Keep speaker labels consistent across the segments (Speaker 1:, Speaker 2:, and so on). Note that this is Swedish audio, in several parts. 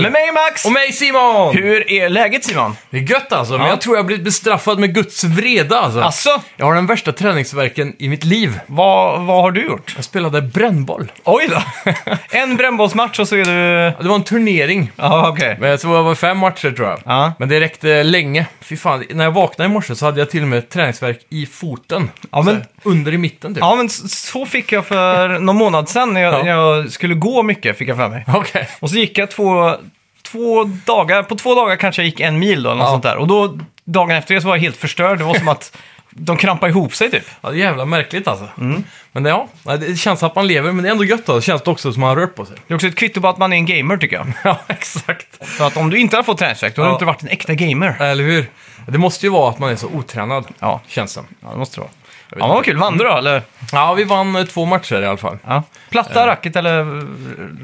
Speaker 1: Med mig Max!
Speaker 2: Och mig Simon!
Speaker 1: Hur är läget Simon?
Speaker 2: Det är gött alltså, men
Speaker 1: Ja.
Speaker 2: jag tror jag har blivit bestraffad med Guds vrede alltså.
Speaker 1: Asså?
Speaker 2: Jag har den värsta träningsverken i mitt liv.
Speaker 1: Vad, vad har du gjort?
Speaker 2: Jag spelade brännboll.
Speaker 1: Oj då! en brännbollsmatch och så är du...
Speaker 2: Det var en turnering.
Speaker 1: Ja, okej.
Speaker 2: Men jag tror det var fem matcher tror jag.
Speaker 1: Ja.
Speaker 2: Men det räckte länge. Fy fan, när jag vaknade i morse så hade jag till och med ett träningsverk i foten.
Speaker 1: Ja, men-
Speaker 2: Så här, under i mitten typ.
Speaker 1: Ja, men s- så fick jag för någon månad sedan när jag,
Speaker 2: Ja.
Speaker 1: när jag skulle gå mycket, fick jag för mig.
Speaker 2: Okej.
Speaker 1: Och så gick jag två, två dagar, på två dagar kanske jag gick en mil då, eller något
Speaker 2: Ja.
Speaker 1: sånt där. Och då, dagen efter det så var jag helt förstörd. Det var som att de krampade ihop sig typ.
Speaker 2: Ja, det är jävla märkligt alltså.
Speaker 1: Mm.
Speaker 2: Men ja, nej, det känns att man lever, men det är ändå gött då. Det känns också som att man rör på sig.
Speaker 1: Det är också ett kvitto på att man är en gamer tycker jag.
Speaker 2: Ja, exakt.
Speaker 1: För att om du inte har fått träningsvärk, då har du
Speaker 2: Ja.
Speaker 1: inte varit en äkta gamer.
Speaker 2: Eller hur? Det måste ju vara att man är så otränad,
Speaker 1: Ja,
Speaker 2: känns det.
Speaker 1: ja det måste det vara. Ja, men vad kul. Vann du då, eller?
Speaker 2: Ja, vi vann eh, två matcher i alla fall.
Speaker 1: Ja. Platta racket eller eh,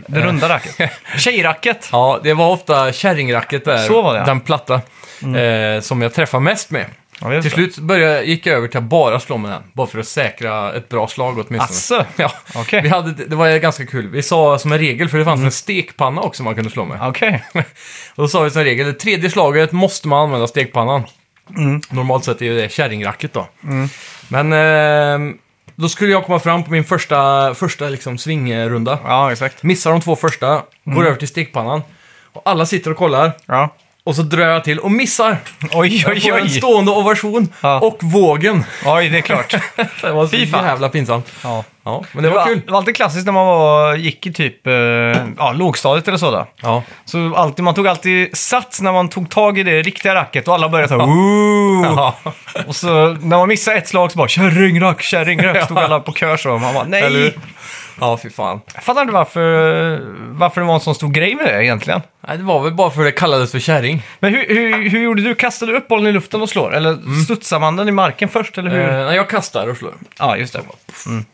Speaker 1: det runda racket?
Speaker 2: Eh.
Speaker 1: Tjejracket?
Speaker 2: Ja, det var ofta kärringracket där.
Speaker 1: Så var det, ja.
Speaker 2: Den platta. Eh, som jag träffade mest med.
Speaker 1: Ja, just
Speaker 2: Till
Speaker 1: det.
Speaker 2: slut började, gick jag över till att bara slå med den. Bara för att säkra ett bra slag åtminstone.
Speaker 1: Asså?
Speaker 2: Ja.
Speaker 1: Okej. Mm.
Speaker 2: Vi hade, det var ganska kul. Vi sa som en regel, för det fanns en stekpanna också man kunde slå med.
Speaker 1: Okej.
Speaker 2: Och Då sa vi som regel, det tredje slaget måste man använda stekpannan.
Speaker 1: Mm.
Speaker 2: Normalt sett är ju det kärringracket då. Men ehm, då skulle jag komma fram på min första, första liksom svingrunda.
Speaker 1: Ja, exakt.
Speaker 2: Missar de två första,
Speaker 1: Mm.
Speaker 2: går över till stekpannan. Och alla sitter och kollar.
Speaker 1: Ja.
Speaker 2: Och så drar jag till och missar.
Speaker 1: Oj,
Speaker 2: Jag
Speaker 1: oj,
Speaker 2: får en
Speaker 1: oj.
Speaker 2: stående ovation.
Speaker 1: Ja.
Speaker 2: Och vågen.
Speaker 1: Oj, det är klart.
Speaker 2: Det var så
Speaker 1: Fy fan.
Speaker 2: jävla pinsamt.
Speaker 1: Ja.
Speaker 2: Ja, men det var kul.
Speaker 1: Det var alltid klassiskt när man var, gick i typ eh, ja, lågstadiet eller så. Då.
Speaker 2: Ja.
Speaker 1: Så alltid, man tog alltid sats när man tog tag i det riktiga racket och alla började så här, "Ooh!"
Speaker 2: Ja.
Speaker 1: Och så när man missade ett slag så bara kärringrack, kärringrack. Stod alla på kör så. Man bara
Speaker 2: Eller
Speaker 1: nej.
Speaker 2: hur? Ja, fy fan.
Speaker 1: Jag fattar inte varför, varför det var en sån stor grej med det egentligen.
Speaker 2: Nej, det var väl bara för att det kallades för kärring.
Speaker 1: Men hur, hur, hur gjorde du? Kastade du upp bollen i luften och slår? Eller studsar man den i marken först? Eller hur?
Speaker 2: Mm. Eh, när jag kastar och slår.
Speaker 1: Ja, just det. Mm.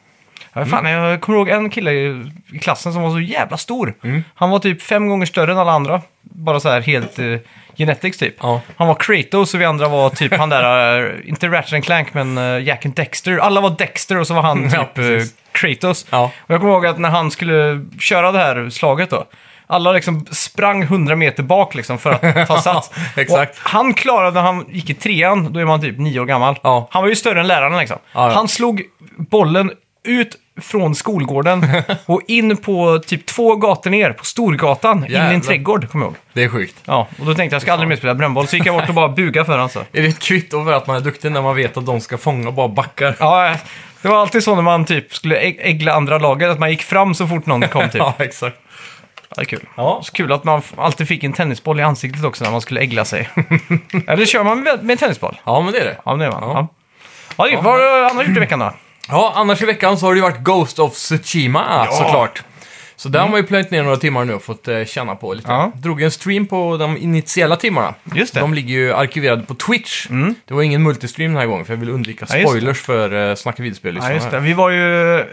Speaker 1: Ja, fan, jag kommer ihåg en kille i i klassen som var så jävla stor.
Speaker 2: Mm.
Speaker 1: Han var typ fem gånger större än alla andra. Bara så här helt eh, genetics typ.
Speaker 2: Ja.
Speaker 1: Han var Kratos och vi andra var typ han där, eh, inte Ratchet and Clank men eh, Jack and Dexter. Alla var Dexter och så var han
Speaker 2: Ja,
Speaker 1: typ eh,
Speaker 2: precis.
Speaker 1: Kratos.
Speaker 2: Ja.
Speaker 1: Och jag kommer ihåg att när han skulle köra det här slaget då. Alla liksom sprang 100 meter bak liksom för att ta sats.
Speaker 2: Exakt.
Speaker 1: Och han klarade, när han gick i trean, då är man typ nio år gammal.
Speaker 2: Ja.
Speaker 1: Han var ju större än läraren liksom.
Speaker 2: Ja, ja.
Speaker 1: Han slog bollen ut från skolgården och in på typ två gator ner, på Storgatan, in i en
Speaker 2: Jävlar.
Speaker 1: trädgård, kommer jag ihåg.
Speaker 2: Det är sjukt.
Speaker 1: Ja, och då tänkte jag, jag ska aldrig mer spela brännboll, så gick jag bort och bara bugade för alltså. honom. Så.
Speaker 2: Är det ett kvitto för att man är duktig när man vet att de ska fånga och bara backar?
Speaker 1: Ja, typ. det var alltid så när man typ skulle äg- ägla andra laget, att man gick fram så fort någon kom typ. Ja,
Speaker 2: Ja, exakt.
Speaker 1: det är kul.
Speaker 2: Ja.
Speaker 1: Så kul att man f- alltid fick en tennisboll i ansiktet också när man skulle ägla sig. Eller kör man med, med tennisboll?
Speaker 2: ja, men det är det.
Speaker 1: Ja, men det gör man. Ja.
Speaker 2: Ja.
Speaker 1: Ja. det är- vad har du annars gjort i veckan då?
Speaker 2: Ja, annars i veckan så har det ju varit Ghost of Tsushima såklart. Så där har man ju plöjt ner några timmar nu och fått eh, känna på lite.
Speaker 1: Mm. Ja.
Speaker 2: Drog en stream på de initiala timmarna.
Speaker 1: Just det.
Speaker 2: De ligger ju arkiverade på Twitch. Det var ingen multistream den här gången för jag vill undvika
Speaker 1: Mm. Ja, just det.
Speaker 2: spoilers för eh, Snacka videospel
Speaker 1: Ja, just det. Vi var ju... eh,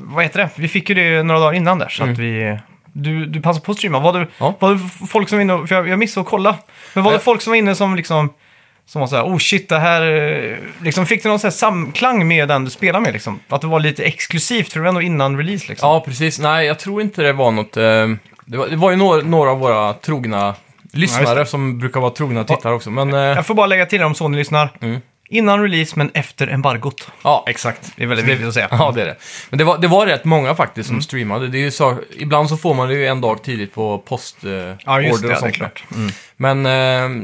Speaker 1: Vad heter det? Vi fick ju det några dagar innan där, så att vi... Du, du passade på att streama. Var det,
Speaker 2: Mm. Ja.
Speaker 1: var det f- folk som var inne och, För jag, jag missade att kolla. Men var det
Speaker 2: Eh.
Speaker 1: folk som var inne som liksom... Som var såhär, oh shit, det här... eh," Liksom, fick det någon sån här samklang med den du spelar med liksom? Att det var lite exklusivt, för det var ändå innan release liksom.
Speaker 2: Ja, precis. Nej, jag tror inte det var något... Eh, det, var, det var ju några, några av våra trogna lyssnare som brukar vara trogna tittare också. Men eh,
Speaker 1: Jag får bara lägga till det om Sony lyssnar. Innan release, men efter embargot.
Speaker 2: ja, Mm. exakt.
Speaker 1: Det är väldigt
Speaker 2: Så
Speaker 1: viktigt att säga.
Speaker 2: Ja, det är det. Men det var, det var rätt många faktiskt som
Speaker 1: Mm.
Speaker 2: streamade. Det är ju så, ibland så får man det ju en dag tidigt på postorder eh,
Speaker 1: Ja, just
Speaker 2: order
Speaker 1: det,
Speaker 2: och
Speaker 1: ja, det är
Speaker 2: sånt.
Speaker 1: klart. Mm.
Speaker 2: Men eh,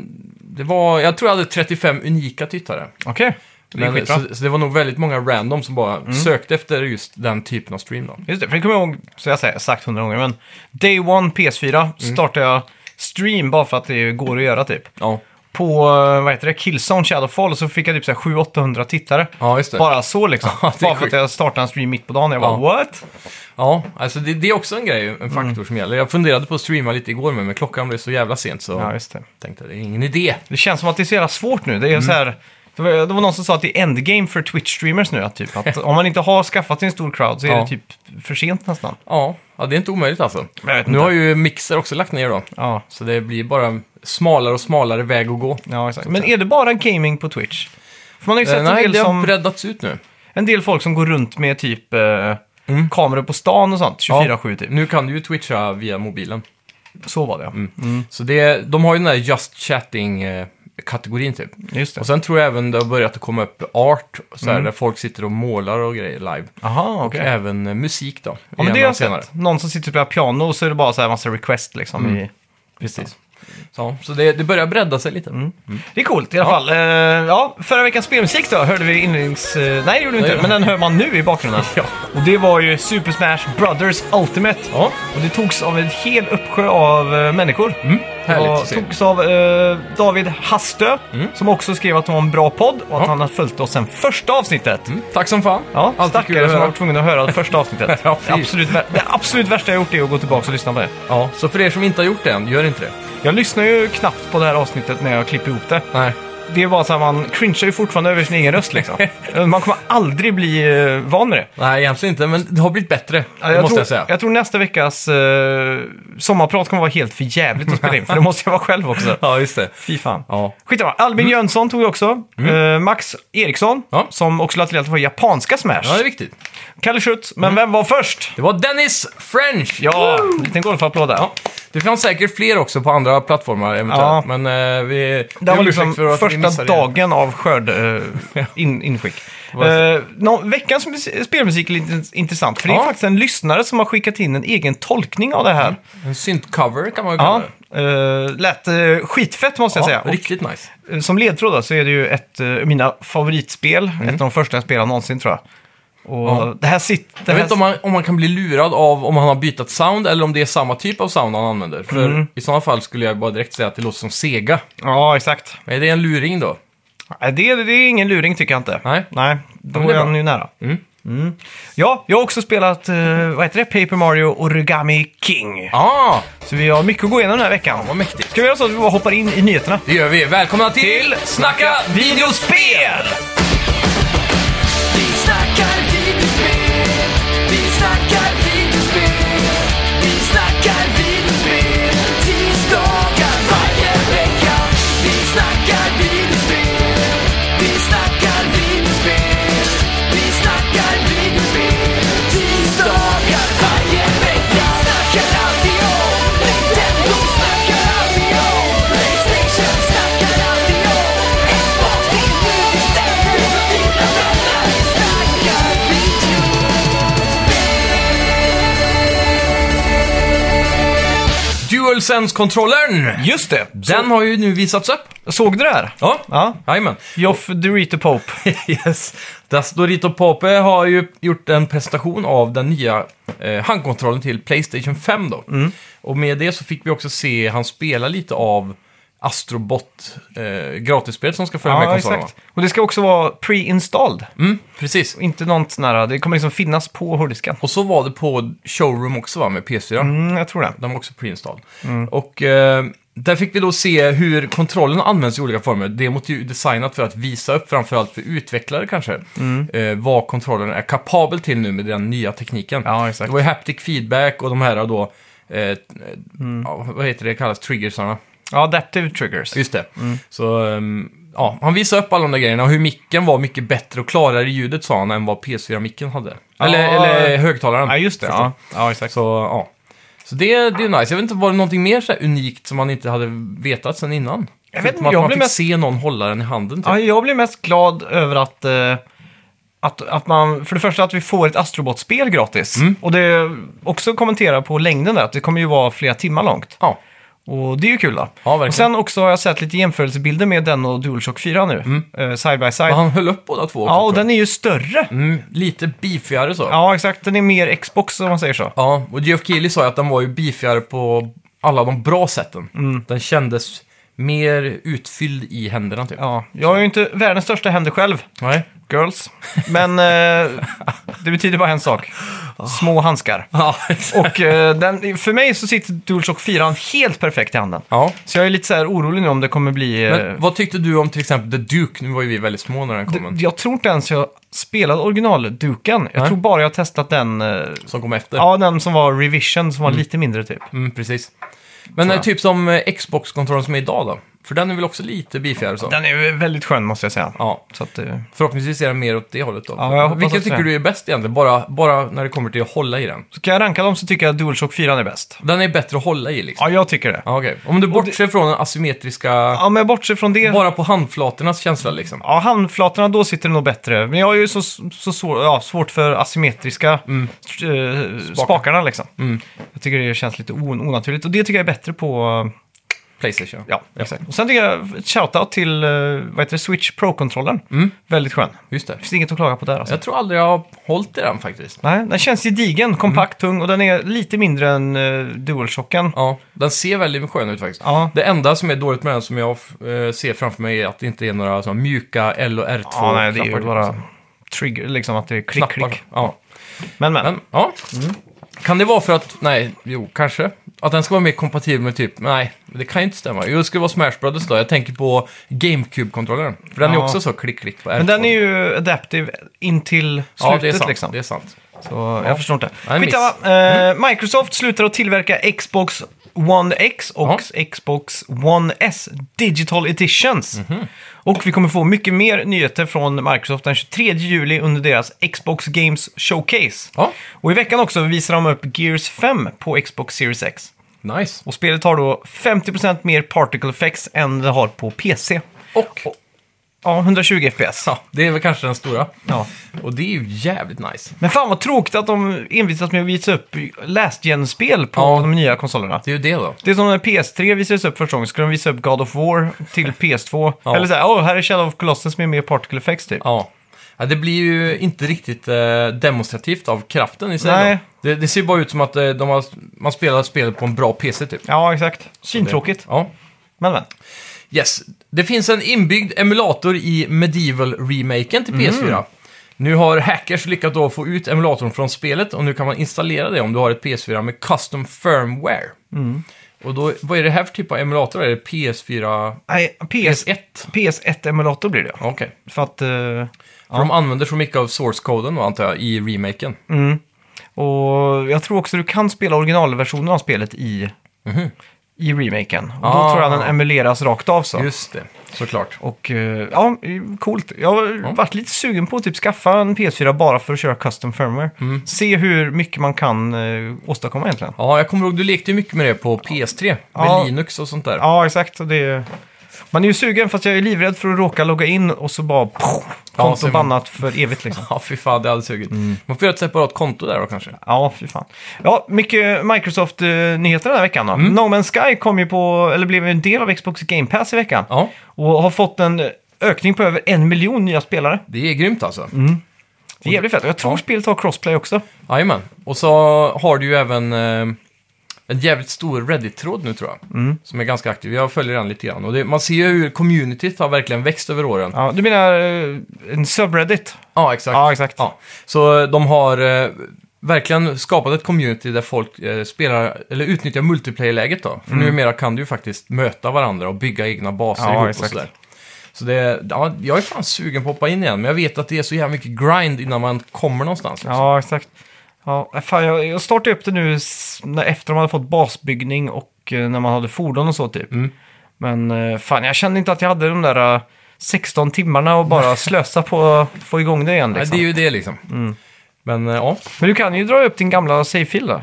Speaker 2: det var, jag tror jag hade 35 unika tittare.
Speaker 1: Okej. Det är
Speaker 2: Men,
Speaker 1: skitbra. Mm.
Speaker 2: så, så det var nog väldigt många random som bara sökte efter just den typen av stream då.
Speaker 1: Just det, för det kommer jag ihåg, så jag säger sagt hundra gånger, men Day One PS4 startade jag stream bara för att det går att göra typ.
Speaker 2: Ja,
Speaker 1: På, eh, vad heter det, Killzone Shadowfall så fick jag typ så här 700-800 tittare.
Speaker 2: ja just det.
Speaker 1: Bara så liksom.
Speaker 2: Ja, det är
Speaker 1: bara för att
Speaker 2: sjukt.
Speaker 1: jag startade en stream mitt på dagen. Jag bara
Speaker 2: Ja.
Speaker 1: what?
Speaker 2: Ja, alltså det, det är också en grej, en faktor
Speaker 1: Mm.
Speaker 2: som gäller. Jag funderade på att streama lite igår, men med klockan blev så jävla sent så
Speaker 1: Ja, just det.
Speaker 2: tänkte jag, det är ingen idé.
Speaker 1: Det känns som att det är så jävla svårt nu. Det är så här, det var, det var någon som sa att det är endgame för Twitch-streamers nu. Att typ, att om man inte har skaffat sig en stor crowd så är
Speaker 2: Ja.
Speaker 1: det typ för sent nästan.
Speaker 2: Ja, ja det är inte omöjligt alltså.
Speaker 1: Jag vet
Speaker 2: Nu
Speaker 1: inte.
Speaker 2: har ju Mixer också lagt ner då,
Speaker 1: Ja.
Speaker 2: så det blir bara smalare och smalare väg att gå.
Speaker 1: Ja, exakt. Men är det bara gaming på Twitch? För man har ju sett
Speaker 2: Eh, Nej,
Speaker 1: en
Speaker 2: det
Speaker 1: del
Speaker 2: har
Speaker 1: som...
Speaker 2: breddats ut nu.
Speaker 1: En del folk som går runt med
Speaker 2: Mm.
Speaker 1: typ eh, kameror på stan och sånt, 24-7 typ.
Speaker 2: Nu kan du ju twitcha via mobilen.
Speaker 1: Så var det, ja.
Speaker 2: Mm. Så det, de har ju den där Just Chatting-kategorin typ.
Speaker 1: Just det.
Speaker 2: Och sen tror jag även det har börjat att komma upp art, så här, där folk sitter och målar och grejer live.
Speaker 1: Aha, Mm. okej.
Speaker 2: Och även eh, musik då.
Speaker 1: Ja, men det
Speaker 2: igen
Speaker 1: har jag
Speaker 2: senare. Mm.
Speaker 1: sett. Någon som sitter och spelar piano och så är det bara så här massa request liksom. I...
Speaker 2: Precis. Så, så det, det börjar bredda sig lite.
Speaker 1: Det är coolt i alla fall. Eh, ja, förra veckans spelmusik då hörde vi inlednings... eh, nej, det gjorde vi inte.
Speaker 2: Nej.
Speaker 1: Men den hör man nu i bakgrunden.
Speaker 2: Ja.
Speaker 1: Och det var ju Super Smash Brothers Ultimate.
Speaker 2: Ja,
Speaker 1: Och det togs av en hel uppsjö av eh, människor.
Speaker 2: härligt
Speaker 1: och
Speaker 2: att se. Mm.
Speaker 1: togs av eh, David Hastö, som också skrev att det var en bra podd och att
Speaker 2: Ja.
Speaker 1: han har följt oss sen första avsnittet.
Speaker 2: Tack som fan.
Speaker 1: Ja,
Speaker 2: Alltid kul
Speaker 1: stackare
Speaker 2: att
Speaker 1: som
Speaker 2: höra.
Speaker 1: var tvungen att höra det första avsnittet.
Speaker 2: Ja,
Speaker 1: det,
Speaker 2: fy.
Speaker 1: absolut, vär- det absolut värsta jag gjort är att gå tillbaka och lyssna på det.
Speaker 2: Ja, så för er som inte har gjort det än, gör inte det.
Speaker 1: Jag lyssnar ju knappt på det här avsnittet när jag klipper ihop det.
Speaker 2: Nej.
Speaker 1: Det är bara så här, man cringear ju fortfarande över sin egen röst liksom. Man kommer aldrig bli eh, van med det.
Speaker 2: Nej, egentligen inte, men det har blivit bättre.
Speaker 1: Ja,
Speaker 2: det
Speaker 1: jag,
Speaker 2: måste
Speaker 1: tror,
Speaker 2: jag säga.
Speaker 1: jag tror nästa veckas eh, sommarprat kommer vara helt för jävligt att spela in, för det måste jag vara själv också.
Speaker 2: Ja, just det.
Speaker 1: Fy fan.
Speaker 2: Ja. Mm.
Speaker 1: Skitsamma. Albin Jönsson tog vi också. Eh, Max Eriksson,
Speaker 2: Ja.
Speaker 1: som också lade till att det var japanska Smash.
Speaker 2: ja, det är viktigt. Mm.
Speaker 1: Kalle Schütz, men vem var först?
Speaker 2: Det var Dennis French!
Speaker 1: Ja, en liten golfapplåd där.
Speaker 2: Ja. Det fanns säkert fler också på andra plattformar eventuellt,
Speaker 1: Ja.
Speaker 2: men eh, vi... vi
Speaker 1: Det här
Speaker 2: har
Speaker 1: var
Speaker 2: ursäkt
Speaker 1: liksom
Speaker 2: för att vi
Speaker 1: första
Speaker 2: missade det.
Speaker 1: dagen av skörd eh, in, inskick.
Speaker 2: Vad är
Speaker 1: Eh, nå, veckans mus- spelmusik är lite intressant, för det är
Speaker 2: Ja.
Speaker 1: faktiskt en lyssnare som har skickat in en egen tolkning av det här.
Speaker 2: En syntcover kan man ju kalla
Speaker 1: Ja,
Speaker 2: det.
Speaker 1: eh, lät eh, skitfett måste jag säga. Och,
Speaker 2: riktigt nice.
Speaker 1: eh, som ledtråd då, så är det ju ett av mina favoritspel, ett av de första jag spelade någonsin tror jag. Och
Speaker 2: Mm. Ja.
Speaker 1: det här sitter...
Speaker 2: Jag
Speaker 1: det
Speaker 2: vet
Speaker 1: här
Speaker 2: inte om man, om man kan bli lurad av om han har bytt sound eller om det är samma typ av sound han använder. För
Speaker 1: Mm.
Speaker 2: i sådana fall skulle jag bara direkt säga att det låter som Sega.
Speaker 1: Ja, exakt.
Speaker 2: Men är det en luring då?
Speaker 1: Nej, Det, det är ingen luring tycker jag inte.
Speaker 2: Nej.
Speaker 1: Nej, då
Speaker 2: men det
Speaker 1: är
Speaker 2: är
Speaker 1: han
Speaker 2: bra.
Speaker 1: ju nära. Mm. Ja, jag har också spelat, eh, vad heter det, Paper Mario Origami King.
Speaker 2: Ja, ah,
Speaker 1: Så vi har mycket att gå igenom den här veckan.
Speaker 2: vad mäktigt.
Speaker 1: Ska vi göra så att vi bara hoppar in i nyheterna?
Speaker 2: Det gör vi. Välkomna till,
Speaker 1: Till
Speaker 2: Snacka videospel!
Speaker 3: Vi snackar videospel, vi snackar videospel, vi snackar videospel, tisdagar varje vecka. Vi snackar videospel, vi snackar videospel, vi snackar videospel, tisdagar varje vecka. Snackar alltid om Nintendo, snackar alltid om Playstation, snackar alltid om Xbox, det är nu vi sätter dina vänner. Vi snackar video.
Speaker 2: DualSense-kontrollern!
Speaker 1: Just det!
Speaker 2: Den har ju nu visats upp.
Speaker 1: Så, såg du det här?
Speaker 2: Ja,
Speaker 1: Ja.
Speaker 2: jajamän.
Speaker 1: Joff Dorito Pope.
Speaker 2: yes. Dastorito Pope har ju gjort en presentation av den nya eh, handkontrollen till Playstation 5 då.
Speaker 1: Mm.
Speaker 2: Och med det så fick vi också se han spela lite av Astrobot, eh, gratisspel som ska följa med
Speaker 1: Ja,
Speaker 2: konsolen.
Speaker 1: exakt. Och det ska också vara pre-installed.
Speaker 2: va? Mm, precis.
Speaker 1: Inte något sån här, det kommer liksom finnas på hårddisken.
Speaker 2: Och så var det på Showroom också va, med PS4.
Speaker 1: Mm, jag tror det.
Speaker 2: Den var också preinstallad.
Speaker 1: Mm.
Speaker 2: Och eh, där fick vi då se hur kontrollen används i olika former. Demot är ju designat för att visa upp, framförallt för utvecklare kanske,
Speaker 1: Mm.
Speaker 2: eh, vad kontrollen är kapabel till nu med den nya tekniken.
Speaker 1: Ja, exakt.
Speaker 2: Det var ju haptic feedback och de här då, eh, eh,
Speaker 1: Mm.
Speaker 2: ja, vad heter det, kallas triggersarna.
Speaker 1: Ja, Adaptive Triggers.
Speaker 2: Just det.
Speaker 1: Mm.
Speaker 2: Så, ehm, ja, han visade upp alla de där grejerna och hur micken var mycket bättre och klarare i ljudet sa han än vad PS4-micken hade. Eller,
Speaker 1: Ja.
Speaker 2: eller eh, högtalaren.
Speaker 1: Ja, just det.
Speaker 2: Förstår.
Speaker 1: Ja. ja, exakt.
Speaker 2: Så, ja. Så det, det är nice. Jag vet inte, var det någonting mer så här unikt som man inte hade vetat sen innan?
Speaker 1: Jag vet inte,
Speaker 2: Förutom att
Speaker 1: jag
Speaker 2: man
Speaker 1: blev
Speaker 2: fick
Speaker 1: mest-
Speaker 2: se någon hålla den i handen. Typ.
Speaker 1: Ja, jag blir mest glad över att, eh, att, att man, för det första att vi får ett Astrobot-spel gratis.
Speaker 2: Mm.
Speaker 1: Och det också kommenterar på längden där, att det kommer ju vara flera timmar långt.
Speaker 2: Ja.
Speaker 1: Och det är ju kul då.
Speaker 2: Ja, verkligen.
Speaker 1: och sen också har jag sett lite jämförelsebilder med den och DualShock 4 nu, eh, side by side.
Speaker 2: Men Mm. Han höll upp båda två också,
Speaker 1: Ja, och
Speaker 2: tror jag.
Speaker 1: den är ju större.
Speaker 2: mm, Lite beefigare så.
Speaker 1: Ja, exakt. Den är mer Xbox om man säger så.
Speaker 2: Ja, och Geoff Keighley sa ju att den var ju beefigare på alla de bra sätten.
Speaker 1: Mm.
Speaker 2: Den kändes mer utfylld i händerna typ.
Speaker 1: Ja, jag är ju inte världens största händer själv,
Speaker 2: Nej.
Speaker 1: girls. Men eh, det betyder bara en sak. Små handskar.
Speaker 2: Ja,
Speaker 1: Och eh, den, för mig så sitter DualShock 4 helt perfekt i handen.
Speaker 2: ja.
Speaker 1: Så jag är lite så här orolig nu om det kommer bli... eh,
Speaker 2: Men vad tyckte du om till exempel The Duke? Nu var ju vi väldigt små när den kom. men-
Speaker 1: d- jag tror inte ens jag spelade originalduken. Jag
Speaker 2: Nej.
Speaker 1: tror bara jag har testat den... eh,
Speaker 2: Som kom efter.
Speaker 1: Ja, den som var revision, som var lite mindre typ.
Speaker 2: Mm, precis. Men eh, typ som eh, Xbox-kontrollen som är idag då? För den är väl också lite beefigare och så?
Speaker 1: Den är ju väldigt skön måste jag säga.
Speaker 2: Ja,
Speaker 1: Så att, eh,
Speaker 2: förhoppningsvis är den mer åt det hållet då.
Speaker 1: Ja, jag hoppas
Speaker 2: Vilken
Speaker 1: också
Speaker 2: tycker
Speaker 1: det.
Speaker 2: du är bäst egentligen? Bara, bara när det kommer till att hålla i den.
Speaker 1: ska jag ranka dem så tycker jag att DualShock 4 är bäst.
Speaker 2: Den är bättre att hålla i liksom.
Speaker 1: Ja, jag tycker det.
Speaker 2: Ja, okej. Om du bortser från den asymmetriska,
Speaker 1: Ja, men bortsett från det.
Speaker 2: bara på handflatornas känsla liksom.
Speaker 1: Ja, handflatorna, då sitter det nog bättre. Men jag har ju så, så, så ja, svårt för asymmetriska eh, spakarna liksom. Jag tycker det känns lite on- onaturligt. Och det tycker jag är bättre på... eh,
Speaker 2: Playstation.
Speaker 1: Ja, exakt. Och sen tycker jag ett shoutout till eh, vad heter det, Switch Pro-kontrollen. Väldigt skön. Det
Speaker 2: Just det.
Speaker 1: finns inget att klaga på där alltså.
Speaker 2: Jag tror aldrig jag har hållit i den faktiskt.
Speaker 1: Nej, den känns gedigen, kompakt, tung och den är lite mindre än uh, DualShocken.
Speaker 2: Ja, den ser väldigt skön ut faktiskt.
Speaker 1: Ja.
Speaker 2: Det enda som är dåligt med den som jag eh, ser framför mig är att det inte är några såna mjuka L och R2-knappar.
Speaker 1: Ja, nej, det är ju
Speaker 2: liksom.
Speaker 1: bara trigger, liksom att det är klick, klick. Mm.
Speaker 2: Ja.
Speaker 1: Men, men.
Speaker 2: Men, ja. Kan det vara för att, nej, jo, kanske. Att den ska vara mer kompatibel med typ, nej, det kan ju inte stämma. Jo, det skulle vara Smash Brothers då. Jag tänker på GameCube-kontrollern. För den är
Speaker 1: Ja.
Speaker 2: också så klick-klick på R2.
Speaker 1: Men den är ju adaptive in till
Speaker 2: ja,
Speaker 1: slutet
Speaker 2: det är sant.
Speaker 1: liksom.
Speaker 2: Det är sant.
Speaker 1: Så jag förstår inte.
Speaker 2: Nej, miss. Mm.
Speaker 1: Skitsamma. Eh, Microsoft slutar att tillverka Xbox One X och Xbox One S Digital Editions.
Speaker 2: Mhm.
Speaker 1: Och vi kommer få mycket mer nyheter från Microsoft den 23 juli under deras Xbox Games Showcase.
Speaker 2: Ja,
Speaker 1: Och i veckan också visar de upp Gears 5 på Xbox Series X.
Speaker 2: nice.
Speaker 1: Och spelet har då 50% mer particle effects än det har på PC.
Speaker 2: Och,
Speaker 1: Ja, 120 FPS.
Speaker 2: ja, det är väl kanske den stora.
Speaker 1: Ja.
Speaker 2: Och det är ju jävligt nice.
Speaker 1: Men fan vad tråkigt att de envisas med att visa upp last gen-spel på
Speaker 2: Ja.
Speaker 1: de nya konsolerna.
Speaker 2: Det är ju det då.
Speaker 1: Det är som när PS3 visades upp första gången, skulle de visa upp God of War till PS2.
Speaker 2: Ja.
Speaker 1: Eller såhär, åh, här är Shadow of Colossus med mer particle effects typ.
Speaker 2: Ja. ja, det blir ju inte riktigt eh, demonstrativt av kraften i sig.
Speaker 1: Nej.
Speaker 2: Då. Det, det ser bara ut som att eh, de har, man spelar spelet på en bra PC typ.
Speaker 1: Ja, exakt. Syntråkigt.
Speaker 2: Ja.
Speaker 1: Men men.
Speaker 2: Yes. Det finns en inbyggd emulator i Medieval-remaken till PS4. Nu har hackers lyckats då få ut emulatorn från spelet och nu kan man installera det om du har ett PS4 med custom firmware. Och då, vad är det här för typ av emulator? Är det PS4...
Speaker 1: Nej, PS...
Speaker 2: PS1?
Speaker 1: PS1-emulator blir det.
Speaker 2: Okej.
Speaker 1: För att... eh,
Speaker 2: För de använder så mycket av source-koden då, antar jag, i remaken.
Speaker 1: och jag tror också du kan spela originalversionen av spelet i... I remaken. Och
Speaker 2: Mhm. Ah.
Speaker 1: då tror jag den emuleras rakt av så.
Speaker 2: Just det, såklart.
Speaker 1: Och eh, ja, coolt. Jag har varit lite sugen på att typ skaffa en PS4 bara för att köra custom firmware.
Speaker 2: Mm.
Speaker 1: Se hur mycket man kan eh, åstadkomma egentligen.
Speaker 2: Ja, jag kommer ihåg, du lekte ju mycket med det på PS3, med
Speaker 1: Ja.
Speaker 2: Linux och sånt där.
Speaker 1: Ja, exakt. Och det... Man är ju sugen fast jag är livrädd för att råka logga in och så bara poff,
Speaker 2: Ja,
Speaker 1: konto
Speaker 2: så är man-
Speaker 1: bannat för evigt liksom.
Speaker 2: Ja, fy fan, det hade sugit.
Speaker 1: Mm.
Speaker 2: Man får göra ett separat konto där då kanske.
Speaker 1: Ja, fy fan. Ja, mycket Microsoft-nyheter den här veckan då.
Speaker 2: Mm.
Speaker 1: No Man's Sky kom ju på, eller blev en del av Xbox Game Pass i veckan.
Speaker 2: Ja,
Speaker 1: Och har fått en eh, ökning på över en miljon nya spelare.
Speaker 2: det är grymt alltså.
Speaker 1: Mm. Det är jävligt fett. Och jag tror spelet har crossplay också.
Speaker 2: Jajamän. Och så har du ju även eh, en jävligt stor Reddit-tråd nu tror jag.
Speaker 1: Mm.
Speaker 2: Som är ganska aktiv. Jag följer den lite grann. Och det, man ser ju hur communityt har verkligen växt över åren. Ja,
Speaker 1: Ja, du menar eh, en subreddit?
Speaker 2: exakt.
Speaker 1: Ja, exakt.
Speaker 2: Ja. Så de har eh, verkligen skapat ett community där folk eh, spelar, eller utnyttjar multiplayer-läget då. För numera kan du ju faktiskt möta varandra och bygga egna baser
Speaker 1: Mm. Ja,
Speaker 2: ihop
Speaker 1: exakt.
Speaker 2: och sådär. Så det, ja, jag är fan sugen på att hoppa in igen, men jag vet att det är så jävla mycket grind innan man kommer någonstans. liksom.
Speaker 1: Ja, exakt. Ja, fan, jag, jag startade upp det nu s- när, efter de hade fått basbyggning och eh, när man hade fordon och så typ.
Speaker 2: Mm.
Speaker 1: Men eh, fan, jag kände inte att jag hade de där eh, 16 timmarna och bara slösa på att få igång det igen.
Speaker 2: Nej,
Speaker 1: Liksom.
Speaker 2: det är ju det liksom. Men eh, ja,
Speaker 1: Men du kan ju dra upp din gamla save-fil då,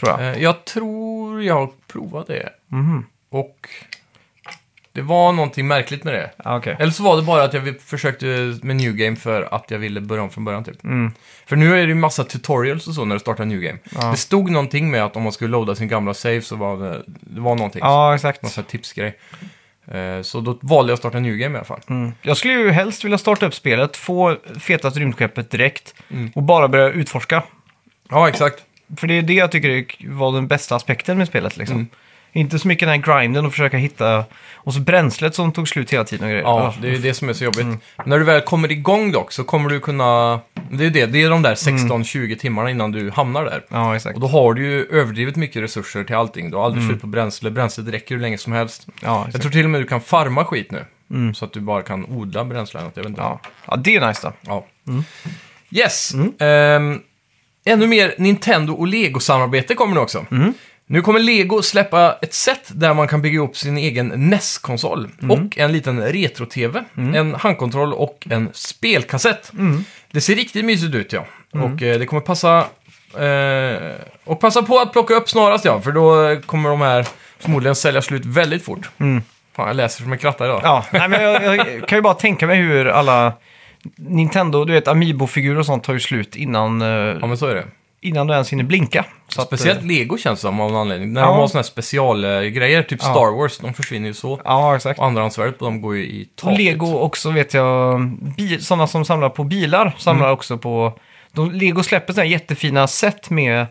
Speaker 1: tror jag.
Speaker 2: Eh, Jag tror jag provade det.
Speaker 1: Mhm.
Speaker 2: Och det var någonting märkligt med det.
Speaker 1: Ja, okej.
Speaker 2: Eller så var det bara att jag vill- försökte med New Game för att jag ville börja om från början typ. För nu är det ju massa tutorials och så när du startar New Game. Det stod någonting med att om man skulle loada sin gamla save så var det, det var någonting.
Speaker 1: Ja, exakt.
Speaker 2: Någon sån här tipsgrej. Eh, Så då valde jag att starta New Game i alla fall.
Speaker 1: Mm. Jag skulle ju helst vilja starta upp spelet, få fetaste rymdskeppet direkt
Speaker 2: Mm.
Speaker 1: och bara börja utforska.
Speaker 2: Ja, exakt.
Speaker 1: För det är det jag tycker är- var den bästa aspekten med spelet. Liksom.
Speaker 2: Mm.
Speaker 1: Inte så mycket den här grinden och försöka hitta... Och så bränslet som tog slut hela tiden och grejer.
Speaker 2: Ja, det är ju det som är så jobbigt. När du väl kommer igång dock så kommer du kunna... Det är ju det, det är de där 16-20 timmarna innan du hamnar där.
Speaker 1: ja exakt.
Speaker 2: Och då har du ju överdrivet mycket resurser till allting. Du har aldrig slut på bränsle. Bränslet räcker hur länge som helst.
Speaker 1: Ja, exakt. Mm.
Speaker 2: Jag tror till och med du kan farma skit nu. Så att du bara kan odla bränsle eller något. Jag vet inte.
Speaker 1: ja. ja, det är nice då.
Speaker 2: Ja. Yes. Ehm, ännu mer Nintendo och Lego-samarbete kommer nu också. Nu kommer Lego släppa ett set där man kan bygga ihop sin egen NES-konsol. Och en liten retro-tv, en handkontroll och en spelkassett. Det ser riktigt mysigt ut ja. Och eh, det kommer passa... Eh, och passa på att plocka upp snarast ja, för då eh, kommer de här förmodligen sälja slut väldigt fort. Fan, jag läser som en kratta idag.
Speaker 1: Ja, nej, men jag, jag kan ju bara tänka mig hur alla Nintendo, du vet, Amiibo-figurer och sånt tar ju slut innan, eh,
Speaker 2: ja, men så är det.
Speaker 1: innan du ens hinner blinka. Så att, eh,
Speaker 2: Speciellt Lego känns det som av någon anledning. När
Speaker 1: Ja.
Speaker 2: de har såna här specialgrejer, typ Star Wars, de försvinner ju så.
Speaker 1: Ja, exakt.
Speaker 2: Och andrahandsvärdet på dem går ju i
Speaker 1: Och
Speaker 2: taket.
Speaker 1: Lego också vet jag, bi- sådana som samlar på bilar samlar
Speaker 2: Mm.
Speaker 1: också på... De, Lego släpper sådana här jättefina set med...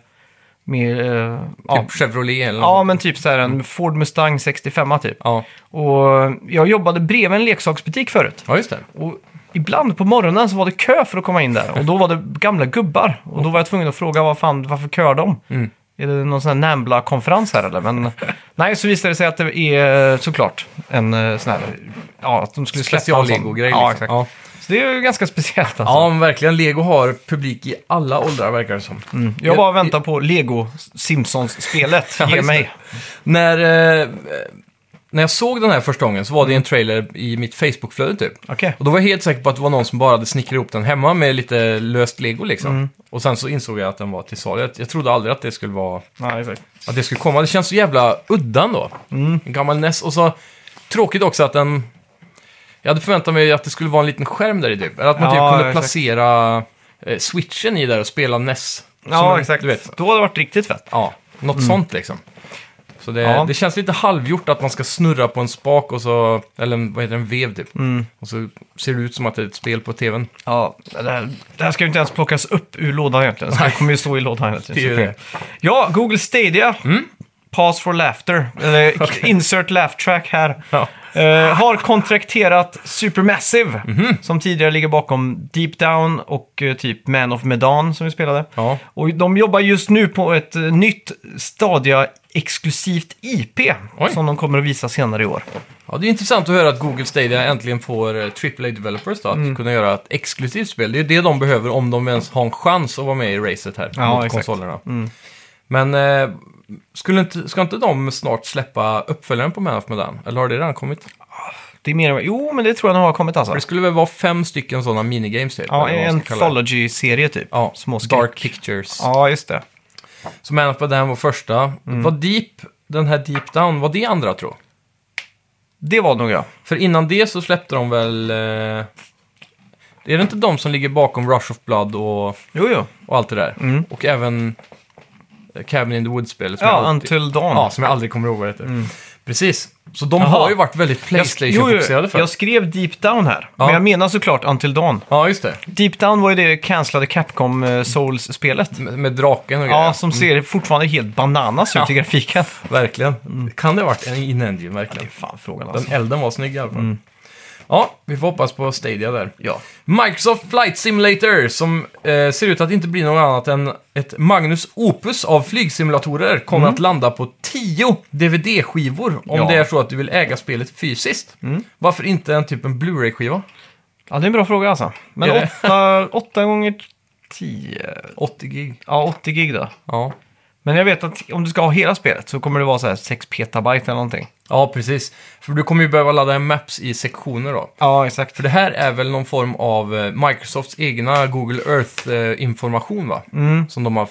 Speaker 1: med eh, ja,
Speaker 2: Typ Chevrolet eller
Speaker 1: ja,
Speaker 2: något.
Speaker 1: men typ så här en Ford Mustang 65 typ.
Speaker 2: Ja.
Speaker 1: Och jag jobbade bredvid en leksaksbutik förut.
Speaker 2: ja, just det.
Speaker 1: Och ibland på morgonen så var det kö för att komma in där. Och då var det gamla gubbar. Och då var jag tvungen att fråga vad fan, varför kör de?
Speaker 2: Mm.
Speaker 1: Är det någon sån här Nambla-konferens här eller? Men nej, så visade det sig att det är eh, såklart en eh, sån här... Ja, att de skulle släppa en sån.
Speaker 2: Special-Lego-grej.
Speaker 1: Ja,
Speaker 2: liksom.
Speaker 1: exakt.
Speaker 2: ja.
Speaker 1: Så det är ju ganska speciellt alltså.
Speaker 2: ja, men verkligen. Lego har publik i alla åldrar verkar det som.
Speaker 1: Jag bara väntar på Lego Simpsons-spelet.
Speaker 2: Ja,
Speaker 1: Ge
Speaker 2: just
Speaker 1: mig.
Speaker 2: När, eh, när jag såg den här första gången så var
Speaker 1: Mm.
Speaker 2: det en trailer i mitt Facebook-flöde typ.
Speaker 1: Okej.
Speaker 2: Och då var jag helt säker på att det var någon som bara hade snickrat ihop den hemma med lite löst lego liksom.
Speaker 1: Mm.
Speaker 2: Och sen så insåg jag att den var till salu. Jag- Jag trodde aldrig att det skulle vara
Speaker 1: Ja, exakt.
Speaker 2: att det skulle komma. Det känns så jävla udda då.
Speaker 1: Mm.
Speaker 2: En gammal NES. Och så tråkigt också att den... Jag hade förväntat mig att det skulle vara en liten skärm där i typ. Eller att man
Speaker 1: Ja,
Speaker 2: typ kunde
Speaker 1: exakt.
Speaker 2: placera eh, switchen i där och spela NES. Som
Speaker 1: Ja,
Speaker 2: en-
Speaker 1: exakt.
Speaker 2: Du vet,
Speaker 1: Då hade det varit riktigt fett.
Speaker 2: ja, något sånt liksom. Så det,
Speaker 1: Ja.
Speaker 2: det känns lite halvgjort att man ska snurra på en spak och så... Eller en- vad heter det, en vev typ.
Speaker 1: Mm.
Speaker 2: Och så ser det ut som att det är ett spel på tvn.
Speaker 1: Ja, det här, det här ska ju inte ens plockas upp ur lådan egentligen. Så det kommer ju stå i lådan hela tiden.
Speaker 2: Det är ju
Speaker 1: Så
Speaker 2: det. Mm.
Speaker 1: Ja, Google Stadia. Pause for laughter. Eller insert laugh track här.
Speaker 2: Ja.
Speaker 1: Eh, har kontrakterat Supermassive,
Speaker 2: Mhm.
Speaker 1: som tidigare ligger bakom Deep Down och eh, typ Man of Medan som vi spelade.
Speaker 2: Ja.
Speaker 1: Och de jobbar just nu på ett eh, nytt Stadia-exklusivt IP
Speaker 2: Oj.
Speaker 1: som de kommer att visa senare i år.
Speaker 2: Ja, det är intressant att höra att Google Stadia äntligen får eh, AAA-developers då, att
Speaker 1: Mm.
Speaker 2: kunna göra ett exklusivt spel. Det är ju det de behöver om de ens har en chans att vara med i racet här
Speaker 1: Ja,
Speaker 2: mot
Speaker 1: exakt. Mm.
Speaker 2: konsolerna. Men eh, skulle inte, ska inte de snart släppa uppföljaren på Man of Medan? Eller har det redan kommit?
Speaker 1: Det är mer än... Jo, men det tror jag nog har kommit alltså.
Speaker 2: Det skulle väl vara fem stycken sådana minigames typ?
Speaker 1: Ja,
Speaker 2: eller vad man
Speaker 1: en
Speaker 2: ska kalla det.
Speaker 1: anthology-serie typ.
Speaker 2: Ja,
Speaker 1: Små skräck.
Speaker 2: Dark Pictures.
Speaker 1: Ja, Mm. just det.
Speaker 2: Så Man of Medan var första. Var Deep, den här Deep Down, var det andra tror?
Speaker 1: Det var nog jag.
Speaker 2: För innan det så släppte de väl... Eh, är det inte de som ligger bakom Rush of Blood och...
Speaker 1: Jo, jo.
Speaker 2: och allt det där. Och även eh, Cabin in the Woods-spelet som, jag
Speaker 1: Mm. Ja,
Speaker 2: alltid-
Speaker 1: Until Dawn.
Speaker 2: ja, som jag aldrig kommer ihåg vad det heter. Precis. Så de
Speaker 1: Jaha.
Speaker 2: har ju varit väldigt
Speaker 1: Jag sk- jo,
Speaker 2: Playstation-fokuserade
Speaker 1: jo,
Speaker 2: för.
Speaker 1: jag skrev Deep Down här,
Speaker 2: Ja.
Speaker 1: men jag menar såklart Until Dawn.
Speaker 2: Ja, just det.
Speaker 1: Deep Down var ju det cancellade Capcom eh, Souls-spelet.
Speaker 2: Med, med draken och grejer.
Speaker 1: Ja, som ser fortfarande helt bananas ut i grafiken.
Speaker 2: Verkligen. Kan det ha varit en in-engine, verkligen?
Speaker 1: Fan, frågan
Speaker 2: Den
Speaker 1: alltså.
Speaker 2: elden var snygg i alla fall. Ja, vi får hoppas på Stadia där.
Speaker 1: Mm. Ja.
Speaker 2: Microsoft Flight Simulator, som eh, ser ut att inte bli något annat än ett Magnus Opus av flygsimulatorer, kommer att landa på 10 DVD-skivor om
Speaker 1: Mm. Ja. Mm.
Speaker 2: det är så att du vill äga spelet fysiskt. Varför inte en typ en Blu-ray-skiva?
Speaker 1: ja, det är en bra fråga alltså.
Speaker 2: Är
Speaker 1: Men
Speaker 2: det?
Speaker 1: 8, 8 gånger 10...
Speaker 2: 80 gig.
Speaker 1: Ja, 80 gig då.
Speaker 2: Ja.
Speaker 1: Men jag vet att om du ska ha hela spelet så kommer det vara så här 6 petabyte eller någonting.
Speaker 2: ja, precis. För du kommer ju behöva ladda hem maps i sektioner då.
Speaker 1: Ja, exakt.
Speaker 2: För det här är väl någon form av eh, Microsofts egna Google Earth-information va? Som de har f-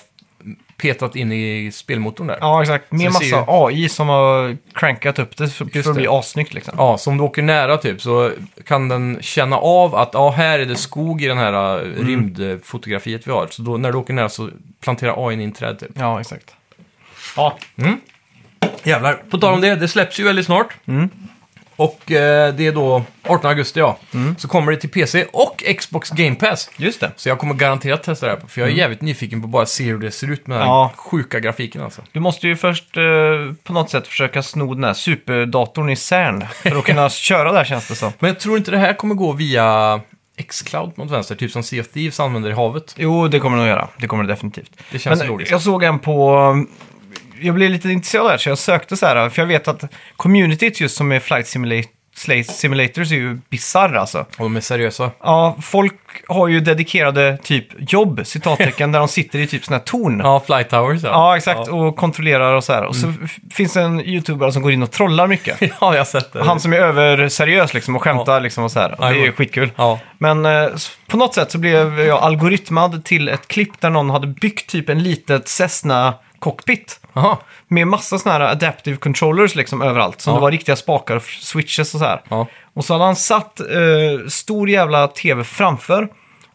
Speaker 2: petat in i spelmotorn där.
Speaker 1: Mm. Ja, exakt. Med
Speaker 2: det ser
Speaker 1: massa AI som har crankat upp det för, för
Speaker 2: Just
Speaker 1: att bli
Speaker 2: det.
Speaker 1: assnyggt liksom.
Speaker 2: Ja, så om du åker nära typ så kan den känna av att ja, här är det skog i den här eh,
Speaker 1: Mm.
Speaker 2: rymdfotografiet vi har. Så då, när du åker nära så planterar AI in träd typ.
Speaker 1: Ja, exakt. Ja,
Speaker 2: Jävlar. På tal om det, det släpps ju väldigt snart.
Speaker 1: Mm.
Speaker 2: Och eh, det är då 18 augusti ja.
Speaker 1: Mm.
Speaker 2: Så kommer det till PC och Xbox Game Pass.
Speaker 1: just det.
Speaker 2: Så jag kommer garanterat testa det här, för jag är jävligt nyfiken på bara att se hur det ser ut med den här
Speaker 1: Mm. Ja.
Speaker 2: sjuka grafiken alltså.
Speaker 1: Du måste ju först eh, på något sätt försöka sno den här superdatorn i CERN för att kunna köra där känns det som.
Speaker 2: Men jag tror inte det här kommer gå via Xcloud mot vänster, typ som Sea of Thieves använder i havet.
Speaker 1: Jo, det kommer det nog göra. Det kommer det definitivt.
Speaker 2: Det känns
Speaker 1: Men
Speaker 2: logiskt.
Speaker 1: jag såg en på... mm, Jag blev lite intresserad där, så jag sökte så här. För jag vet att communityt just som är Flight Simulator Slate Simulators är ju bizarr alltså.
Speaker 2: Och de är seriösa.
Speaker 1: Ja, folk har ju dedikerade typ jobb, citattecken, där de sitter i typ såna här torn.
Speaker 2: Ja, Flight Towers ja. Mm.
Speaker 1: Ja, exakt. Och kontrollerar och så här. Och så f- finns det en youtubare som går in och trollar mycket.
Speaker 2: Ja, jag har sett det.
Speaker 1: Han som är överseriös liksom och skämtar liksom och så här. Och det är ju
Speaker 2: Jajamän.
Speaker 1: skitkul.
Speaker 2: Ja.
Speaker 1: Men eh, s- på något sätt så blev jag algoritmad till ett klipp där någon hade byggt typ en litet Cessna cockpit.
Speaker 2: Jaha.
Speaker 1: Med massa såna här adaptive controllers liksom överallt. Som
Speaker 2: Ja.
Speaker 1: det var riktiga spakar och switches och så här.
Speaker 2: Ja.
Speaker 1: Och så hade han satt eh, stor jävla tv framför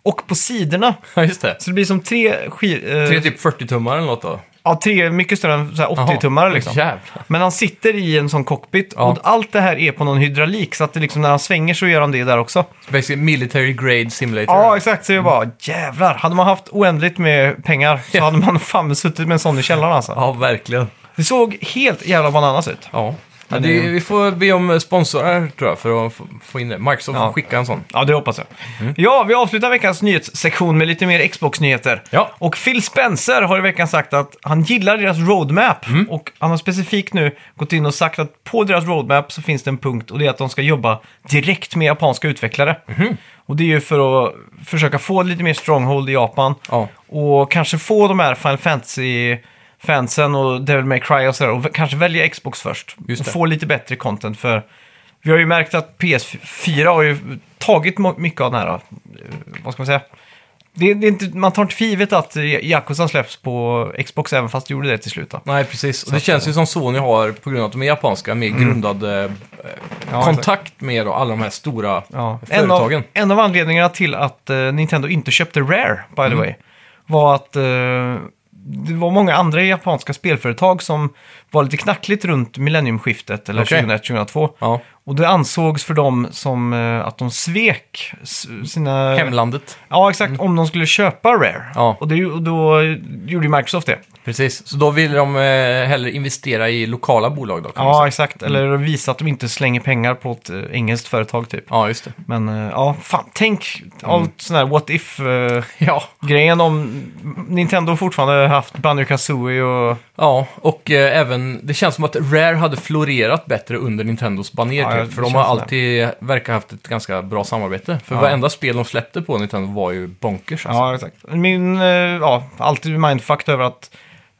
Speaker 1: och på sidorna.
Speaker 2: ja, just det.
Speaker 1: Så det blir som tre skiv... Eh,
Speaker 2: Tre typ 40-tummare eller något då?
Speaker 1: Ja, tre mycket större än så här
Speaker 2: Jaha.
Speaker 1: 80-tummare liksom.
Speaker 2: Jävlar.
Speaker 1: Men han sitter i en sån cockpit
Speaker 2: Ja.
Speaker 1: och allt det här är på någon hydraulik. Så att det liksom, när han svänger så gör han det där också.
Speaker 2: Basically military grade simulator.
Speaker 1: Ja, exakt. Så
Speaker 2: Mm.
Speaker 1: jag bara, jävlar. Hade man haft oändligt med pengar så hade man fan suttit med en sån i källaren alltså.
Speaker 2: ja verkligen.
Speaker 1: Det såg helt jävla bananas ut.
Speaker 2: Ja. Ja, det, vi får be om sponsorer tror jag för att få- få in det. Microsoft får
Speaker 1: Ja.
Speaker 2: skicka en sån.
Speaker 1: Ja, det hoppas jag.
Speaker 2: Mm.
Speaker 1: Ja, vi avslutar veckans nyhetssektion med lite mer Xbox-nyheter.
Speaker 2: Ja.
Speaker 1: Och Phil Spencer har i veckan sagt att han gillar deras roadmap.
Speaker 2: Mm.
Speaker 1: Och han har specifikt nu gått in och sagt att på deras roadmap så finns det en punkt och det är att de ska jobba direkt med japanska utvecklare.
Speaker 2: Mhm.
Speaker 1: Och det är ju för att försöka få lite mer stronghold i Japan.
Speaker 2: Ja.
Speaker 1: Och kanske få de här Final Fantasy-fansen och Devil May Cry och sådär. Och v- kanske välja Xbox först.
Speaker 2: Just
Speaker 1: och
Speaker 2: det.
Speaker 1: få lite bättre content för... Vi har ju märkt att PS4 har ju tagit mo- mycket av den här, eh, vad ska man säga? Det, det är inte, man tar inte för givet att eh, Yakuza släpps på Xbox även fast det gjorde det till slut. Då.
Speaker 2: Nej, precis. Och det känns ju som Sony har, på grund av att de är japanska,
Speaker 1: Mm.
Speaker 2: mer grundad eh, kontakt med då, alla de här stora
Speaker 1: Ja. En,
Speaker 2: företagen.
Speaker 1: av, en av anledningarna till att eh, Nintendo inte köpte Rare, by the
Speaker 2: Mm.
Speaker 1: way, var att eh, det var många andra japanska spelföretag som var lite knackligt runt millenniumskiftet, eller
Speaker 2: Okej.
Speaker 1: 2001-2002.
Speaker 2: Ja. Och
Speaker 1: Och det ansågs för dem som eh, att de svek s- sina...
Speaker 2: hemlandet.
Speaker 1: Ja, exakt. Om de skulle köpa Rare.
Speaker 2: Ja.
Speaker 1: Och, det, och då gjorde ju Microsoft det.
Speaker 2: Precis. Så då vill de eh, hellre investera i lokala bolag då, kan man säga.
Speaker 1: Ja, exakt. Eller visa att de inte slänger pengar på ett eh, engelskt företag typ.
Speaker 2: Ja, just det.
Speaker 1: Men eh, ja, fan, tänk Mm. allt sån här what if-grejen
Speaker 2: Ja.
Speaker 1: om Nintendo fortfarande haft Banjo Kazooie och...
Speaker 2: Ja, och eh, även, det känns som att Rare hade florerat bättre under Nintendos baner
Speaker 1: Ja,
Speaker 2: typ,
Speaker 1: det
Speaker 2: För de har
Speaker 1: känns så.
Speaker 2: alltid, verkar haft ett ganska bra samarbete. För
Speaker 1: Ja.
Speaker 2: varenda spel de släppte på Nintendo var ju bonkers alltså.
Speaker 1: Ja, exakt. Min, eh, ja, alltid mindfucked över att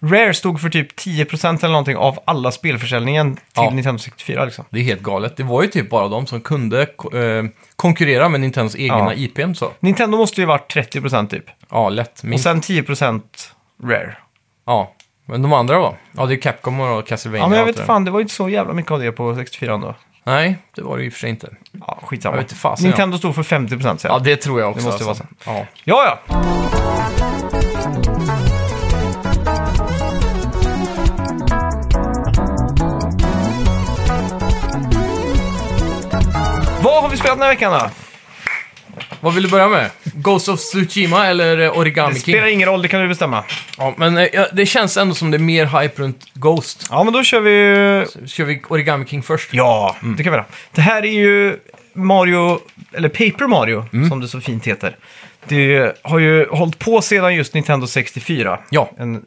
Speaker 1: Rare stod för typ 10% eller någonting av alla spelförsäljningen till
Speaker 2: Ja.
Speaker 1: Nintendo 64 liksom.
Speaker 2: Det är helt galet. Det var ju typ bara de som kunde ko- eh, konkurrera med Nintendos egna
Speaker 1: Ja.
Speaker 2: IPn så.
Speaker 1: Nintendo måste ju varit 30% typ.
Speaker 2: Ja, lätt.
Speaker 1: Och
Speaker 2: Minst.
Speaker 1: sen 10% Rare.
Speaker 2: Ja. Men de andra då? Ja, det är Capcom och Castlevania.
Speaker 1: Ja, men jag
Speaker 2: och allt
Speaker 1: vet
Speaker 2: det där.
Speaker 1: fan, det var ju inte så jävla mycket av det på 64 då.
Speaker 2: Nej, det var det ju i och för sig inte.
Speaker 1: Ja, skitsamma.
Speaker 2: Jag vet inte fasen, ja.
Speaker 1: Nintendo stod för 50% säger
Speaker 2: Ja,
Speaker 1: jag.
Speaker 2: det tror jag också.
Speaker 1: Det måste ju
Speaker 2: alltså. Ja.
Speaker 1: Ja, ja. Vad har vi spelat den här veckan då?
Speaker 2: Vad vill du börja med? Ghost of Tsushima eller eh, Origami
Speaker 1: Det
Speaker 2: King?
Speaker 1: spelar ingen roll, det kan du bestämma.
Speaker 2: Ja, men eh, ja, det känns ändå som det är mer hype runt Ghost.
Speaker 1: Ja, men då kör vi ju...
Speaker 2: Kör vi Origami King först?
Speaker 1: Ja, det kan vi göra. Det här är ju Mario, eller Paper Mario,
Speaker 2: Mm.
Speaker 1: som det så fint heter. Det har ju hållit på sedan just Nintendo 64.
Speaker 2: Ja.
Speaker 1: En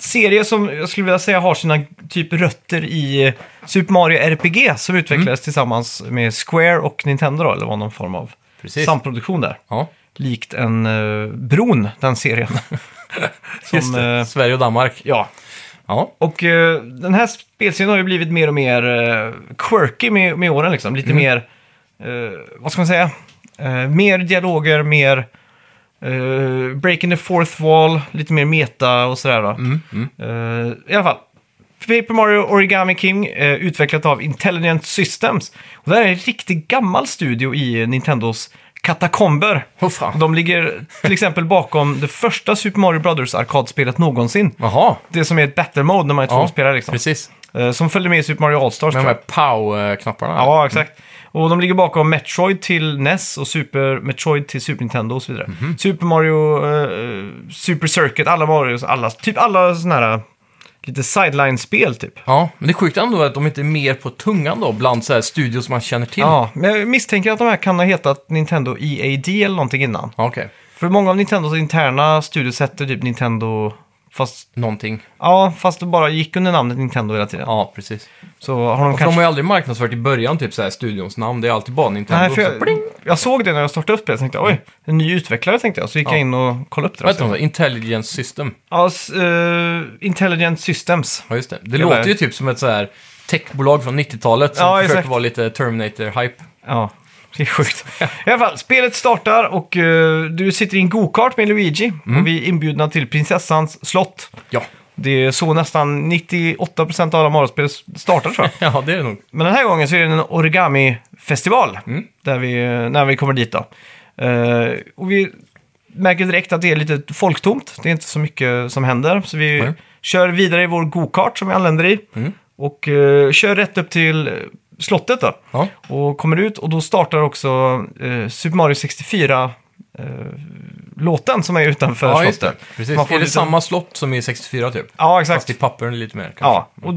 Speaker 1: serie som jag skulle vilja säga har sina typ rötter i Super Mario RPG som utvecklades
Speaker 2: Mm.
Speaker 1: tillsammans med Square och Nintendo då, eller var någon form av
Speaker 2: Precis.
Speaker 1: samproduktion där.
Speaker 2: Ja,
Speaker 1: Likt en eh, bron, den serien. som,
Speaker 2: just det.
Speaker 1: eh,
Speaker 2: Sverige och Danmark.
Speaker 1: ja,
Speaker 2: Ja.
Speaker 1: och eh, den här spelserien har ju blivit mer och mer eh, quirky med, med åren. Liksom. Lite mer, eh, vad ska man säga, Eh, mer dialoger, mer eh, breaking the fourth wall, lite mer meta och sådär. Då. Eh, I alla fall. Paper Mario Origami King, eh, utvecklat av Intelligent Systems. Och det här är en riktigt gammal studio i Nintendos katakomber.
Speaker 2: Åh fan.
Speaker 1: De ligger till exempel bakom det första Super Mario Brothers-arkadspelet någonsin.
Speaker 2: Jaha.
Speaker 1: Det som är ett battle mode när man är två spelare liksom.
Speaker 2: precis.
Speaker 1: Eh, Som följde med i Super Mario All-Stars.
Speaker 2: Med Mm. de
Speaker 1: tror
Speaker 2: här
Speaker 1: jag.
Speaker 2: pow-knapparna.
Speaker 1: Ja, exakt. Och de ligger bakom Metroid till NES och Super Metroid till Super Nintendo och så vidare.
Speaker 2: Mhm.
Speaker 1: Super Mario, eh, Super Circuit, alla Marios, alla, typ alla sådana här lite sideline-spel typ.
Speaker 2: Ja, men det är sjukt ändå att de inte är mer på tungan då, bland så här studios man känner till.
Speaker 1: Ja, men jag misstänker att de här kan ha hetat Nintendo EAD eller någonting innan.
Speaker 2: Ja, Okej.
Speaker 1: För många av Nintendos interna studios hette typ Nintendo Fast,
Speaker 2: någonting.
Speaker 1: ja, fast det bara gick under namnet Nintendo hela tiden.
Speaker 2: Ja, precis.
Speaker 1: Så har de
Speaker 2: För de
Speaker 1: kanske...
Speaker 2: har ju aldrig marknadsfört i början typ så här studions namn. Det är alltid bara Nintendo.
Speaker 1: Nej, för
Speaker 2: Så, pling!
Speaker 1: jag, jag såg det när jag startade upp det. Jag tänkte, oj, en ny utvecklare tänkte jag. Så gick jag in och kollade upp det.
Speaker 2: Vad heter
Speaker 1: då.
Speaker 2: de? Intelligence System.
Speaker 1: Ja, s- eh, Intelligent Systems.
Speaker 2: Ja, just det. Det
Speaker 1: Eller-
Speaker 2: låter ju typ som ett så här techbolag från 90-talet som
Speaker 1: Ja,
Speaker 2: försöker
Speaker 1: exakt.
Speaker 2: vara lite Terminator-hype.
Speaker 1: Ja, det är sjukt. I alla fall, spelet startar och eh, du sitter i en go-kart med Luigi.
Speaker 2: Mm.
Speaker 1: Och vi är inbjudna till prinsessans slott.
Speaker 2: Ja.
Speaker 1: Det är så nästan 98% av alla Mario-spel startar tror jag.
Speaker 2: ja, det är det nog.
Speaker 1: Men den här gången så är det en origami-festival.
Speaker 2: Mm.
Speaker 1: Där vi, när vi kommer dit då. Eh, och vi märker direkt att det är lite folktomt. Det är inte så mycket som händer. Så vi
Speaker 2: Nej. Mm.
Speaker 1: kör vidare i vår go-kart som vi anländer i. Och eh, kör rätt upp till eh, slottet då.
Speaker 2: Ja.
Speaker 1: Och kommer ut och då startar också eh, Super Mario 64 eh, låten som är utanför
Speaker 2: Ja, just det.
Speaker 1: slottet.
Speaker 2: Precis.
Speaker 1: Man får
Speaker 2: Är det
Speaker 1: lite-
Speaker 2: samma slott som i 64 typ?
Speaker 1: Ja, exakt.
Speaker 2: Fast i papperen lite mer kanske.
Speaker 1: Ja, och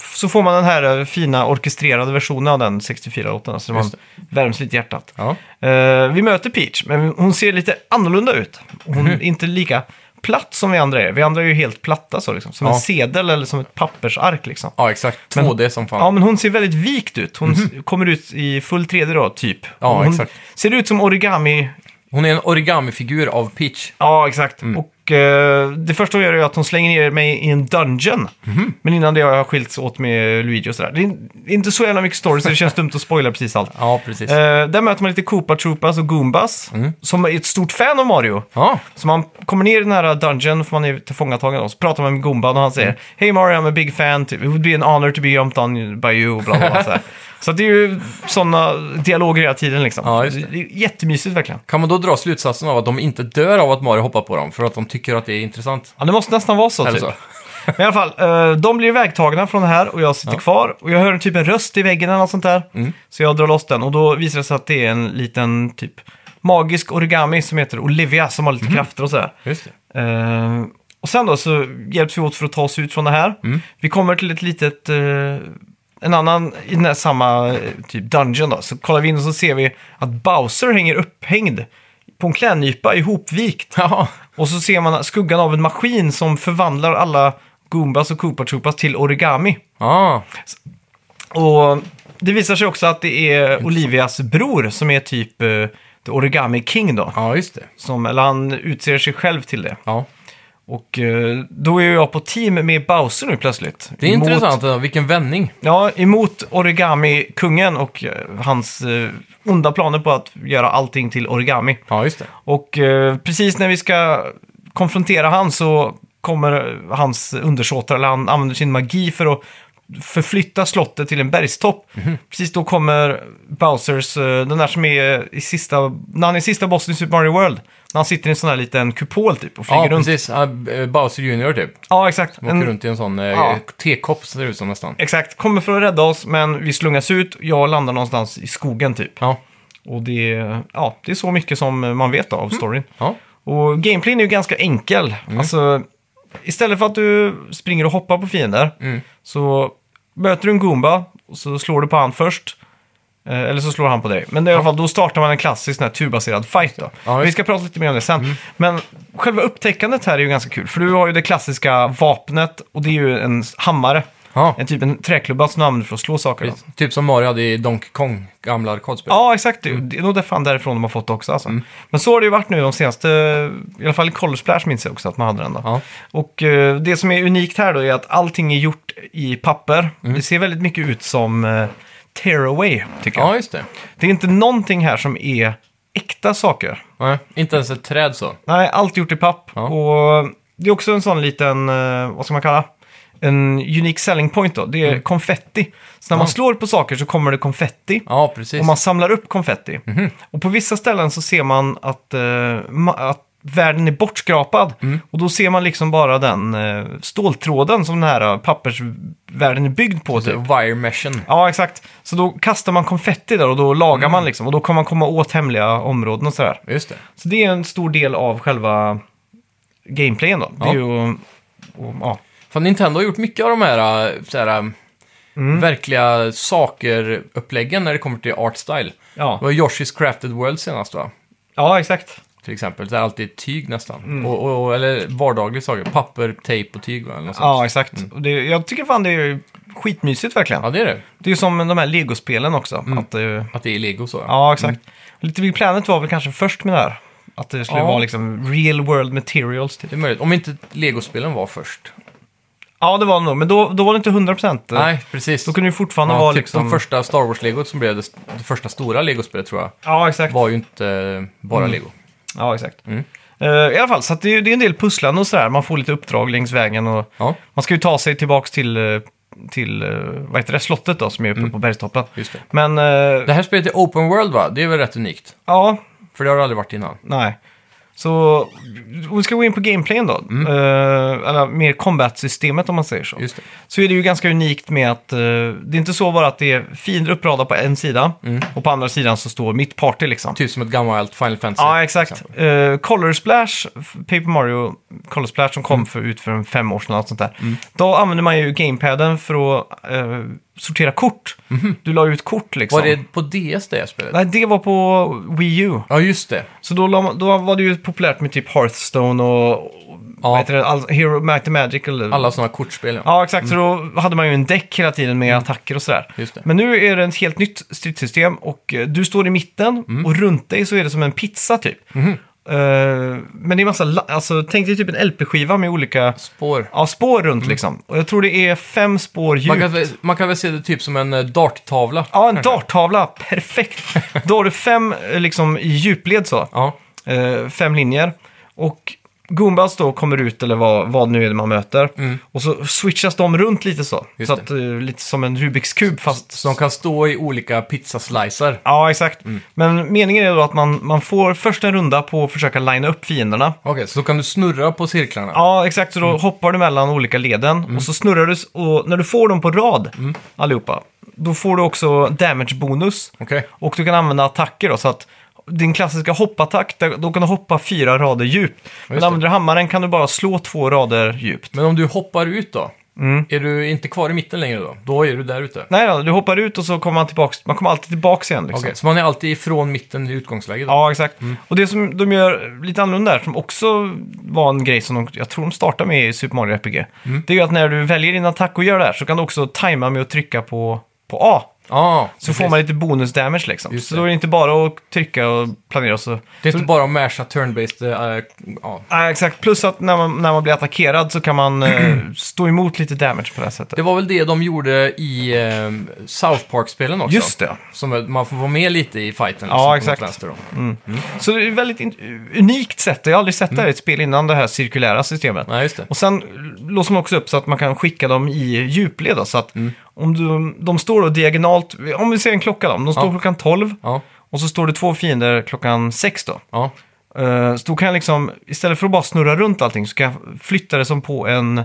Speaker 1: så får man den här eh, fina orkestrerade versionen av den 64-låten. Så man
Speaker 2: Just
Speaker 1: värms lite i hjärtat.
Speaker 2: Ja.
Speaker 1: Eh, vi möter Peach, men hon ser lite annorlunda ut. Hon
Speaker 2: Mhm.
Speaker 1: är inte lika platt som vi andra är. Vi andra är ju helt platta så liksom. Som
Speaker 2: Ja.
Speaker 1: en sedel eller som ett pappersark liksom.
Speaker 2: ja, exakt.
Speaker 1: Men-
Speaker 2: 2D som fan.
Speaker 1: Ja, men hon ser väldigt vikt ut. Hon s- kommer ut i full 3D då, typ.
Speaker 2: Mhm. Ja,
Speaker 1: hon
Speaker 2: exakt.
Speaker 1: ser ut som origami.
Speaker 2: Hon är en origamifigur av Peach.
Speaker 1: Ja, exakt.
Speaker 2: Mm.
Speaker 1: Och eh, det första hon gör är att hon slänger ner mig i en dungeon.
Speaker 2: Mhm.
Speaker 1: Men innan det har jag skilts åt med Luigi och sådär. Det är in- inte så jävla mycket story, så det känns dumt att spoila precis allt.
Speaker 2: Ja, precis. Mm.
Speaker 1: Eh, där möter man lite Koopa Troopas och Goombas, som är ett stort fan av Mario.
Speaker 2: Ja,
Speaker 1: Så man kommer ner i den här dungeon, för man är tillfångatagen och så pratar man med Goomban och han säger
Speaker 2: Mm.
Speaker 1: Hey Mario, I'm a big fan, typ. it would be an honor to be jumped on by you, bla bla bla. så, här. så att det är ju sådana dialoger hela tiden liksom.
Speaker 2: Ja, just det.
Speaker 1: är jättemysigt verkligen.
Speaker 2: kan man då dra slutsatsen av att de inte dör av att Mario hoppar på dem för att de tycker att det är intressant?
Speaker 1: Ja, det måste nästan vara så
Speaker 2: Eller
Speaker 1: typ.
Speaker 2: så?
Speaker 1: Men i alla fall, eh, de blir vägtagna från det här och jag sitter kvar. Och jag hör en typ en röst i väggen eller något sånt där. Så jag drar loss den och då visar det sig att det är en liten typ magisk origami som heter Olivia som har lite krafter och sådär.
Speaker 2: Just det.
Speaker 1: Eh, och sen då så hjälps vi åt för att ta oss ut från det här. Vi kommer till ett litet, eh, en annan i den här samma eh, typ dungeon då. Så kollar vi in och så ser vi att Bowser hänger upphängd på en klädnypa ihopvikt.
Speaker 2: Ja,
Speaker 1: Och så ser man skuggan av en maskin som förvandlar alla Goombas och Koopa Troopas till origami.
Speaker 2: ja.
Speaker 1: Och det visar sig också att det är Olivias bror som är typ eh, The Origami King då.
Speaker 2: ja just det.
Speaker 1: Som, eller han utser sig själv till det.
Speaker 2: Ja.
Speaker 1: Och eh, då är jag på team med Bowser nu plötsligt.
Speaker 2: Det är intressant, ändå, vilken vändning.
Speaker 1: Ja, emot Origami-kungen och eh, hans eh, onda planer på att göra allting till origami.
Speaker 2: Ja, just det.
Speaker 1: Och eh, precis när vi ska konfrontera han så kommer hans undersåtar, eller han använder sin magi för att förflytta slottet till en bergstopp.
Speaker 2: Mhm.
Speaker 1: Precis då kommer Bowsers, eh, den där som är i sista, när han är sista bossen i Super Mario World, när han sitter i en sån här liten kupol typ och flyger
Speaker 2: Ja,
Speaker 1: runt.
Speaker 2: precis. Ja, b- eh, Bowser Jr typ.
Speaker 1: Ja, exakt.
Speaker 2: Åker
Speaker 1: En-
Speaker 2: runt i en sån eh,
Speaker 1: Ja.
Speaker 2: tekopp ser det ut som nästan.
Speaker 1: Exakt, kommer för att rädda oss men vi slungas ut, jag landar någonstans i skogen typ.
Speaker 2: Ja.
Speaker 1: Och det är, ja, det är så mycket som man vet av
Speaker 2: Mm.
Speaker 1: storyn.
Speaker 2: Ja.
Speaker 1: Och gameplayen är ju ganska enkel.
Speaker 2: Mm.
Speaker 1: Alltså, istället för att du springer och hoppar på fiender
Speaker 2: Mm.
Speaker 1: så möter du en Goomba och så slår du på han först. Eh, Eller så slår han på dig. Men i alla fall, då startar man en klassisk sån här turbaserad fight då.
Speaker 2: Ja, Mm.
Speaker 1: Vi
Speaker 2: just
Speaker 1: ska prata lite mer om det sen. Men själva upptäckandet här är ju ganska kul. För du har ju det klassiska vapnet och det är ju en hammare.
Speaker 2: Ja.
Speaker 1: En typ en träklubba som du använder för att slå saker. då.
Speaker 2: Typ som Mario hade i Donkey Kong, gamla arkadspel.
Speaker 1: Ja, exakt. Det- Det är nog där fan därifrån de har fått det också. Alltså.
Speaker 2: Mm.
Speaker 1: Men så har det ju varit nu de senaste, i alla fall i College Splash minns jag också att man hade den. Då.
Speaker 2: Ja.
Speaker 1: Och eh, det som är unikt här då är att allting är gjort i papper.
Speaker 2: Mm.
Speaker 1: Det ser väldigt mycket ut som eh, tearaway, tycker jag.
Speaker 2: Ja, just det.
Speaker 1: Det är inte någonting här som är äkta saker.
Speaker 2: Nej, inte ens ett träd så.
Speaker 1: Nej, allt gjort i papp.
Speaker 2: Ja.
Speaker 1: Och det är också en sån liten, eh, vad ska man kalla? En unique selling point då. Det är konfetti. Så när man
Speaker 2: Mm. Ja.
Speaker 1: slår på saker så kommer det konfetti.
Speaker 2: Ja, precis. Mhm.
Speaker 1: Och man samlar upp konfetti. Och på vissa ställen så ser man att, eh, ma- att världen är bortskrapad.
Speaker 2: Mm.
Speaker 1: Och då ser man liksom bara den eh, ståltråden som den här eh, pappersvärlden är byggd på. Typ.
Speaker 2: Wire meshen.
Speaker 1: Ja, exakt. Så då kastar man konfetti där och då lagar man
Speaker 2: Mm.
Speaker 1: liksom. Och då kan man komma åt hemliga områden och sådär.
Speaker 2: Just det.
Speaker 1: Så det är en stor del av själva gameplayen då. Det är
Speaker 2: Ja.
Speaker 1: ju... Och, ja.
Speaker 2: För Nintendo har gjort mycket av de här, äh, så här äh,
Speaker 1: Mm.
Speaker 2: verkliga saker-uppläggen när det kommer till art style. Det
Speaker 1: Ja.
Speaker 2: var Yoshi's Crafted World senast va?
Speaker 1: ja, exakt.
Speaker 2: Typ till exempel. Det är alltid tyg nästan.
Speaker 1: Mm.
Speaker 2: Och, och, och, eller vardagliga saker. Papper, tejp och tyg va? Eller något sånt.
Speaker 1: Ja, exakt. Och Det, jag tycker fan det är skitmysigt verkligen.
Speaker 2: Mm. ja, Mm. det är det.
Speaker 1: Det är ju som de här legospelen också. Att, eh,
Speaker 2: Att det är lego så.
Speaker 1: ja, exakt. Lite Big Planet var väl kanske först med det här. Att det skulle
Speaker 2: Ja.
Speaker 1: vara liksom real world materials. Typ.
Speaker 2: Det är möjligt. Om inte legospelen var först.
Speaker 1: Ja, det var det nog. Men då, då var det inte 100%.
Speaker 2: Nej, precis.
Speaker 1: Då kunde det fortfarande
Speaker 2: ja,
Speaker 1: vara
Speaker 2: typ
Speaker 1: liksom...
Speaker 2: De första Star Wars-legot som blev det, det första stora legospelet tror jag.
Speaker 1: Ja, exakt.
Speaker 2: Var Mm. ju inte eh, bara
Speaker 1: Mm.
Speaker 2: lego.
Speaker 1: Ja, exakt. Eh, I alla fall, så att det, är- det är en del pusslande och sådär. Man får lite uppdrag längs vägen och
Speaker 2: Ja,
Speaker 1: man ska ju ta sig tillbaks till, eh, till eh, vad heter det, slottet då, som är uppe
Speaker 2: Mm.
Speaker 1: på bergstoppen.
Speaker 2: just det.
Speaker 1: Men, eh,
Speaker 2: Det här spelet är open world va? Det är väl rätt unikt?
Speaker 1: ja,
Speaker 2: För det har det aldrig varit innan.
Speaker 1: nej. Så, om vi ska gå in på gameplayen då.
Speaker 2: Mm.
Speaker 1: Eh, eller mer combat-systemet om man säger så.
Speaker 2: Just det.
Speaker 1: Så är det ju ganska unikt med att eh, det är inte så bara att det är fiender uppradade på en sida och på andra sidan så står mitt party liksom.
Speaker 2: Mm. Typ som ett gammalt Final Fantasy.
Speaker 1: Ja, exakt. Uh, Color Splash, f- Paper Mario Color Splash som kom
Speaker 2: Mm.
Speaker 1: för, ut för en fem år sedan, eller något sånt där. Då använde man ju gamepaden för att eh, sortera kort. Du la ut kort liksom.
Speaker 2: Mhm. Var det på DS det här spelet?
Speaker 1: Nej, det var på Wii U.
Speaker 2: Ja, just det.
Speaker 1: Så då, la, man- då var det ju populärt med typ Hearthstone och, och vad
Speaker 2: Ja,
Speaker 1: heter det, all, Hero Might and Magic. Eller,
Speaker 2: alla sådana kortspel. Ja.
Speaker 1: Ja, exakt. Så då hade man ju en däck hela tiden med attacker och sådär.
Speaker 2: Mm. Just det.
Speaker 1: Men nu är det ett helt nytt stridssystem och eh, du står i mitten
Speaker 2: Mm.
Speaker 1: och runt dig så är det som en pizza typ.
Speaker 2: Mhm.
Speaker 1: Eh, men det är massa, la- alltså tänk dig typ en LP-skiva med olika
Speaker 2: Spår. Mm.
Speaker 1: ja, spår runt liksom. Och jag tror det är fem spår
Speaker 2: Man
Speaker 1: djupt.
Speaker 2: kan, väl- man kan väl se det typ som en eh, darttavla.
Speaker 1: Ja, en
Speaker 2: kanske.
Speaker 1: darttavla, perfekt. Då har du fem eh, liksom i djupled så.
Speaker 2: Ja,
Speaker 1: Eh, fem linjer. Och Goombas då kommer ut, eller vad, vad nu är det man möter. Och så switchas de runt lite så.
Speaker 2: Mm. Just
Speaker 1: så att, eh, lite som en Rubiks kub fast...
Speaker 2: så de kan stå i olika pizzaslicer.
Speaker 1: Ja, exakt.
Speaker 2: Mm.
Speaker 1: Men meningen är då att man, man får först en runda på att försöka linea upp fienderna.
Speaker 2: Okej, så då kan du snurra på cirklarna.
Speaker 1: Ja, exakt. Så då
Speaker 2: Mm.
Speaker 1: hoppar du mellan olika leden och så snurrar du. s- Och när du får dem på rad,
Speaker 2: Mm.
Speaker 1: allihopa, då får du också damage-bonus.
Speaker 2: Okej.
Speaker 1: Och du kan använda attacker då, så att din klassiska hoppattack, där- då kan du hoppa fyra rader djupt. Men
Speaker 2: det.
Speaker 1: använder du hammaren kan du bara slå två rader djupt.
Speaker 2: Men om du hoppar ut då?
Speaker 1: Mm.
Speaker 2: Är du inte kvar i mitten längre då? Då är du där ute. Okej,
Speaker 1: Nej då, du hoppar ut och så kommer man tillbaks, man kommer alltid tillbaks igen liksom.
Speaker 2: så man är alltid ifrån mitten i utgångsläget? då?
Speaker 1: Ja, exakt. Och det som de gör lite annorlunda där, som också var en grej som de, jag tror de startar med i Super Mario RPG,
Speaker 2: Mm.
Speaker 1: det är ju att när du väljer din attack och gör det här så kan du också tajma med att trycka på, på A.
Speaker 2: Ja,
Speaker 1: Så får man lite bonus damage liksom.
Speaker 2: Just
Speaker 1: Så
Speaker 2: det.
Speaker 1: då är det inte bara att trycka och planera och så
Speaker 2: Det är inte bara att masha turn-based... eh, ja.
Speaker 1: Nej, exakt. Plus att när man, när man blir attackerad så kan man eh, stå emot lite damage på det här sättet.
Speaker 2: Det var väl det de gjorde i eh, South Park-spelen också?
Speaker 1: Just det.
Speaker 2: Som man får vara med lite i fighten.
Speaker 1: Ja,
Speaker 2: liksom, på något
Speaker 1: exakt.
Speaker 2: vänster då.
Speaker 1: Så det är ett väldigt in- eh, unikt sätt. Jag har aldrig sett det här i ett spel innan, det här cirkulära systemet.
Speaker 2: Nej, just det.
Speaker 1: Och sen låser man också upp så att man kan skicka dem i djupled. Då, så att
Speaker 2: Mm.
Speaker 1: om du, de står då diagonalt, om vi ser en klocka då, om de står
Speaker 2: Ja.
Speaker 1: klockan 12
Speaker 2: Ja,
Speaker 1: och så står det två fiender klockan 6 då.
Speaker 2: ja.
Speaker 1: Eh, så då kan jag liksom, istället för att bara snurra runt allting så kan jag flytta det som på en,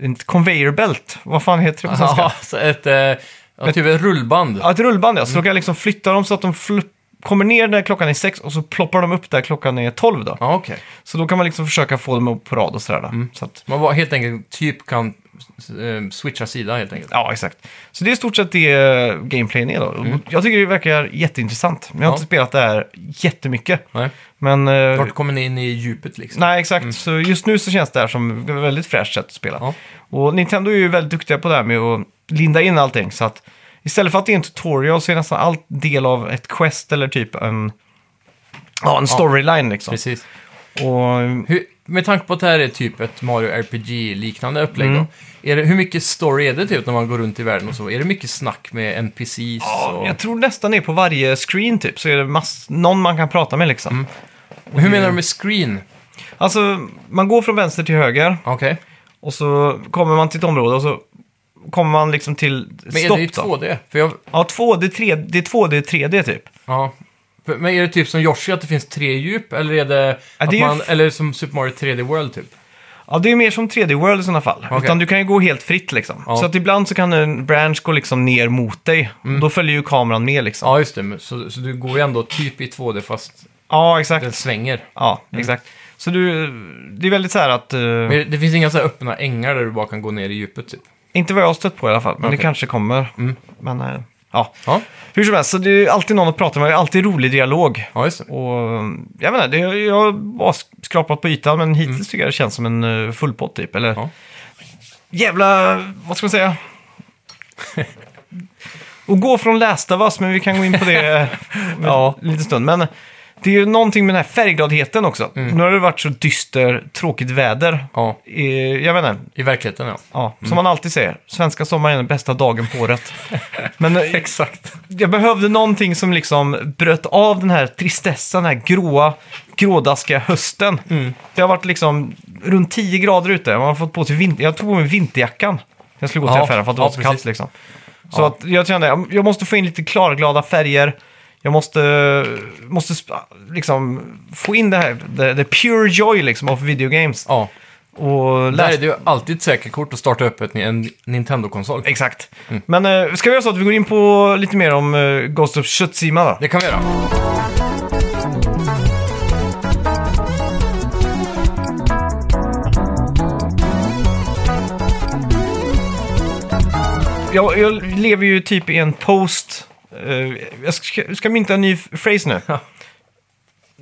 Speaker 1: en conveyor belt. Vad fan heter det på svenska?
Speaker 2: Aha, så ett, eh, ja, typ ett rullband.
Speaker 1: Ja, ett rullband ja. Så då kan jag liksom flytta dem så att de fl- kommer ner där klockan är sex och så ploppar de upp där klockan är tolv då.
Speaker 2: Ja, okej.
Speaker 1: Så då kan man liksom försöka få dem upp på rad och sådär. då.
Speaker 2: Mm.
Speaker 1: Så att,
Speaker 2: Man bara helt enkelt typ kan eh, switcha sida helt enkelt.
Speaker 1: ja, exakt. Så det är i stort sett det eh, gameplayen är då. Och Jag tycker det verkar jätteintressant. Men jag har
Speaker 2: Mm. Ja.
Speaker 1: inte spelat det här jättemycket.
Speaker 2: Nej.
Speaker 1: Men... eh,
Speaker 2: Vart kommer ni in i djupet liksom?
Speaker 1: Nej, exakt. Så just nu så känns det här som ett väldigt fräscht sätt att spela.
Speaker 2: Ja.
Speaker 1: Och Nintendo är ju väldigt duktiga på det här med att linda in allting. Så att istället för att det är en tutorial så är nästan allt del av ett quest eller typ en, ja, en storyline liksom.
Speaker 2: Precis.
Speaker 1: Och
Speaker 2: Hur, med tanke på att det här är typ ett Mario RPG-liknande upplägg
Speaker 1: Mm.
Speaker 2: då. Är det, hur mycket story är det typ när man går runt i världen och så? Är det mycket snack med NPCs? och...
Speaker 1: jag tror nästan det är på varje screen typ så är det mass- någon man kan prata med liksom.
Speaker 2: Mm. Hur menar du med screen?
Speaker 1: Alltså, man går från vänster till höger
Speaker 2: Okej.
Speaker 1: och så kommer man till ett område och så kommer man liksom till
Speaker 2: Men är
Speaker 1: stopp
Speaker 2: det ju
Speaker 1: då.
Speaker 2: 2D? För jag,
Speaker 1: Ja, 2D, 3D, det är 2D, 3D typ.
Speaker 2: ja. För- Men är det typ som Yoshi att det finns tre djup? Eller är det,
Speaker 1: Ja,
Speaker 2: att
Speaker 1: det är ju
Speaker 2: man,
Speaker 1: f-
Speaker 2: eller som Super Mario 3D World typ?
Speaker 1: Ja, det är mer som 3D World i sådana fall.
Speaker 2: Okej.
Speaker 1: Utan du kan ju gå helt fritt liksom.
Speaker 2: Ja.
Speaker 1: Så att ibland så kan en branch gå liksom ner mot dig. Då följer ju kameran med liksom. Ja,
Speaker 2: Mm. Ja, just det. Men Så, så du går ju ändå typ i 2D fast
Speaker 1: exakt.
Speaker 2: den svänger.
Speaker 1: Ja,
Speaker 2: Mm.
Speaker 1: exakt. Så du, det är väldigt så här att... eh,
Speaker 2: Men det- det finns inga så här öppna ängar där du bara kan gå ner i djupet typ?
Speaker 1: Inte vad jag har stött på i alla fall, men det
Speaker 2: Okej. Mm.
Speaker 1: kanske kommer. Men, eh, Ja.
Speaker 2: Ja,
Speaker 1: Hur som helst, så det är ju alltid någon att prata med, det är alltid rolig dialog.
Speaker 2: ja just det.
Speaker 1: Och jag menar, det, jag har bara skrapat på ytan, men hittills tycker jag det känns som en eh, full pott typ. Eller
Speaker 2: Mm. Ja.
Speaker 1: jävla, vad ska man säga? Och gå från Last of Us, men vi kan gå in på det om
Speaker 2: Ja.
Speaker 1: en liten stund. Men det är ju någonting med den här färggladheten också.
Speaker 2: Mm.
Speaker 1: Nu har det varit så dyster, tråkigt väder.
Speaker 2: Ja,
Speaker 1: Eh, Jag menar,
Speaker 2: i verkligheten ja.
Speaker 1: ja, som man alltid säger, svenska sommaren är den bästa dagen på året. Men eh,
Speaker 2: Exakt.
Speaker 1: jag behövde någonting som liksom bröt av den här tristessen, den här gråa, grådaskiga hösten.
Speaker 2: Mm.
Speaker 1: Det har varit liksom runt 10 grader ute. Man har fått på sig vinter... Jag tog på mig vinterjackan. Jag skulle gå till
Speaker 2: Ja,
Speaker 1: affären för att det
Speaker 2: ja,
Speaker 1: var så kallt
Speaker 2: precis.
Speaker 1: liksom. Så att jag kände, jag- jag måste få in lite klarglada färger. Jag måste, måste sp- liksom få in det här, the, the pure joy liksom av videogames.
Speaker 2: Ja.
Speaker 1: Och
Speaker 2: Där
Speaker 1: läs-
Speaker 2: är det ju alltid ett säkert kort att starta upp ett, en Nintendo-konsol.
Speaker 1: Exakt.
Speaker 2: Mm.
Speaker 1: Men eh, ska vi göra så att vi går in på lite mer om eh, Ghost of Tsushima då?
Speaker 2: Det kan vi göra.
Speaker 1: jag, jag lever ju typ i en post... eh, jag ska, ska mynta en ny f- phrase nu.
Speaker 2: Ja.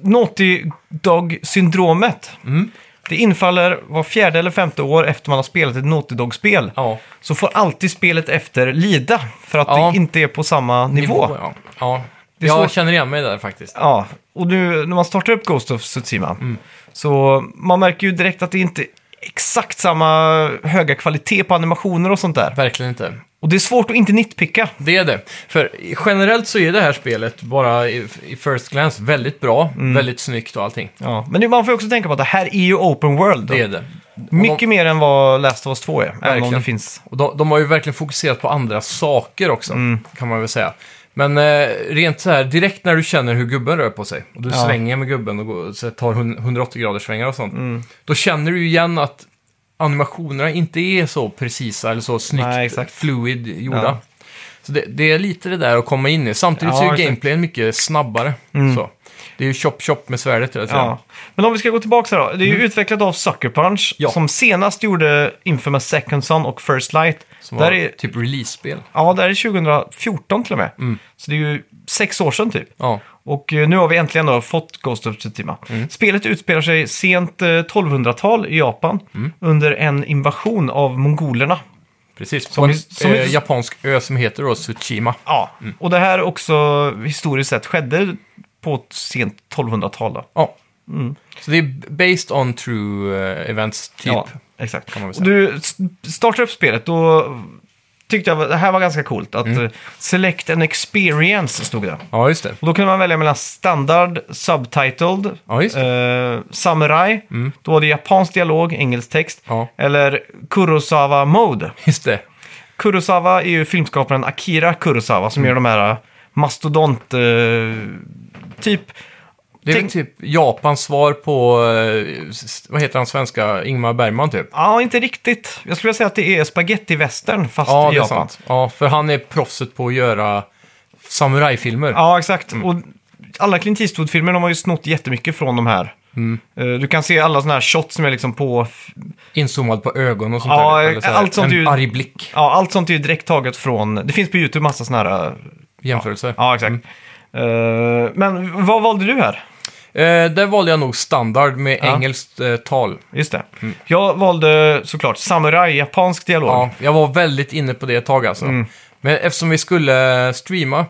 Speaker 1: Naughty Dog-syndromet.
Speaker 2: Mm.
Speaker 1: Det infaller var fjärde eller femte år efter man har spelat ett Naughty Dog-spel.
Speaker 2: Ja.
Speaker 1: Så får alltid spelet efter lida för att
Speaker 2: Ja.
Speaker 1: det inte är på samma nivå.
Speaker 2: ja. ja.
Speaker 1: är
Speaker 2: Jag
Speaker 1: svårt.
Speaker 2: känner igen mig där faktiskt.
Speaker 1: Ja, och nu när man startar upp Ghost of Tsushima
Speaker 2: Mm.
Speaker 1: så man märker ju direkt att det inte är exakt samma höga kvalitet på animationer och sånt där.
Speaker 2: Verkligen inte.
Speaker 1: Och det är svårt att inte nitpicka.
Speaker 2: Det är det. För generellt så är det här spelet, bara i, i first glance, väldigt bra, väldigt snyggt och allting.
Speaker 1: Ja, men det- man får ju också tänka på att det här är ju open world. då.
Speaker 2: Det är det.
Speaker 1: Mycket mer än vad Last of Us 2 är, även om
Speaker 2: Verkligen.
Speaker 1: det finns...
Speaker 2: Och de, de har ju verkligen fokuserat på andra saker också,
Speaker 1: Mm.
Speaker 2: kan man väl säga. Men eh, rent så här, direkt när du känner hur gubben rör på sig, och du
Speaker 1: Ja.
Speaker 2: svänger med gubben och går, så här, tar 180 grader svängar och sånt,
Speaker 1: Mm.
Speaker 2: då känner du ju igen att animationerna inte är så precisa eller så snyggt
Speaker 1: Nej, exakt.
Speaker 2: fluid gjorda.
Speaker 1: Ja.
Speaker 2: Så det, det är lite det där att komma in i. Samtidigt
Speaker 1: Ja,
Speaker 2: så är ju
Speaker 1: exakt. Mm.
Speaker 2: gameplayen mycket snabbare. Så. Det är ju chop chop med svärdet hela tiden.
Speaker 1: Ja. Men om vi ska gå tillbaka här då. Det är ju utvecklat av Sucker Punch,
Speaker 2: Mm. Ja.
Speaker 1: som senast gjorde Infamous Second Son och First Light.
Speaker 2: Som
Speaker 1: där
Speaker 2: var
Speaker 1: är,
Speaker 2: typ release-spel.
Speaker 1: ja, där är 2014 till och med.
Speaker 2: Mm.
Speaker 1: Så det är ju sex år sedan typ.
Speaker 2: Ja.
Speaker 1: Och eh, nu har vi äntligen då fått Ghost of Tsushima.
Speaker 2: Mm.
Speaker 1: Spelet utspelar sig sent eh, 1200-tal i Japan
Speaker 2: Mm.
Speaker 1: under en invasion av mongolerna.
Speaker 2: Precis,
Speaker 1: Som
Speaker 2: på en
Speaker 1: i- som i-
Speaker 2: eh, japansk ö som heter då Tsushima.
Speaker 1: Ja,
Speaker 2: Mm.
Speaker 1: och det här också historiskt sett skedde på ett sent 1200-tal. Då.
Speaker 2: Ja.
Speaker 1: Mm.
Speaker 2: Så det är based on true eh, events, typ.
Speaker 1: Ja, exakt.
Speaker 2: kan man väl
Speaker 1: Och du s- startar upp spelet, då tyckte jag att det här var ganska coolt. Att
Speaker 2: Mm.
Speaker 1: eh, Select an experience stod det.
Speaker 2: Ja, just det.
Speaker 1: Och då kunde man välja mellan standard, subtitled,
Speaker 2: Ja, just Mm.
Speaker 1: eh, samurai, då var det japansk dialog, engelsk text,
Speaker 2: Ja.
Speaker 1: eller Kurosawa mode.
Speaker 2: Just det.
Speaker 1: Kurosawa är ju filmskaparen Akira Kurosawa
Speaker 2: Mm.
Speaker 1: som gör de här eh, mastodont, eh, typ
Speaker 2: Det är
Speaker 1: Tänk-
Speaker 2: väl typ Japans svar på, eh, s- vad heter han svenska, Ingmar Bergman typ.
Speaker 1: Ja, inte riktigt. Jag skulle vilja säga att det är spagettivästern fast
Speaker 2: Ja,
Speaker 1: i
Speaker 2: det är
Speaker 1: Japan.
Speaker 2: sant. Ja, för han är proffset på att göra samurajfilmer.
Speaker 1: Ja, exakt.
Speaker 2: Mm.
Speaker 1: Och alla Clint Eastwood-filmer de har ju snott jättemycket från de här.
Speaker 2: Mm.
Speaker 1: Eh, Du kan se alla sådana här shots som är liksom på...
Speaker 2: Inzoomad på ögon och sånt
Speaker 1: Ja,
Speaker 2: där. Eller så här,
Speaker 1: allt sånt
Speaker 2: en
Speaker 1: är ju-
Speaker 2: arg blick
Speaker 1: Ja, allt sånt är ju direkt taget från... Det finns på YouTube massa sådana här... eh,
Speaker 2: jämförelse. Mm.
Speaker 1: Ja, exakt. Eh, men vad valde du här?
Speaker 2: Eh, där valde jag nog standard med engelskt eh, tal.
Speaker 1: Just det. Jag valde såklart samurai, japansk dialog.
Speaker 2: Mm. Ja, jag var väldigt inne på det ett tag alltså.
Speaker 1: Mm.
Speaker 2: Men eftersom vi skulle eh, streama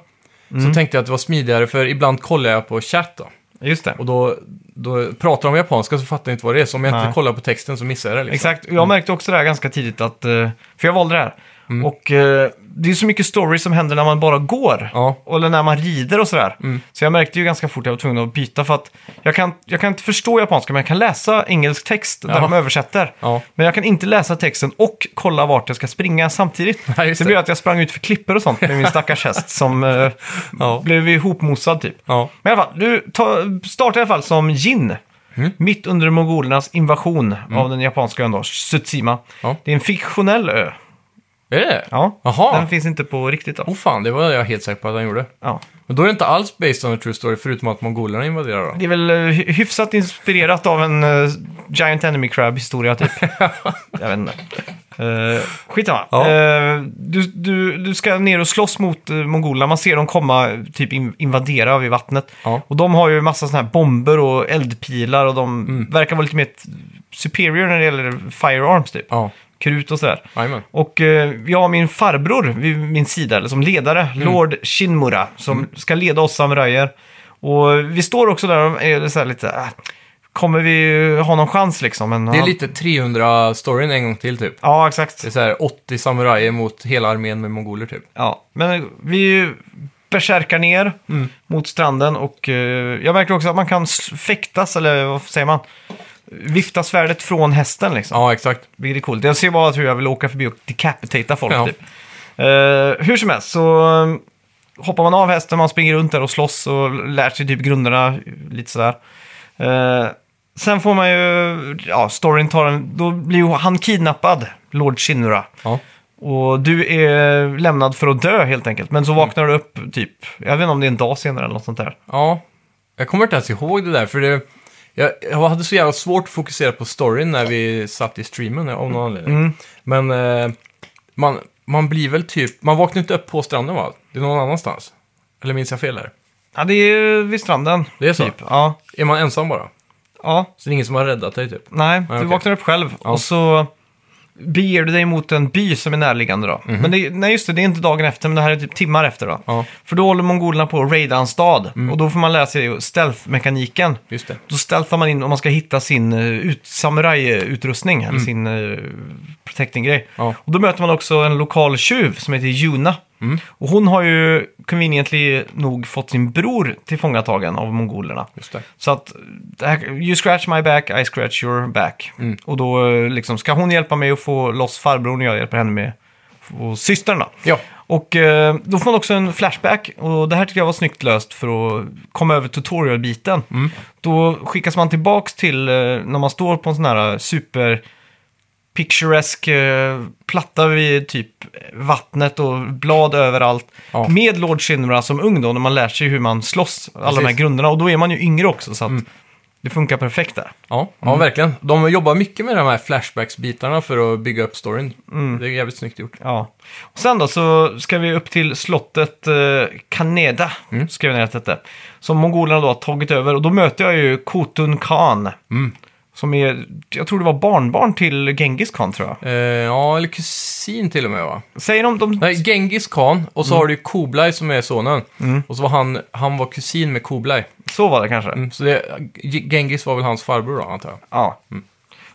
Speaker 2: så tänkte jag att det var smidigare för ibland kollar jag på chatt då.
Speaker 1: Just det.
Speaker 2: Och då, då pratar de japanska så fattar jag inte vad det är. Så om jag
Speaker 1: Nej.
Speaker 2: inte kollar på texten så missar jag det liksom.
Speaker 1: Exakt, Och jag märkte också det här ganska tidigt att, eh, för jag valde det här.
Speaker 2: Mm.
Speaker 1: Och eh, det är så mycket story som händer när man bara går.
Speaker 2: Ja.
Speaker 1: Eller när man rider och sådär.
Speaker 2: Mm.
Speaker 1: Så jag märkte ju ganska fort att jag var tvungen att byta för att jag kan, jag kan inte förstå japanska men jag kan läsa engelsk text där
Speaker 2: Ja.
Speaker 1: de översätter.
Speaker 2: Ja.
Speaker 1: Men jag kan inte läsa texten och kolla vart jag ska springa samtidigt.
Speaker 2: Nej, just
Speaker 1: det
Speaker 2: det.
Speaker 1: blev att jag sprang ut för klippor och sånt med min stackars häst som eh,
Speaker 2: Ja.
Speaker 1: blev ihopmosad typ.
Speaker 2: Ja.
Speaker 1: Men i alla fall, du ta, startar i alla fall som Jin.
Speaker 2: Mm.
Speaker 1: Mitt under mongolernas invasion av den japanska ön då, Tsushima.
Speaker 2: Ja.
Speaker 1: Det är en fiktionell ö.
Speaker 2: Är det
Speaker 1: Ja.
Speaker 2: Jaha.
Speaker 1: Den finns inte på riktigt då.
Speaker 2: Oh fan, det var jag helt säker på att han gjorde.
Speaker 1: Ja.
Speaker 2: Men då är det inte alls based on a true story förutom att mongolerna invaderar då.
Speaker 1: Det är väl eh, hy- hyfsat inspirerat av en eh, Giant Enemy Crab-historia typ. jag vet inte. Uh, skitsamma.
Speaker 2: Ja.
Speaker 1: Eh, du, du, du ska ner och slåss mot eh, mongolerna. Man ser dem komma, eh, typ in- invadera över vattnet.
Speaker 2: Ja.
Speaker 1: Och de har ju massa såna här bomber och eldpilar och de
Speaker 2: Mm.
Speaker 1: verkar vara lite mer t- superior när det gäller firearms typ.
Speaker 2: Ja,
Speaker 1: Krut och sådär.
Speaker 2: jajamän.
Speaker 1: Och eh, jag har min farbror vid min sida, eller som ledare,
Speaker 2: Mm.
Speaker 1: Lord Shinmura, som ska leda oss samurajer. Och vi står också där och är så här lite, äh, kommer vi ha någon chans liksom? Men
Speaker 2: Det är
Speaker 1: han-
Speaker 2: lite 300-storyn en gång till typ.
Speaker 1: Ja, exakt.
Speaker 2: Det är så här 80 samurajer mot hela armén med mongoler typ.
Speaker 1: Ja, men eh, vi beskärkar ner mot stranden och eh, jag märker också att man kan s- fäktas, eller vad säger man? Vifta svärdet från hästen liksom.
Speaker 2: Ja, exakt.
Speaker 1: Vilket är coolt. Jag ser bara hur jag vill åka förbi och decapitata folk
Speaker 2: Ja.
Speaker 1: typ. Eh, hur som helst så eh, hoppar man av hästen, man springer runt där och slåss och lär sig typ grunderna eh, lite sådär. Eh, sen får man ju, ja, storyn tar en, då blir ju han kidnappad, Lord Shinura.
Speaker 2: Ja.
Speaker 1: Och du är lämnad för att dö helt enkelt. Men så
Speaker 2: Mm.
Speaker 1: vaknar du upp typ, jag vet inte om det är en dag senare eller något sånt där.
Speaker 2: ja. Jag kommer inte ens ihåg det där, för det... Jag, jag hade så jävla svårt att fokusera på storyn när vi satt i streamen av någon anledning. Men eh, man, man blir väl typ... Man vaknar inte upp på stranden va? Det är någon annanstans. Eller minns jag fel där?
Speaker 1: Ja, det är ju vid stranden.
Speaker 2: Det är så?
Speaker 1: Typ. Ja.
Speaker 2: Är man ensam bara?
Speaker 1: ja.
Speaker 2: Så det är ingen som har räddat dig typ?
Speaker 1: Nej, du
Speaker 2: okej.
Speaker 1: vaknar upp själv
Speaker 2: Ja.
Speaker 1: och så beger du dig mot en by som är närliggande då. Men det, nej, just det, det är inte dagen efter, men det här är typ timmar efter då.
Speaker 2: Mhm. Ja, Mm.
Speaker 1: För då håller mongolerna på att raida en stad och då får man lära sig stealth-mekaniken.
Speaker 2: just det.
Speaker 1: Då stealthar man in om man ska hitta sin eh, ut, samurajutrustning, eller sin uh, protecting-grej.
Speaker 2: Mm. Ja.
Speaker 1: Och då möter man också en lokal tjuv som heter Juna.
Speaker 2: Mm.
Speaker 1: Och hon har ju conveniently nog fått sin bror tillfångatagen av mongolerna.
Speaker 2: Just det.
Speaker 1: Så att, det här, you scratch my back, I scratch your back. Och då eh, liksom, ska hon hjälpa mig att få loss farbrorn och jag hjälper henne med och systern då.
Speaker 2: Ja.
Speaker 1: Och eh, då får man också en flashback och det här tycker jag var snyggt löst för att komma över tutorial-biten.
Speaker 2: Mm.
Speaker 1: Då skickas man tillbaks till eh, när man står på en sån här eh, super picturesk eh, platta vid typ vattnet och blad överallt.
Speaker 2: Ja.
Speaker 1: Med Lord Shinra som ung då, när man lär sig hur man slåss, alla de här
Speaker 2: Precis. Mm.
Speaker 1: grunderna. Och då är man ju yngre också, så att det funkar perfekt där.
Speaker 2: Ja, ja verkligen. De jobbar mycket med de här flashbacks-bitarna för att bygga upp storyn. Det är jävligt snyggt gjort.
Speaker 1: Ja. Och sen då så ska vi upp till slottet eh, Kaneda,
Speaker 2: Mm.
Speaker 1: skrev jag ner att det hette. Som mongolerna då har tagit över. Och då möter jag ju Khotun Khan.
Speaker 2: Mm.
Speaker 1: Som är, jag tror det var barnbarn till Genghis Khan tror jag.
Speaker 2: Eh, ja, eller kusin till och med va?
Speaker 1: Säger de, de
Speaker 2: Nej, Genghis khan och
Speaker 1: Mm.
Speaker 2: så har du ju Koblai som är sonen. Och så var han, han var kusin med Koblai.
Speaker 1: så var det kanske?
Speaker 2: Mm, så det, G- Genghis var väl hans farbror då, antar jag.
Speaker 1: Ja.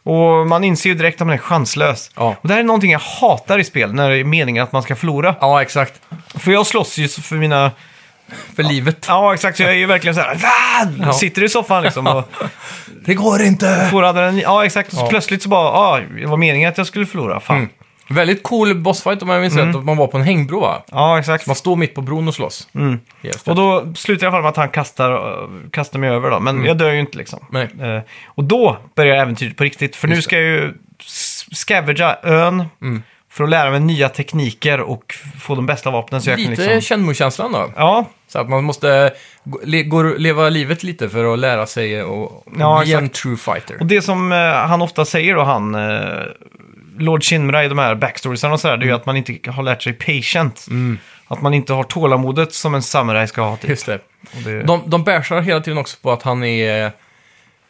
Speaker 1: Och man inser ju direkt att man är chanslös.
Speaker 2: Mm. Ja.
Speaker 1: Och det här är någonting jag hatar i spel, när det är meningen att man ska förlora.
Speaker 2: Ja, exakt.
Speaker 1: För jag slåss ju för mina...
Speaker 2: För livet.
Speaker 1: Ja, exakt. Så jag är ju verkligen så här... "Ah!"
Speaker 2: Ja.
Speaker 1: Sitter i soffan liksom och
Speaker 2: Det går inte!
Speaker 1: får adrenalin. Ja, exakt. Och så
Speaker 2: Ja.
Speaker 1: plötsligt så bara... Ja, det var meningen att jag skulle förlora. Fan.
Speaker 2: Mm. Väldigt cool bossfight om jag minns
Speaker 1: Mm.
Speaker 2: rätt. Man var på en hängbro va?
Speaker 1: Ja, exakt.
Speaker 2: Man står mitt på bron och slåss. Mm.
Speaker 1: Och då slutar jag i alla fall med att han kastar, eh, kastar mig över då. Men jag dör ju inte liksom.
Speaker 2: Mm. Nej.
Speaker 1: Eh, och då börjar äventyret på riktigt. För nu ska jag ju s- scavengea ön.
Speaker 2: Mm.
Speaker 1: För att lära mig nya tekniker och f- få de bästa vapnen så jag kan
Speaker 2: Lite
Speaker 1: liksom...
Speaker 2: Shenmue-känslan då.
Speaker 1: Ja,
Speaker 2: Så att man måste gå, le, gå, leva livet lite för att lära sig och, och
Speaker 1: Ja,
Speaker 2: bli
Speaker 1: exakt.
Speaker 2: en true fighter.
Speaker 1: och det som eh, han ofta säger då, han... Eh, Lord Shinra i de här backstoriesarna och sådär,
Speaker 2: Mm.
Speaker 1: det är ju att man inte har lärt sig patient. Att man inte har tålamodet som en samurai ska ha. Typ.
Speaker 2: Just det.
Speaker 1: Och det...
Speaker 2: De, de bärsar hela tiden också på att han är...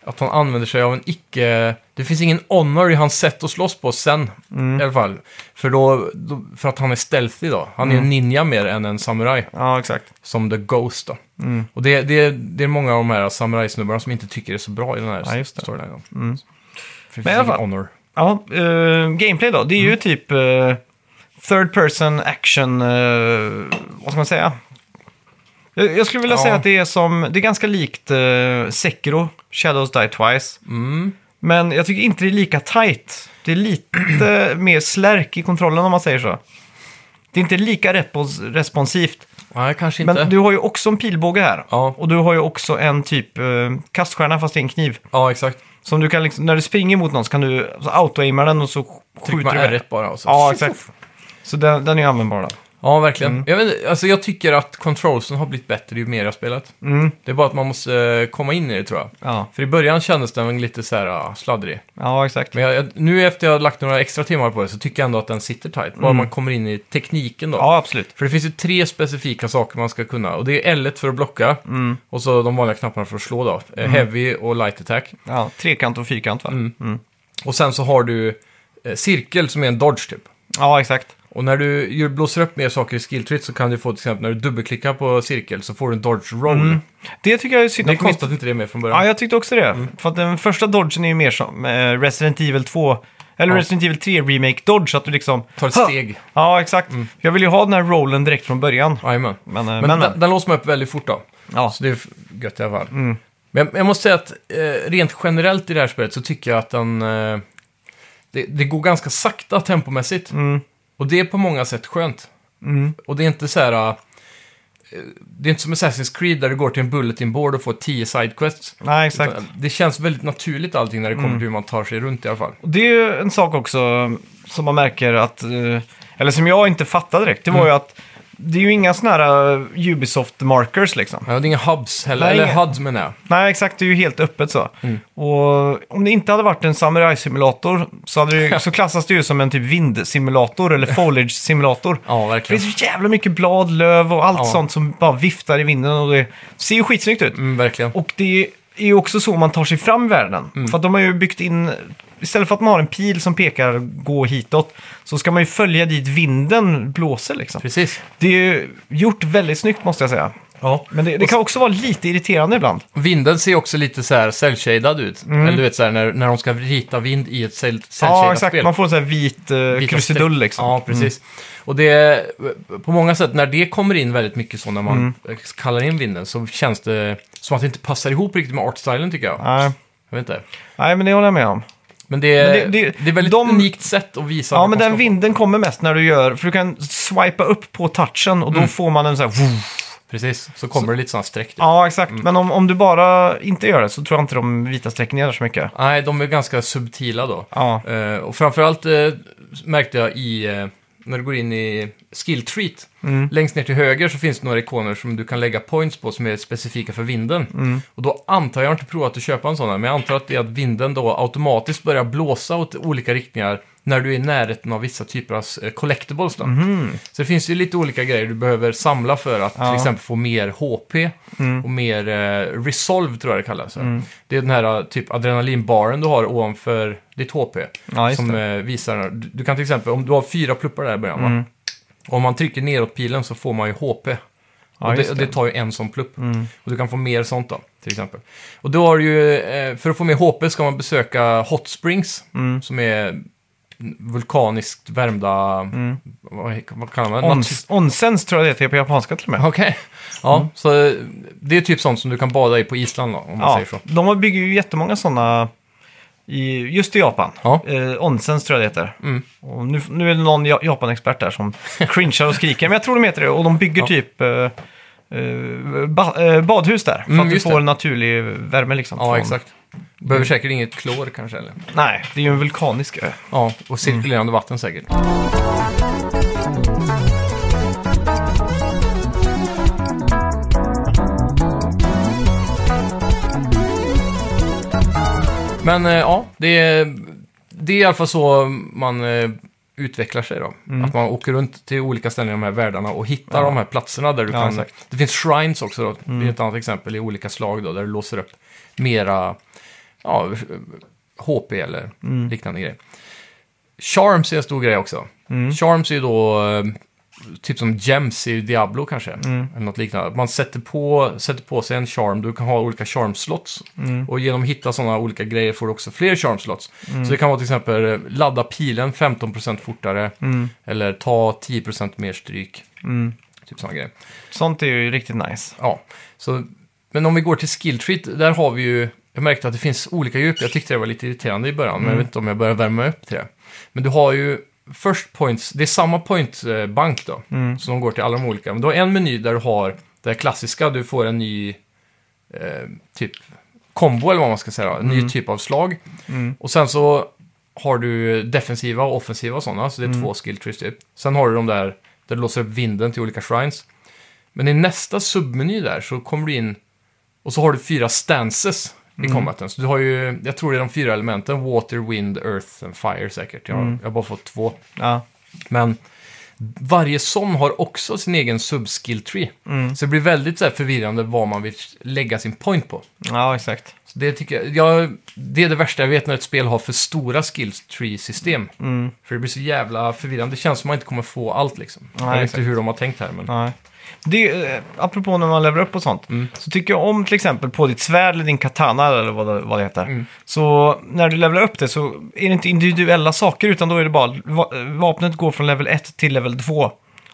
Speaker 2: Att han använder sig av en icke... Det finns ingen honor i hans sätt att slåss på sen,
Speaker 1: Mm.
Speaker 2: i alla fall. För, då, då, för att han är stealthy då. Han
Speaker 1: Mm.
Speaker 2: är en ninja mer än en samuraj,
Speaker 1: Ja, exakt.
Speaker 2: som The Ghost då.
Speaker 1: Mm.
Speaker 2: Och det, det, det är många av de här samurajsnubbarna som inte tycker det är så bra i den här
Speaker 1: Ja, just det.
Speaker 2: storyn. Mm. För det finns
Speaker 1: Men i alla
Speaker 2: ingen
Speaker 1: fall.
Speaker 2: honor.
Speaker 1: Ja, eh, gameplay då. Det är
Speaker 2: Mm.
Speaker 1: ju typ eh, third person action, eh, vad ska man säga? Jag, jag skulle vilja
Speaker 2: Ja.
Speaker 1: säga att det är som, det är ganska likt eh, Sekiro, Shadows Die Twice.
Speaker 2: Mm.
Speaker 1: Men jag tycker inte det är lika tight. Det är lite mer slärk i kontrollen om man säger så. Det är inte lika repos- responsivt.
Speaker 2: Nej, kanske inte.
Speaker 1: Men du har ju också en pilbåge här.
Speaker 2: Ja.
Speaker 1: Och du har ju också en typ eh, kaststjärna fast det är en kniv.
Speaker 2: Ja, exakt.
Speaker 1: Som du kan liksom, när du springer mot någon så kan du så auto-aima den och så
Speaker 2: Tryck
Speaker 1: skjuter
Speaker 2: med
Speaker 1: du med
Speaker 2: R1 bara och så.
Speaker 1: Ja, exakt. Så den, den är användbar då.
Speaker 2: Ja, verkligen. Jag, vet, inte, alltså, jag tycker att controlsen har blivit bättre ju mer jag har spelat. Det är bara att man måste eh, komma in i det tror jag.
Speaker 1: Ja,
Speaker 2: För i början kändes den lite så här ah, sladdrig.
Speaker 1: ja exakt.
Speaker 2: Men jag, jag, nu efter jag har lagt några extra timmar på det så tycker jag ändå att den sitter tight. Bara man kommer in i tekniken då.
Speaker 1: Ja, absolut.
Speaker 2: För det finns ju tre specifika saker man ska kunna. Och det är L1 för att blocka. Och så de vanliga knapparna för att slå då. Eh, Heavy och light attack.
Speaker 1: Ja, trekant och fyrkant va?
Speaker 2: Mm. Och sen så har du eh, cirkel som är en dodge typ.
Speaker 1: Ja, exakt.
Speaker 2: Och när du ju blåser upp mer saker i skill tree så kan du få till exempel när du dubbelklickar på cirkel så får du en dodge roll.
Speaker 1: Mm. Det tycker jag är synd
Speaker 2: Det Mm. är
Speaker 1: att de inte-
Speaker 2: konstigt att inte det är med från början.
Speaker 1: Ja, jag tyckte också det. För att den första dodgen är ju mer som eh, Resident Evil 2, eller
Speaker 2: Ja.
Speaker 1: Resident Evil 3 Remake Dodge, att du liksom...
Speaker 2: Tar ett
Speaker 1: Ha!
Speaker 2: steg.
Speaker 1: Ja, exakt. Jag vill ju ha den här rollen direkt från början.
Speaker 2: Jajamän.
Speaker 1: Men, eh,
Speaker 2: Men,
Speaker 1: men,
Speaker 2: Den,
Speaker 1: men.
Speaker 2: den låser man upp väldigt fort då.
Speaker 1: Ja. Mm.
Speaker 2: Så det är f- gött i alla fall. Men jag, jag måste säga att eh, rent generellt i det här spelet så tycker jag att den... Eh, det, det går ganska sakta tempomässigt.
Speaker 1: Mm.
Speaker 2: Och det är på många sätt skönt. Och det är inte så här... eh, Det är inte som Assassin's Creed där du går till en bulletin board och får 10 sidequests.
Speaker 1: Nej, exakt. Mm.
Speaker 2: Utan Det känns väldigt naturligt allting när det kommer till hur man tar sig runt i alla fall.
Speaker 1: Och Det är ju en sak också som man märker att, eh, eller som jag inte fattade direkt, det var
Speaker 2: Mm.
Speaker 1: ju att det är ju inga sådana här eh, Ubisoft-markers liksom.
Speaker 2: Ja, det är inga hubs heller,
Speaker 1: Nej,
Speaker 2: eller
Speaker 1: inga-
Speaker 2: HUDs menar jag.
Speaker 1: Nej, exakt, det är ju helt öppet så.
Speaker 2: Mm.
Speaker 1: Och om det inte hade varit en samurai-simulator så, hade det, ju- så klassas det ju som en typ vindsimulator eller foliage-simulator.
Speaker 2: Ja,
Speaker 1: Det
Speaker 2: verkligen.
Speaker 1: finns så jävla mycket blad, löv och allt
Speaker 2: Ja.
Speaker 1: sånt som bara viftar i vinden och det ser ju skitsnyggt ut.
Speaker 2: Mm, verkligen.
Speaker 1: Och det är ju också så man tar sig fram i världen.
Speaker 2: Mm.
Speaker 1: För att de har ju byggt in, istället för att man har en pil som pekar gå hitåt, så ska man ju följa dit vinden blåser liksom.
Speaker 2: Precis.
Speaker 1: Det är ju gjort väldigt snyggt måste jag säga.
Speaker 2: Ja.
Speaker 1: Men det, det kan också vara lite irriterande ibland.
Speaker 2: Vinden ser också lite så här cell-shaded ut. Eller du vet så här när, när de ska rita vind i ett cell-
Speaker 1: Mm. Ja,
Speaker 2: cell-shaded
Speaker 1: exakt.
Speaker 2: spel.
Speaker 1: Man får en sån här vit eh,
Speaker 2: Vita
Speaker 1: krusidull
Speaker 2: streck.
Speaker 1: liksom.
Speaker 2: Ja, precis. Och det, på många sätt, när det kommer in väldigt mycket så när man
Speaker 1: Mm.
Speaker 2: kallar in vinden så känns det som att det inte passar ihop riktigt med artstylen tycker jag.
Speaker 1: Nej.
Speaker 2: Jag vet inte.
Speaker 1: Nej, men det håller jag med om.
Speaker 2: Men det,
Speaker 1: Men det-
Speaker 2: det,
Speaker 1: det-
Speaker 2: är väldigt
Speaker 1: de-
Speaker 2: unikt sätt att visa
Speaker 1: Ja, men
Speaker 2: vad man
Speaker 1: den
Speaker 2: ska få.
Speaker 1: vinden kommer mest när du gör, för du kan swipa upp på touchen och
Speaker 2: Mm.
Speaker 1: då får man en sån här...
Speaker 2: Precis, så kommer det lite sådana streck. typ.
Speaker 1: Ja, exakt. Men om, om du bara inte gör det så tror jag inte de vita strecken gör så mycket.
Speaker 2: Nej, de är ganska subtila då.
Speaker 1: Ja,
Speaker 2: Eh, och framförallt eh, märkte jag i, eh, när du går in i skill treat,
Speaker 1: Mm,
Speaker 2: längst ner till höger så finns det några ikoner som du kan lägga points på som är specifika för vinden. Och då antar jag, jag har inte provat att köpa en sån här, men jag antar att det är att vinden då automatiskt börjar blåsa åt olika riktningar när du är i närheten av vissa typer av eh, collectibles. Då. Så det finns ju lite olika grejer du behöver samla för att till exempel få mer HP
Speaker 1: mm.
Speaker 2: och mer eh, resolve tror jag det kallas. Det är den här eh, typ adrenalinbaren du har ovanför ditt HP.
Speaker 1: Ja, just
Speaker 2: som eh, visar, du, du kan till exempel, om du har fyra pluppar där i
Speaker 1: Mm,
Speaker 2: början va? Om man trycker neråt pilen så får man ju HP.
Speaker 1: Ja,
Speaker 2: och det,
Speaker 1: just
Speaker 2: det.
Speaker 1: det. Mm.
Speaker 2: det tar ju en sån plupp. Och du kan få mer sånt då, till exempel. Och då har du ju, eh, för att få mer HP ska man besöka Hot Springs,
Speaker 1: mm,
Speaker 2: som är vulkaniskt värmda, vad, vad kallar man det?
Speaker 1: mm. Ons, onsens tror jag det heter på japanska till och med.
Speaker 2: Okej. Ja,
Speaker 1: Mm.
Speaker 2: så eh, det är typ sånt som du kan bada i på Island då, om man
Speaker 1: Ja,
Speaker 2: säger så.
Speaker 1: de har- bygger ju jättemånga sådana i, just i Japan.
Speaker 2: Ja. Mm.
Speaker 1: Eh, onsens tror jag det heter. Och nu, nu är det någon ja- Japan-expert där som cringear och skriker, men jag tror de heter det. Och de bygger
Speaker 2: Ja.
Speaker 1: typ eh, eh, ba, eh, badhus där, för
Speaker 2: Mm,
Speaker 1: att du
Speaker 2: just
Speaker 1: får
Speaker 2: det.
Speaker 1: naturlig värme liksom.
Speaker 2: Ja,
Speaker 1: från-
Speaker 2: exakt. Behöver säkert inget klor kanske, eller?
Speaker 1: Nej, det är ju en vulkanisk ö.
Speaker 2: Ja, och cirkulerande
Speaker 1: Mm.
Speaker 2: vatten säkert. Men eh, ja, det är, det är i alla fall så man eh, utvecklar sig då. Att man åker runt till olika ställen i de här världarna och hittar de här platserna där du
Speaker 1: Mm. Ja,
Speaker 2: kan...
Speaker 1: exakt. Mm.
Speaker 2: Det finns shrines också då. Det är ett annat exempel i olika slag då, där du låser upp mera ja, HP eller
Speaker 1: Mm.
Speaker 2: liknande grejer. Charms är en stor grej också. Charms är ju då eh, typ som gems i Diablo kanske. Eller något liknande. Man sätter på, sätter på sig en charm. Du kan ha olika charmslots. Och genom att hitta sådana olika grejer får du också fler charmslots. Så det kan vara till exempel eh, ladda pilen 15% fortare. Eller ta 10% mer stryk. Typ sådana grejer.
Speaker 1: Sånt är ju riktigt nice.
Speaker 2: Ja, så, men om vi går till skill treat, där har vi ju... Jag märkte att det finns olika djup. Jag tyckte det var lite irriterande i början, men jag vet inte om jag börjar värma upp till det. Men du har ju först points, det är samma pointbank då, så de går till alla de olika. Men du har en meny där du har det klassiska, du får en ny eh, typ kombo eller vad man ska säga, en ny typ av slag. Och sen så har du defensiva och offensiva och sådana, så det är två skill trees typ. Sen har du de där Där du låser upp vinden till olika shrines. Men i nästa submeny där så kommer du in och så har du fyra stances i combaten. Så du har ju, jag tror det är de fyra elementen, water, wind, earth and fire säkert. Jag, har- jag har bara fått två.
Speaker 1: Ja.
Speaker 2: Men varje sån har också sin egen subskill tree. Så det blir väldigt så här förvirrande vad man vill lägga sin point på.
Speaker 1: ja, exakt.
Speaker 2: Så det, tycker jag, jag, det är det värsta jag vet när ett spel har för stora skills tree-system. För det blir så jävla förvirrande. Det känns som att man inte kommer få allt liksom. jag vet inte
Speaker 1: exakt.
Speaker 2: hur de har tänkt här, men...
Speaker 1: Nej. Det, är, eh, apropå när man lever upp och sånt,
Speaker 2: Mm.
Speaker 1: så tycker jag om till exempel på ditt svärd eller din katana eller vad det, vad det heter.
Speaker 2: Mm.
Speaker 1: Så när du levelar upp det så är det inte individuella saker utan då är det bara va- vapnet går från level 1 till level 2.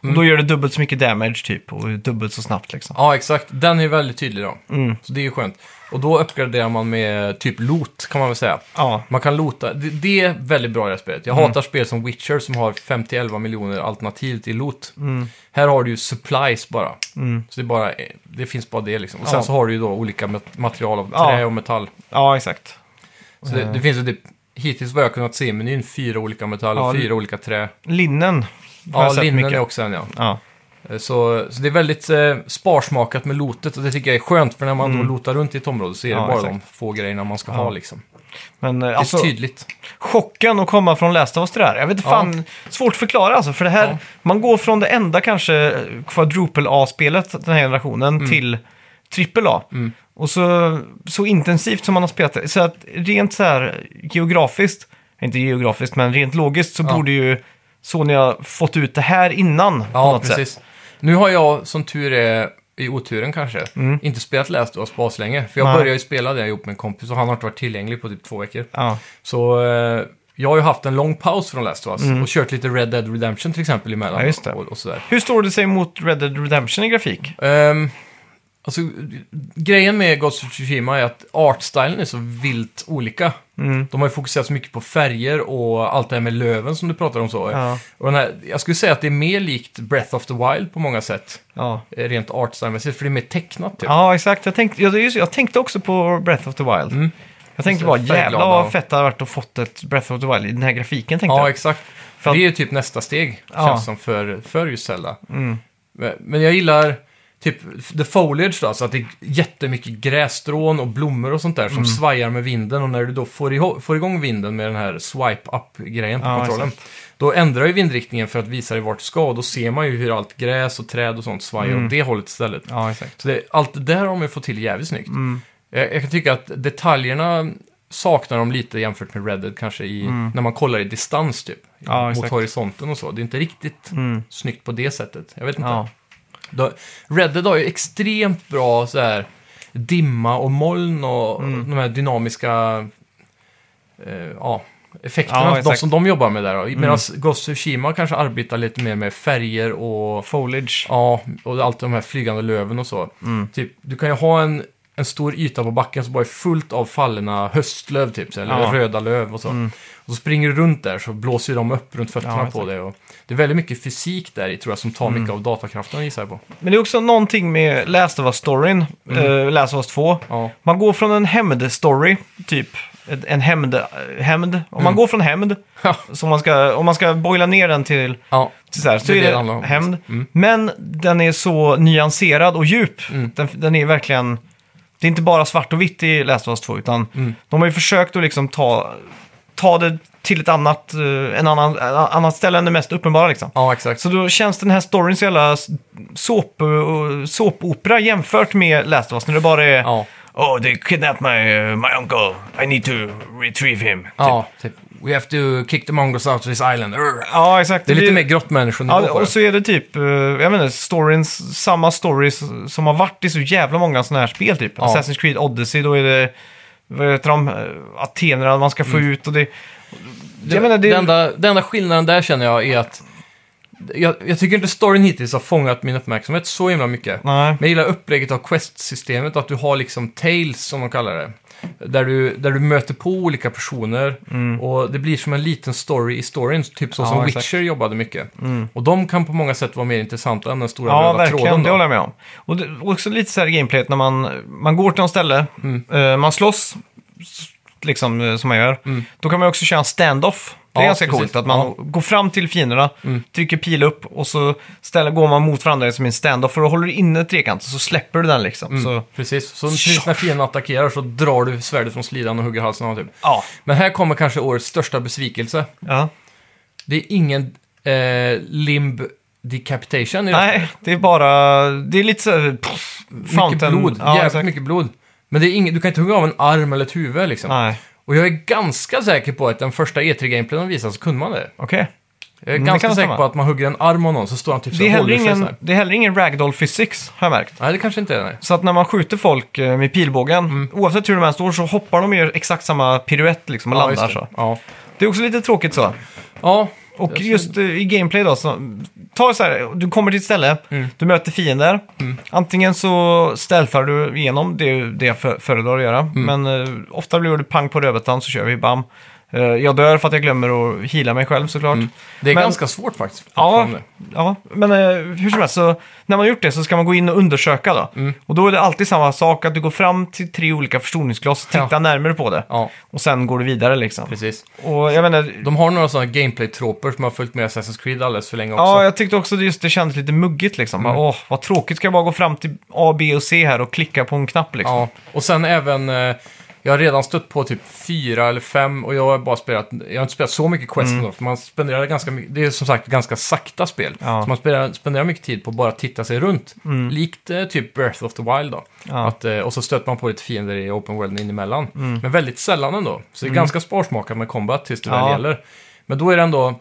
Speaker 2: Mm.
Speaker 1: Och då gör det dubbelt så mycket damage typ och är dubbelt så snabbt liksom.
Speaker 2: Ja, exakt. Den är ju väldigt tydlig då.
Speaker 1: Mm.
Speaker 2: Så det är ju skönt. Och då uppgraderar man med typ loot, kan man väl säga.
Speaker 1: Ja,
Speaker 2: Man kan loota. Det, det är väldigt bra i det här spelet. Jag
Speaker 1: Mm.
Speaker 2: hatar spel som Witcher som har 50-11 miljoner alternativ till loot.
Speaker 1: Mm.
Speaker 2: Här har du ju supplies bara. Så det, är bara, det finns bara det liksom. Och sen
Speaker 1: Ja.
Speaker 2: så har du ju då olika mat- material av
Speaker 1: Ja.
Speaker 2: trä och metall.
Speaker 1: ja exakt.
Speaker 2: Så det, det finns ju typ, hittills vad jag kunnat se i menyn, fyra olika metaller,
Speaker 1: Ja,
Speaker 2: fyra olika trä.
Speaker 1: Linnen. har jag
Speaker 2: Ja,
Speaker 1: sett
Speaker 2: linnen
Speaker 1: mycket.
Speaker 2: är också en ja.
Speaker 1: Ja.
Speaker 2: Eh, Så, så det är väldigt eh, sparsmakat med lootet och det tycker jag är skönt för när man då lootar runt i ett område så är det
Speaker 1: Mm. Ja,
Speaker 2: bara
Speaker 1: exakt.
Speaker 2: de få grejerna man ska ha liksom. Det
Speaker 1: Men eh,
Speaker 2: är
Speaker 1: alltså,
Speaker 2: tydligt.
Speaker 1: chocken att komma från Last of Us till det här. Jag vet inte
Speaker 2: Ja.
Speaker 1: fan, svårt att förklara alltså. För det här,
Speaker 2: Ja.
Speaker 1: man går från det enda kanske quadruple A-spelet den här generationen
Speaker 2: Mm.
Speaker 1: till trippel A. Och så, så intensivt som man har spelat det. Så att rent så här geografiskt, inte geografiskt men rent logiskt så
Speaker 2: Ja.
Speaker 1: borde ju Sony ha fått ut det här innan på
Speaker 2: Ja,
Speaker 1: något sätt.
Speaker 2: precis. Nu har jag, som tur är, i oturen kanske, inte spelat Last of Us länge. För jag
Speaker 1: Mm. Nej.
Speaker 2: började ju spela det ihop med en kompis och han har inte varit tillgänglig på typ två veckor.
Speaker 1: Ja,
Speaker 2: Så eh, jag har ju haft en lång paus från Last of Us och kört lite Red Dead Redemption till exempel emellan.
Speaker 1: Mm. Ja, just det.
Speaker 2: Och, och sådär.
Speaker 1: Hur står det sig mot Red Dead Redemption i grafik?
Speaker 2: Ehm, alltså, grejen med Ghost of Tsushima är att artstylen är så vilt olika.
Speaker 1: Mm.
Speaker 2: De har ju fokuserat så mycket på färger och allt det här med löven som du pratar om så.
Speaker 1: Ja.
Speaker 2: Och den här, jag skulle säga att det är mer likt Breath of the Wild på många sätt.
Speaker 1: Ja,
Speaker 2: eh, rent artstylmässigt, för det är mer tecknat typ.
Speaker 1: ja exakt. Jag tänkte, jag, just, jag tänkte också på Breath of the Wild.
Speaker 2: Mm.
Speaker 1: Jag tänkte
Speaker 2: Så
Speaker 1: bara,
Speaker 2: färgglada
Speaker 1: jävla vad
Speaker 2: och-
Speaker 1: fett det hade varit att fått ett Breath of the Wild i den här grafiken, tänkte
Speaker 2: Ja,
Speaker 1: jag.
Speaker 2: exakt.
Speaker 1: För att-
Speaker 2: Det är ju typ nästa steg,
Speaker 1: Ja. Mm.
Speaker 2: känns som, för, för just Zelda. Men- Men jag gillar typ the foliage då, så att det är jättemycket grässtrån och blommor och sånt där som
Speaker 1: Mm.
Speaker 2: svajar med vinden. Och när du då får, iho- får igång vinden med den här swipe up-grejen på
Speaker 1: Ja,
Speaker 2: kontrollen, då ändrar ju vindriktningen för att visa dig vart du ska. Och då ser man ju hur allt gräs och träd och sånt svajar
Speaker 1: Mm.
Speaker 2: åt det hållet istället.
Speaker 1: Ja, exakt. Mm,
Speaker 2: Så det, allt det där har man ju fått till jävligt snyggt. Jag, jag kan tycka att detaljerna saknar de lite jämfört med Red Dead kanske i, när man kollar i distans typ.
Speaker 1: Mm. Ja,
Speaker 2: mot
Speaker 1: exakt. Mm.
Speaker 2: horisonten och så. Det är inte riktigt snyggt på det sättet. Jag vet inte.
Speaker 1: Ja.
Speaker 2: Då, Red Dead har ju extremt bra så här, dimma och moln och
Speaker 1: Mm.
Speaker 2: de här dynamiska eh, ja,
Speaker 1: Ja,
Speaker 2: effekterna. de
Speaker 1: exakt. Mm.
Speaker 2: som de jobbar med där. då. Medan Ghost of Tsushima kanske arbetar lite mer med färger och
Speaker 1: Foliage.
Speaker 2: Ja, och allt de här flygande löven och så.
Speaker 1: Mm.
Speaker 2: Typ, du kan ju ha en, en stor yta på backen som bara är fullt av fallna höstlöv typ, så här, eller
Speaker 1: Ja. Mm.
Speaker 2: röda löv och så. Och så springer du runt där så blåser ju de upp runt
Speaker 1: Ja, Mm.
Speaker 2: fötterna på
Speaker 1: exakt.
Speaker 2: dig. Och det är väldigt mycket fysik där i tror jag som tar mycket av datakraften gissar jag på.
Speaker 1: Men det är också någonting med Last of Us-storyn,
Speaker 2: Mm.
Speaker 1: eh, Last of Us 2.
Speaker 2: Ja.
Speaker 1: Man går från en hämnd-story, typ ett- en hämnd, eh, hämnd. Om
Speaker 2: Mm.
Speaker 1: man går från hämnd,
Speaker 2: Ja.
Speaker 1: så man ska, om man ska boila ner den till,
Speaker 2: Ja,
Speaker 1: till så här, så
Speaker 2: Det är det det
Speaker 1: är
Speaker 2: handlar
Speaker 1: det
Speaker 2: om. Mm.
Speaker 1: hämnd. Men den är så nyanserad och djup.
Speaker 2: Mm.
Speaker 1: Den, den är verkligen... Det är inte bara svart och vitt i Last of Us 2, utan
Speaker 2: Mm.
Speaker 1: de har ju försökt att liksom ta, ta det till ett annat, eh, en annan, en annat ställe än det mest uppenbara. Liksom.
Speaker 2: ja exakt.
Speaker 1: Så då känns den här storyn så jävla s- såp, och- såpopera jämfört med Last of Us. När det bara är...
Speaker 2: Ja.
Speaker 1: Oh, they kidnapped my, uh, my uncle. I need to retrieve him. Typ.
Speaker 2: Ja, typ. We have to kick the mongols out of this island. Urgh.
Speaker 1: ja, exakt.
Speaker 2: Det är lite
Speaker 1: blir-
Speaker 2: mer grottmänniskonivå
Speaker 1: Ja,
Speaker 2: på det.
Speaker 1: och så är det typ, eh, jag menar, stories, samma stories som har varit i så jävla många sådana här spel typ.
Speaker 2: Ja.
Speaker 1: Assassin's Creed Odyssey, då är det, vad heter de, eh, Atenerna man ska få ut och det... Jag
Speaker 2: Mm. Det,
Speaker 1: menar, det...
Speaker 2: det enda, den enda skillnaden där känner jag är att jag, jag tycker inte storyn hittills har fångat min uppmärksamhet så himla mycket.
Speaker 1: Nej.
Speaker 2: Men jag gillar upplägget av quest-systemet, att du har liksom tales som de kallar det. Där du, där du möter på olika personer och det blir som en liten story i storyn, typ så
Speaker 1: Mm. Ja,
Speaker 2: som
Speaker 1: exakt. Mm.
Speaker 2: Witcher jobbade mycket. Och de kan på många sätt vara mer intressanta än den stora
Speaker 1: Ja,
Speaker 2: röda tråden.
Speaker 1: verkligen. Det
Speaker 2: Då.
Speaker 1: håller jag med om. Och
Speaker 2: Mm.
Speaker 1: det, också lite så här gameplayet när man, man går till någon ställe, eh, man slåss, s- liksom, eh, som man gör. Då kan man ju också köra en stand-off. Det är
Speaker 2: Mm. Ja,
Speaker 1: ganska
Speaker 2: precis.
Speaker 1: coolt att man
Speaker 2: Ja. Mm.
Speaker 1: går fram till fienderna, trycker pil upp och så ställer, går man mot varandra som i en stand-off. Och då håller du inne trekanten så släpper du den liksom.
Speaker 2: Mm.
Speaker 1: Så,
Speaker 2: Precis, så precis när fienden attackerar så drar du svärdet från slidan och hugger halsen av typ.
Speaker 1: ja.
Speaker 2: Men här kommer kanske årets största besvikelse.
Speaker 1: ja.
Speaker 2: Det är ingen eh, limb decapitation i det.
Speaker 1: Nej, det är bara... Det är lite så här, pff,
Speaker 2: Mycket blod,
Speaker 1: Ja,
Speaker 2: jävligt
Speaker 1: exakt.
Speaker 2: mycket blod. Men det är ingen, du kan inte hugga av en arm eller ett huvud liksom.
Speaker 1: Nej,
Speaker 2: Och jag är ganska säker på att den första E3-gameplayen de visade så kunde man det.
Speaker 1: okej.
Speaker 2: Jag är
Speaker 1: Mm, det
Speaker 2: ganska
Speaker 1: kan
Speaker 2: säker
Speaker 1: stämma.
Speaker 2: på att man hugger en arm av någon så står han typ så
Speaker 1: Det är
Speaker 2: och
Speaker 1: heller
Speaker 2: håller sig så
Speaker 1: ingen,
Speaker 2: här.
Speaker 1: det är heller ingen ragdoll physics, har jag märkt.
Speaker 2: Nej, det kanske inte är nej.
Speaker 1: Så att när man skjuter folk eh, med pilbågen,
Speaker 2: Mm.
Speaker 1: oavsett hur de än står, så hoppar de och gör exakt samma piruett liksom och landar
Speaker 2: just
Speaker 1: så.
Speaker 2: det. Ja.
Speaker 1: Det är också lite tråkigt så.
Speaker 2: ja.
Speaker 1: Och
Speaker 2: Jag ser-
Speaker 1: just eh, i gameplay då, så, ta så här, du kommer till ett ställe,
Speaker 2: Mm.
Speaker 1: du möter fiender. Antingen så stealthar du igenom, det är ju det jag fö- föredrar att göra.
Speaker 2: Mm.
Speaker 1: Men eh, ofta blir det pang på rödbetan så kör vi, bam. Eh, jag dör för att jag glömmer att hila mig själv såklart.
Speaker 2: Mm. Det är
Speaker 1: Men-
Speaker 2: ganska svårt faktiskt.
Speaker 1: Ja,
Speaker 2: fortfarande.
Speaker 1: ja, men eh, hur som helst, så när man har gjort det så ska man gå in och undersöka då.
Speaker 2: Mm.
Speaker 1: Och då är det alltid samma sak, att du går fram till tre olika förstoringsglas, tittar
Speaker 2: Ja.
Speaker 1: närmare på det
Speaker 2: ja,
Speaker 1: och sen går du vidare liksom.
Speaker 2: precis.
Speaker 1: Och jag menar,
Speaker 2: De har några sådana gameplay-troper som har följt med Assassin's Creed alldeles för länge också.
Speaker 1: ja, jag tyckte också det- just det kändes lite muggigt liksom.
Speaker 2: Mm.
Speaker 1: Bara, Åh, vad tråkigt, ska jag bara gå fram till A, B och C här och klicka på en knapp liksom.
Speaker 2: Ja, och sen även... eh, Jag har redan stött på typ fyra eller fem och jag har bara spelat... Jag har inte spelat så mycket Quest
Speaker 1: Mm.
Speaker 2: ändå, för man spenderar ganska mycket... Det är som sagt ganska sakta spel.
Speaker 1: Ja. Mm.
Speaker 2: Så man spenderar, spenderar mycket tid på att bara titta sig runt. Likt eh, typ Birth of the Wild då.
Speaker 1: Ja.
Speaker 2: Att, eh, och så stöter man på lite fiender i open world inemellan.
Speaker 1: Mm.
Speaker 2: Men väldigt sällan ändå. Så det är ganska sparsmakat med combat tills det
Speaker 1: Ja.
Speaker 2: väl gäller. Men då är det ändå...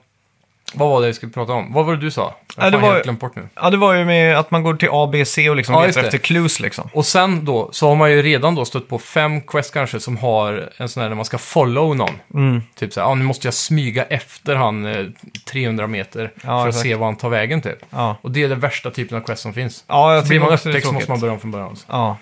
Speaker 2: Vad var det jag skulle prata om? Vad var det du sa? Jag
Speaker 1: Ja, det
Speaker 2: har fan
Speaker 1: var-
Speaker 2: helt glömt bort nu.
Speaker 1: Ja, det var ju med att man går till A, B, C och liksom
Speaker 2: Ja, just
Speaker 1: letar
Speaker 2: det.
Speaker 1: efter clues liksom.
Speaker 2: Och sen då, så har man ju redan då stött på fem quest kanske som har en sån här där man ska follow någon.
Speaker 1: Mm.
Speaker 2: Typ så här, ah, nu måste jag smyga efter han eh, 300 meter för att
Speaker 1: exakt.
Speaker 2: se var han tar vägen typ.
Speaker 1: Ja.
Speaker 2: Och det är den värsta typen av quest som finns.
Speaker 1: Ja, jag
Speaker 2: så blir
Speaker 1: tycker
Speaker 2: man
Speaker 1: också det är
Speaker 2: upptäckt så
Speaker 1: tråkigt.
Speaker 2: måste man börja om från början. Så,
Speaker 1: Ja,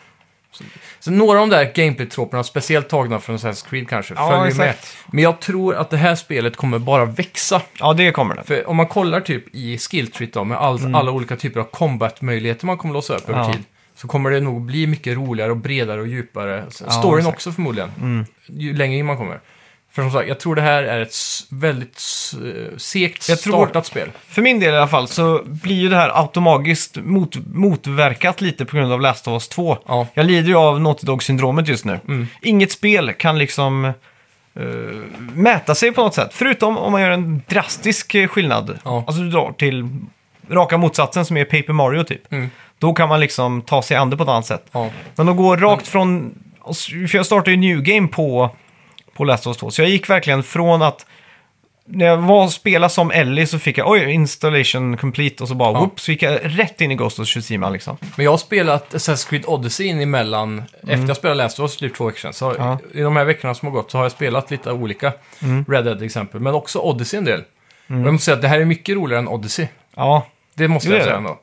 Speaker 2: så några av de där gameplay-troperna, speciellt tagna från Assassin's Creed kanske,
Speaker 1: Ja,
Speaker 2: följer med.
Speaker 1: exakt.
Speaker 2: Men jag tror att det här spelet kommer bara växa.
Speaker 1: ja det kommer det.
Speaker 2: För om man kollar typ i skill tree då, med all, alla olika typer av combat-möjligheter man kommer låsa upp över
Speaker 1: Mm. Ja.
Speaker 2: tid, så kommer det nog bli mycket roligare och bredare och djupare. S-
Speaker 1: Ja,
Speaker 2: Storyn
Speaker 1: exakt. Mm.
Speaker 2: också förmodligen, ju längre in man kommer. För som sagt, jag tror det här är ett s- väldigt s- eh, segt
Speaker 1: Jag tror-
Speaker 2: startat spel.
Speaker 1: För min del i alla fall så blir ju det här automatiskt mot, motverkat lite på grund av Last of Us 2.
Speaker 2: Ja.
Speaker 1: Jag lider ju av Naughty Dog-syndromet just nu.
Speaker 2: Mm.
Speaker 1: Inget spel kan liksom eh, mäta sig på något sätt. Förutom om man gör en drastisk eh, skillnad.
Speaker 2: Ja.
Speaker 1: Alltså du drar till raka motsatsen som är Paper Mario typ.
Speaker 2: Mm.
Speaker 1: Då kan man liksom ta sig an det på ett annat sätt.
Speaker 2: Ja.
Speaker 1: Men de
Speaker 2: Mm.
Speaker 1: går rakt från... alltså, För jag startade ju New Game på, på Last of Us 2. Så jag gick verkligen från att... När jag var och spelade som Ellie så fick jag oj, installation complete och så bara
Speaker 2: Ja.
Speaker 1: whoop, så gick jag rätt in i Ghost of Tsushima liksom.
Speaker 2: Men jag har spelat Assassin's Creed Odyssey in emellan, efter jag spelade Last of Us typ två veckor sedan. Så
Speaker 1: Mm. Ja. Mm.
Speaker 2: i de här veckorna som har gått så har jag spelat lite olika, Red Dead till exempel, men också Odyssey en del. Och jag måste säga att det här är mycket roligare än Odyssey.
Speaker 1: Ja,
Speaker 2: Det måste
Speaker 1: Jo, det
Speaker 2: jag
Speaker 1: är
Speaker 2: säga
Speaker 1: det. Mm.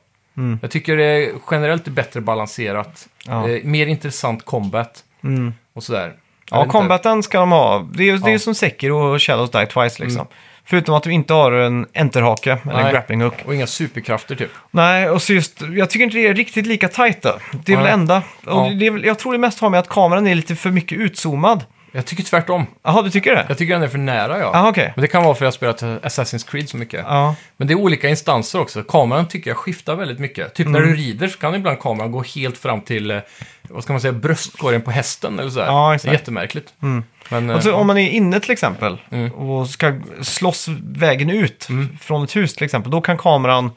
Speaker 2: ändå. Jag tycker det är generellt bättre balanserat.
Speaker 1: Ja. Mm.
Speaker 2: Eh, mer intressant combat och sådär. Jag vet
Speaker 1: ja
Speaker 2: inte.
Speaker 1: combaten ska de ha. Det är ju det är ju
Speaker 2: Ja. Mm.
Speaker 1: som Sekiro och Shadows Die Twice liksom. Förutom att de inte har en enterhake eller en
Speaker 2: Nej.
Speaker 1: grappling hook.
Speaker 2: Och inga superkrafter typ.
Speaker 1: Nej, och så just, jag tycker inte det är riktigt lika tajt då. Det är väl det
Speaker 2: Nej.
Speaker 1: enda.
Speaker 2: Ja.
Speaker 1: Och det är, väl- jag tror det mest har med att kameran är lite för mycket utzoomad.
Speaker 2: Jag tycker tvärtom.
Speaker 1: Jaha, du tycker det?
Speaker 2: Jag tycker den är för nära ja.
Speaker 1: Jaha, okej.
Speaker 2: Men det kan vara för att jag har spelat Assassin's Creed så mycket.
Speaker 1: Ja.
Speaker 2: Men det är olika instanser också. Kameran tycker jag skiftar väldigt mycket. Typ när
Speaker 1: Mm.
Speaker 2: du rider så kan ibland kameran gå helt fram till, eh, vad ska man säga, bröstkorgen på hästen eller sådär.
Speaker 1: Ja, exakt.
Speaker 2: Det är jättemärkligt. Men, eh,
Speaker 1: Alltså,
Speaker 2: ja. Mm.
Speaker 1: om man är inne till exempel och ska slåss vägen ut från ett hus till exempel, då kan kameran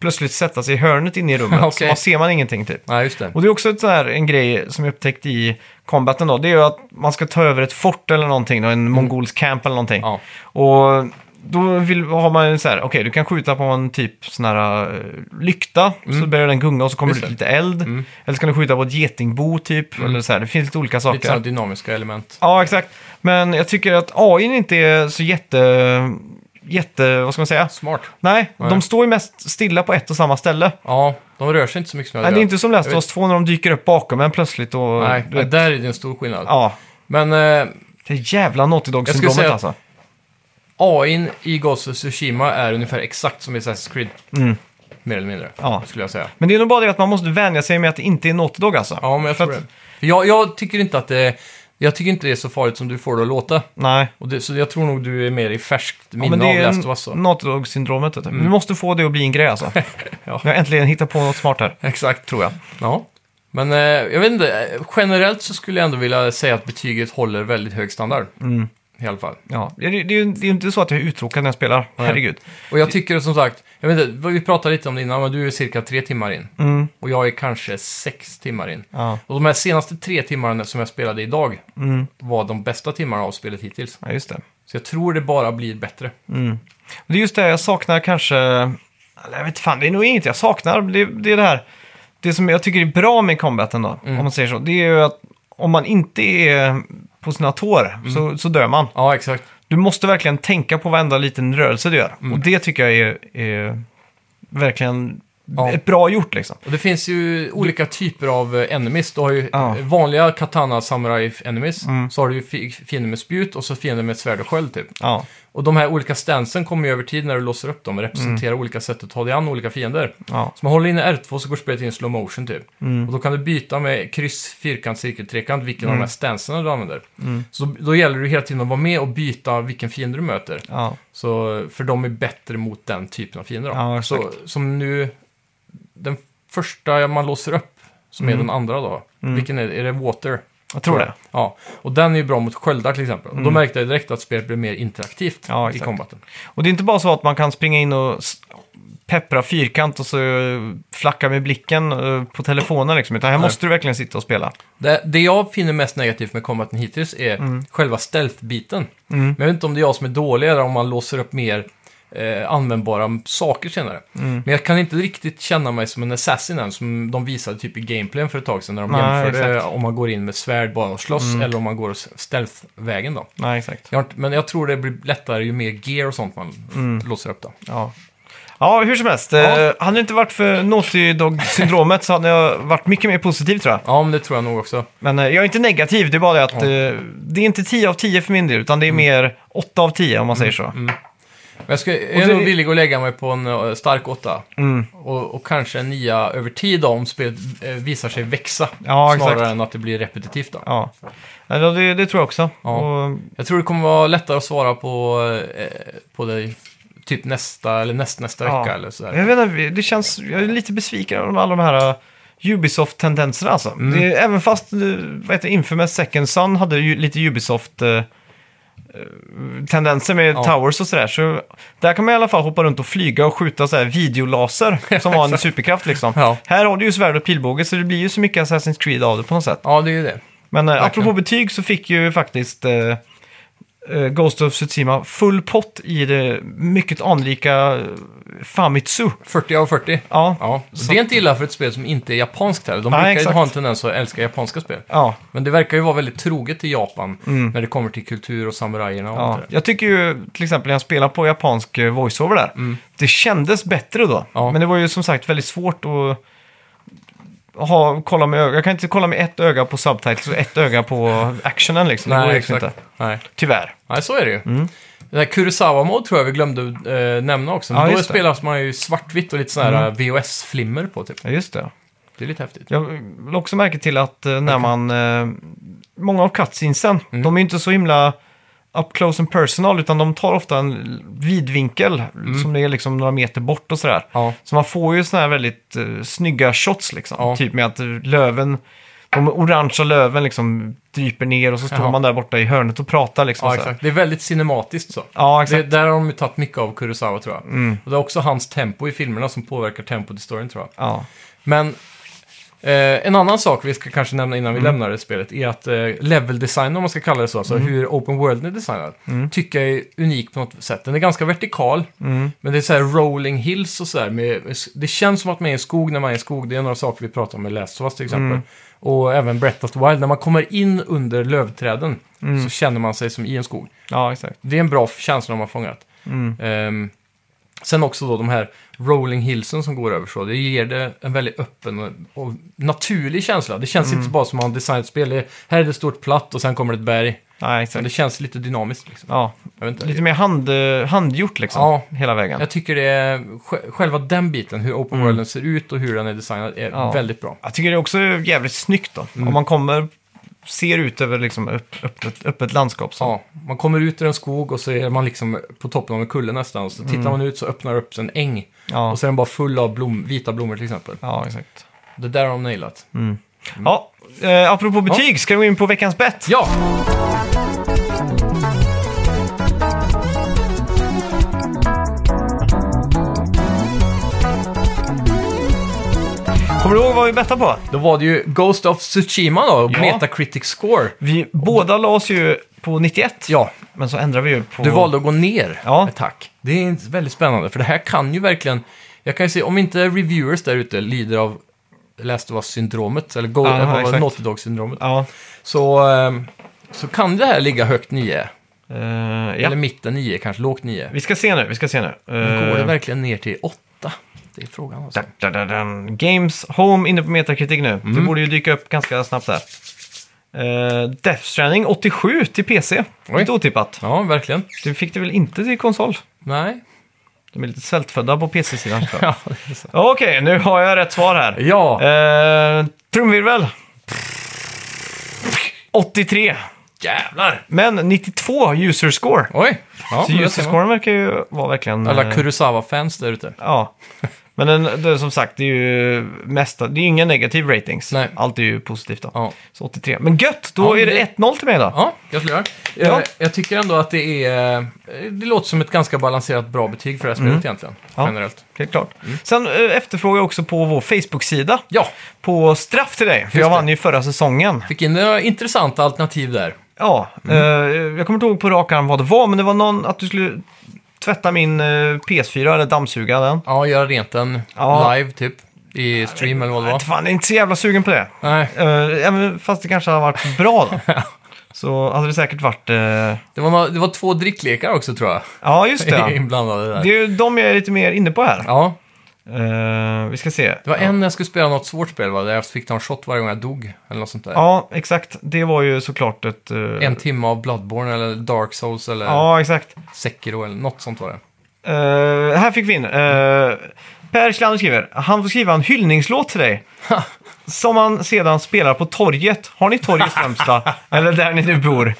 Speaker 1: plötsligt sätta sig i hörnet inne i rummet.
Speaker 2: Okej.
Speaker 1: Så man ser man ingenting typ.
Speaker 2: Nej, just det.
Speaker 1: Och det är också ett så här, en grej som jag upptäckte i combaten då. Det är ju att man ska ta över ett fort eller någonting, då, en mongolsk camp eller någonting.
Speaker 2: Mm. Ja.
Speaker 1: Och då vill, har man ju så här, okej du kan skjuta på en typ sån här eh, lykta, så börjar den gunga och så kommer det
Speaker 2: Mm. Just
Speaker 1: ut
Speaker 2: det. Mm.
Speaker 1: lite eld. Eller så kan du skjuta på ett getingbo typ, eller så här, det finns lite olika saker.
Speaker 2: Lite sådana dynamiska element.
Speaker 1: Ja, exakt. Men jag tycker att AI inte är så jätte... Jätte... Vad ska man säga?
Speaker 2: Smart.
Speaker 1: Nej,
Speaker 2: Nej.
Speaker 1: de står ju mest stilla på ett och samma ställe.
Speaker 2: Ja, de rör sig inte så mycket som jag
Speaker 1: Nej, det
Speaker 2: gör.
Speaker 1: är inte som Last
Speaker 2: Jag
Speaker 1: of Us 2 när de dyker upp bakom en plötsligt och...
Speaker 2: Nej,
Speaker 1: du vet,
Speaker 2: där är det en stor skillnad.
Speaker 1: ja.
Speaker 2: Men eh,
Speaker 1: Det är jävla Naughty
Speaker 2: Jag skulle
Speaker 1: Dog-syndromet
Speaker 2: säga-
Speaker 1: alltså.
Speaker 2: AIn i Ghost of Tsushima är ungefär exakt som i Assassin's Creed. Mer eller mindre,
Speaker 1: Mm. Ja.
Speaker 2: skulle jag säga.
Speaker 1: Men det är nog bara det att man måste vänja sig med att det inte är Naughty Dog alltså.
Speaker 2: Ja, men jag
Speaker 1: För
Speaker 2: tror
Speaker 1: att-
Speaker 2: det. För jag, jag tycker inte att det... Jag tycker inte det är så farligt som du får det att låta.
Speaker 1: Nej.
Speaker 2: Och det, så jag tror nog du är mer i färskt
Speaker 1: Ja, men
Speaker 2: minne
Speaker 1: det
Speaker 2: av Last of
Speaker 1: är
Speaker 2: Us. Mm.
Speaker 1: ju Naughty Dog-syndromet. vet du. Vi måste få det att bli en grej alltså.
Speaker 2: Ja.
Speaker 1: Jag har äntligen hittat på något smart här.
Speaker 2: Exakt, tror jag. Ja. Men eh, jag vet inte, eh, generellt så skulle jag ändå vilja säga att betyget håller väldigt hög standard.
Speaker 1: Mm.
Speaker 2: I alla fall.
Speaker 1: Ja. Det, det, det är ju det är ju inte så att jag är uttråkad när jag spelar. Herregud.
Speaker 2: Och jag tycker som sagt, jag vet inte, vi pratade lite om det innan, men du är cirka tre timmar in.
Speaker 1: Mm.
Speaker 2: Och jag är kanske sex timmar in.
Speaker 1: Ja.
Speaker 2: Och de här senaste tre timmarna som jag spelade idag
Speaker 1: Mm.
Speaker 2: var de bästa timmarna av spelet hittills.
Speaker 1: ja, just det.
Speaker 2: Så jag tror det bara blir bättre.
Speaker 1: Det är just det jag saknar kanske... eller Jag vet fan, det är nog inget jag saknar. Det, det är det här... Det som jag tycker är bra med combaten då,
Speaker 2: Mm.
Speaker 1: om man säger så, det är ju att om man inte är på sina tår
Speaker 2: Mm.
Speaker 1: så, så dör man.
Speaker 2: Ja, exakt.
Speaker 1: Du måste verkligen tänka på varenda liten rörelse du gör.
Speaker 2: Mm.
Speaker 1: Och det tycker jag är, är verkligen
Speaker 2: Ja.
Speaker 1: ett bra gjort liksom.
Speaker 2: Och det finns ju olika typer av eh, enemies. Du har ju
Speaker 1: Ja. Mm.
Speaker 2: eh, vanliga katana samurai enemies. Så har du ju fi- fiender med spjut och så fiender med svärd och sköld typ.
Speaker 1: Ja,
Speaker 2: Och de här olika stansen kommer ju över tid när du låser upp dem och
Speaker 1: Mm.
Speaker 2: representerar olika sätt att ta dig an olika fiender.
Speaker 1: ja,
Speaker 2: Så man håller inne R2 så går spelet in i slow motion typ.
Speaker 1: Mm.
Speaker 2: Och då kan du byta med kryss, fyrkant, cirkel, trekant vilken
Speaker 1: Mm.
Speaker 2: av de här stanserna du använder. Så då, då gäller det hela tiden att vara med och byta vilken fiende du möter.
Speaker 1: ja.
Speaker 2: Så, för de är bättre mot den typen av fiender. Då.
Speaker 1: Ja, exakt.
Speaker 2: så, som nu, den första man låser upp, som är den andra då. Vilken är det? Är det Water?
Speaker 1: Jag Mm. tror det.
Speaker 2: Ja, och den är ju bra mot sköldar till exempel. Och då märkte jag direkt att spelet blev mer interaktivt
Speaker 1: Ja,
Speaker 2: i
Speaker 1: exakt.
Speaker 2: combaten.
Speaker 1: Och det är inte bara så att man kan springa in och s- peppra fyrkant och så eh, flacka med blicken eh, på telefonen liksom, utan här måste du verkligen sitta och spela.
Speaker 2: Det, det jag finner mest negativt med combaten hittills är
Speaker 1: Mm.
Speaker 2: själva stealth-biten. Men jag vet inte om det är jag som är dålig eller om man låser upp mer eh, användbara saker senare.
Speaker 1: Mm.
Speaker 2: Men jag kan inte riktigt känna mig som en assassin än, som de visade typ i gameplayen för ett tag sedan när de
Speaker 1: Nej,
Speaker 2: jämförde
Speaker 1: exakt. Mm.
Speaker 2: om man går in med svärd bara och slåss eller om man går s- stealth-vägen då.
Speaker 1: Nej, exakt.
Speaker 2: Jag har, inte- men jag tror det blir lättare ju mer gear och sånt man
Speaker 1: Mm.
Speaker 2: låser upp då.
Speaker 1: Ja. Ja, hur som helst. Eh, hade det inte varit för Naughty Dog-syndromet så hade jag varit mycket mer positiv tror jag.
Speaker 2: Ja, men det tror jag nog också.
Speaker 1: Men eh, jag är inte negativ, det är bara det att eh, det är inte 10 av 10 för min del, utan det är mer 8 av 10 om man säger så.
Speaker 2: Men jag, ska, jag är
Speaker 1: det- Mm.
Speaker 2: nog villig att lägga mig på en eh, stark åtta. Och, och kanske en nia över tid då, om spelet eh, visar sig växa.
Speaker 1: Ja,
Speaker 2: snarare
Speaker 1: exakt.
Speaker 2: än att det blir repetitivt. Då.
Speaker 1: Ja, Eller, det, det tror jag också.
Speaker 2: Ja.
Speaker 1: Och,
Speaker 2: Jag tror det kommer vara lättare att svara på, eh, på det typ nästa eller näst, nästa
Speaker 1: Ja.
Speaker 2: vecka. Eller sådär.
Speaker 1: jag vet inte, det känns, jag är lite besviken över alla de här eh, Ubisoft-tendenserna alltså.
Speaker 2: Mm.
Speaker 1: Det är, även fast eh, vad heter, det, Infamous Second Son hade ju lite Ubisoft-tendenser med
Speaker 2: Ja.
Speaker 1: towers och sådär. Så där kan man i alla fall hoppa runt och flyga och skjuta så här videolaser som var en superkraft liksom.
Speaker 2: Ja.
Speaker 1: Här har du ju svärd och pilbåge så det blir ju så mycket Assassin's Creed av det på något sätt.
Speaker 2: Ja, det är ju det.
Speaker 1: Men eh,
Speaker 2: Verkligen.
Speaker 1: apropå betyg så fick ju faktiskt eh, eh, Ghost of Tsushima full pott i det mycket anrika eh, Famitsu.
Speaker 2: 40 av 40.
Speaker 1: Ja, ja.
Speaker 2: Ja. Så det är inte illa för ett spel som inte är japanskt heller. De
Speaker 1: Nej,
Speaker 2: brukar
Speaker 1: exakt.
Speaker 2: ju ha en tendens att älska japanska spel.
Speaker 1: ja,
Speaker 2: Men det verkar ju vara väldigt troget till Japan
Speaker 1: Mm.
Speaker 2: när det kommer till kultur och samurajerna och allt det där.
Speaker 1: Jag tycker ju till exempel när jag spelar på japansk eh, voiceover där, det kändes bättre då.
Speaker 2: Mm. Ja.
Speaker 1: Men det var ju som sagt väldigt svårt att ha, kolla med öga. Jag kan inte kolla med ett öga på subtitles och ett öga på actionen liksom. det går liksom inte.
Speaker 2: Nej.
Speaker 1: Tyvärr.
Speaker 2: Nej, så är det ju.
Speaker 1: Mm.
Speaker 2: Det här Kurosawa-mod tror jag vi glömde eh, nämna också. Men
Speaker 1: Ja,
Speaker 2: då
Speaker 1: just det. Mm.
Speaker 2: spelas man ju svartvitt och lite sån här eh, VHS-flimmer på typ.
Speaker 1: Ja, just det.
Speaker 2: Det är lite häftigt.
Speaker 1: Jag vill också märke till att eh, när man... Eh, många av cutscenesen,
Speaker 2: Mm.
Speaker 1: de är ju inte så himla up close and personal, utan de tar ofta en vidvinkel
Speaker 2: Mm.
Speaker 1: som är liksom några meter bort och sådär.
Speaker 2: Ja.
Speaker 1: Så man får ju sådana här väldigt eh, snygga shots liksom.
Speaker 2: Ja.
Speaker 1: Typ med att eh, löven, de orangea löven liksom dyper ner och så står
Speaker 2: Jaha.
Speaker 1: man där borta i hörnet och pratar liksom.
Speaker 2: Ja,
Speaker 1: så här.
Speaker 2: exakt. Det är väldigt cinematiskt så.
Speaker 1: Ja, exakt. Mm.
Speaker 2: Det, där har de ju tagit mycket av Kurosawa tror jag. Och det är också hans tempo i filmerna som påverkar tempot i storyn tror jag.
Speaker 1: Ja.
Speaker 2: Men eh, en annan sak vi ska kanske nämna innan vi
Speaker 1: Mm.
Speaker 2: lämnar det spelet är att eh, leveldesignen, om man ska kalla det så, alltså hur open worlden är designad,
Speaker 1: Mm.
Speaker 2: tycker jag är unik på något sätt. Den är ganska vertikal,
Speaker 1: Mm.
Speaker 2: men det är så här rolling hills och sådär. med- med- Det känns som att man är i en skog när man är i en skog. Det är några saker vi pratar om i Last of Us till
Speaker 1: Mm.
Speaker 2: exempel. Och även Breath of the Wild, när man kommer in under lövträden
Speaker 1: Mm.
Speaker 2: så känner man sig som i en skog.
Speaker 1: ja, exakt.
Speaker 2: Det är en bra känsla de har fångat.
Speaker 1: Mm.
Speaker 2: Ehm, sen också då de här rolling hillsen som går över så. Det ger det en väldigt öppen och, och naturlig känsla. Det känns
Speaker 1: Mm.
Speaker 2: inte bara som att man designat spel. Det- Här är det stort platt och sen kommer det ett berg.
Speaker 1: Nej,
Speaker 2: Men
Speaker 1: exakt.
Speaker 2: det känns lite dynamiskt liksom.
Speaker 1: Ja.
Speaker 2: Jag vet inte.
Speaker 1: Lite mer hand, eh, handgjort liksom,
Speaker 2: Ja.
Speaker 1: hela vägen.
Speaker 2: Jag tycker det är, sj- själva den biten, hur open worlden ser ut och hur den är designad, är
Speaker 1: Mm. Ja.
Speaker 2: väldigt bra. Mm.
Speaker 1: Jag tycker det är också jävligt snyggt då. Om man kommer ser ut över liksom öpp- öppet, öppet landskap. Så.
Speaker 2: Ja, man kommer ut ur en skog och så är man liksom på toppen av en kulle nästan. Och så tittar man ut så öppnar det upp sig en äng.
Speaker 1: Mm. Ja.
Speaker 2: Och så är den bara full av blom, vita blommor till exempel.
Speaker 1: ja, Mm. exakt.
Speaker 2: Det där har de nailat. Mm.
Speaker 1: Ja, eh, apropå betyg, ska vi gå in på veckans bett?
Speaker 2: Ja!
Speaker 1: Kommer du ihåg vad vi bettade på?
Speaker 2: Då var det ju Ghost of Tsushima då, och
Speaker 1: Ja.
Speaker 2: Metacritic Score.
Speaker 1: Vi båda la oss ju på 91,
Speaker 2: Ja,
Speaker 1: men så ändrade vi ju på...
Speaker 2: du valde att gå ner
Speaker 1: Ja.
Speaker 2: ett tack. Det är inte- väldigt spännande, för det här kan ju verkligen... Jag kan ju se, om inte reviewers där ute lider av Last of Us-syndromet, eller Go-
Speaker 1: Aha,
Speaker 2: vad var det?
Speaker 1: exakt.
Speaker 2: Naughty Dog-syndromet,
Speaker 1: Ja.
Speaker 2: så, ehm, så kan det här ligga högt 9.
Speaker 1: Eh, ja.
Speaker 2: Eller mitten 9, kanske lågt 9.
Speaker 1: Vi ska se nu, vi ska se nu. Eh,
Speaker 2: Går det verkligen ner till 8? Det är frågan alltså.
Speaker 1: da, da, da, da. Games Home inne på Metacritic nu. Det
Speaker 2: Mm.
Speaker 1: borde ju dyka upp ganska snabbt där. Eh, Death Stranding 87 till PC.
Speaker 2: Oj.
Speaker 1: Inte otippat.
Speaker 2: Ja, verkligen.
Speaker 1: Du fick det väl inte till konsol?
Speaker 2: Nej.
Speaker 1: De är lite svältfödda på PC-sidan. tror jag.
Speaker 2: Ja, det är så.
Speaker 1: Okej, nu har jag rätt svar här.
Speaker 2: ja.
Speaker 1: Eh, trumvirvel. 83.
Speaker 2: jävlar!
Speaker 1: Men 92 user score.
Speaker 2: Oj! Ja,
Speaker 1: så
Speaker 2: men där
Speaker 1: user
Speaker 2: ser man.
Speaker 1: scoren verkar ju vara verkligen...
Speaker 2: Alla
Speaker 1: eh,
Speaker 2: Kurosawa-fans där ute.
Speaker 1: Ja. Men den, det, som sagt, det är ju mesta, det är ju inga negativ ratings.
Speaker 2: Nej.
Speaker 1: Allt är ju positivt då.
Speaker 2: Ja.
Speaker 1: Så 83. Men gött, då
Speaker 2: Ja, men
Speaker 1: är det 1-0 till mig då.
Speaker 2: Ja, gratulerar.
Speaker 1: Ja.
Speaker 2: Jag, jag tycker ändå att det är... eh, Det låter som ett ganska balanserat bra betyg för det här spelet egentligen.
Speaker 1: Mm. Ja.
Speaker 2: Generellt.
Speaker 1: Helt klart.
Speaker 2: Mm.
Speaker 1: Sen eh, efterfrågar jag också på vår Facebook-sida
Speaker 2: Ja,
Speaker 1: på straff till dig. För jag
Speaker 2: det.
Speaker 1: vann ju förra säsongen.
Speaker 2: fick in några intressanta eh, alternativ där.
Speaker 1: Ja,
Speaker 2: Mm.
Speaker 1: eh, jag kommer inte ihåg på rak arm vad det var, men det var någon att du skulle tvätta min eh, PS4 eller dammsuga den.
Speaker 2: Ja, göra rent den
Speaker 1: Ja.
Speaker 2: live typ. I stream eller vad det
Speaker 1: Jag
Speaker 2: var.
Speaker 1: vet Fan, jag är inte så jävla sugen på det.
Speaker 2: Nej,
Speaker 1: Eh, även fast det kanske hade varit bra då. Så hade det säkert varit... eh,
Speaker 2: det var, några, det var två dricklekar också tror jag.
Speaker 1: Ja, just det.
Speaker 2: Inblandade där.
Speaker 1: Det är ju de jag är lite mer inne på här.
Speaker 2: Ja,
Speaker 1: Eh, vi ska se.
Speaker 2: det var en när jag skulle spela något svårt spel va, där jag fick ta en shot varje gång jag dog. Eller något sånt där.
Speaker 1: Ja, exakt. Det var ju såklart ett... eh,
Speaker 2: En timme av Bloodborne eller Dark Souls eller
Speaker 1: Ja, exakt.
Speaker 2: Sekiro eller något sånt var det.
Speaker 1: Eh, här fick vi in. eh, per Schlander skriver, han får skriva en hyllningslåt till dig. Som han sedan spelar på torget. Har ni torg i Strömstad? Eller där ni nu bor?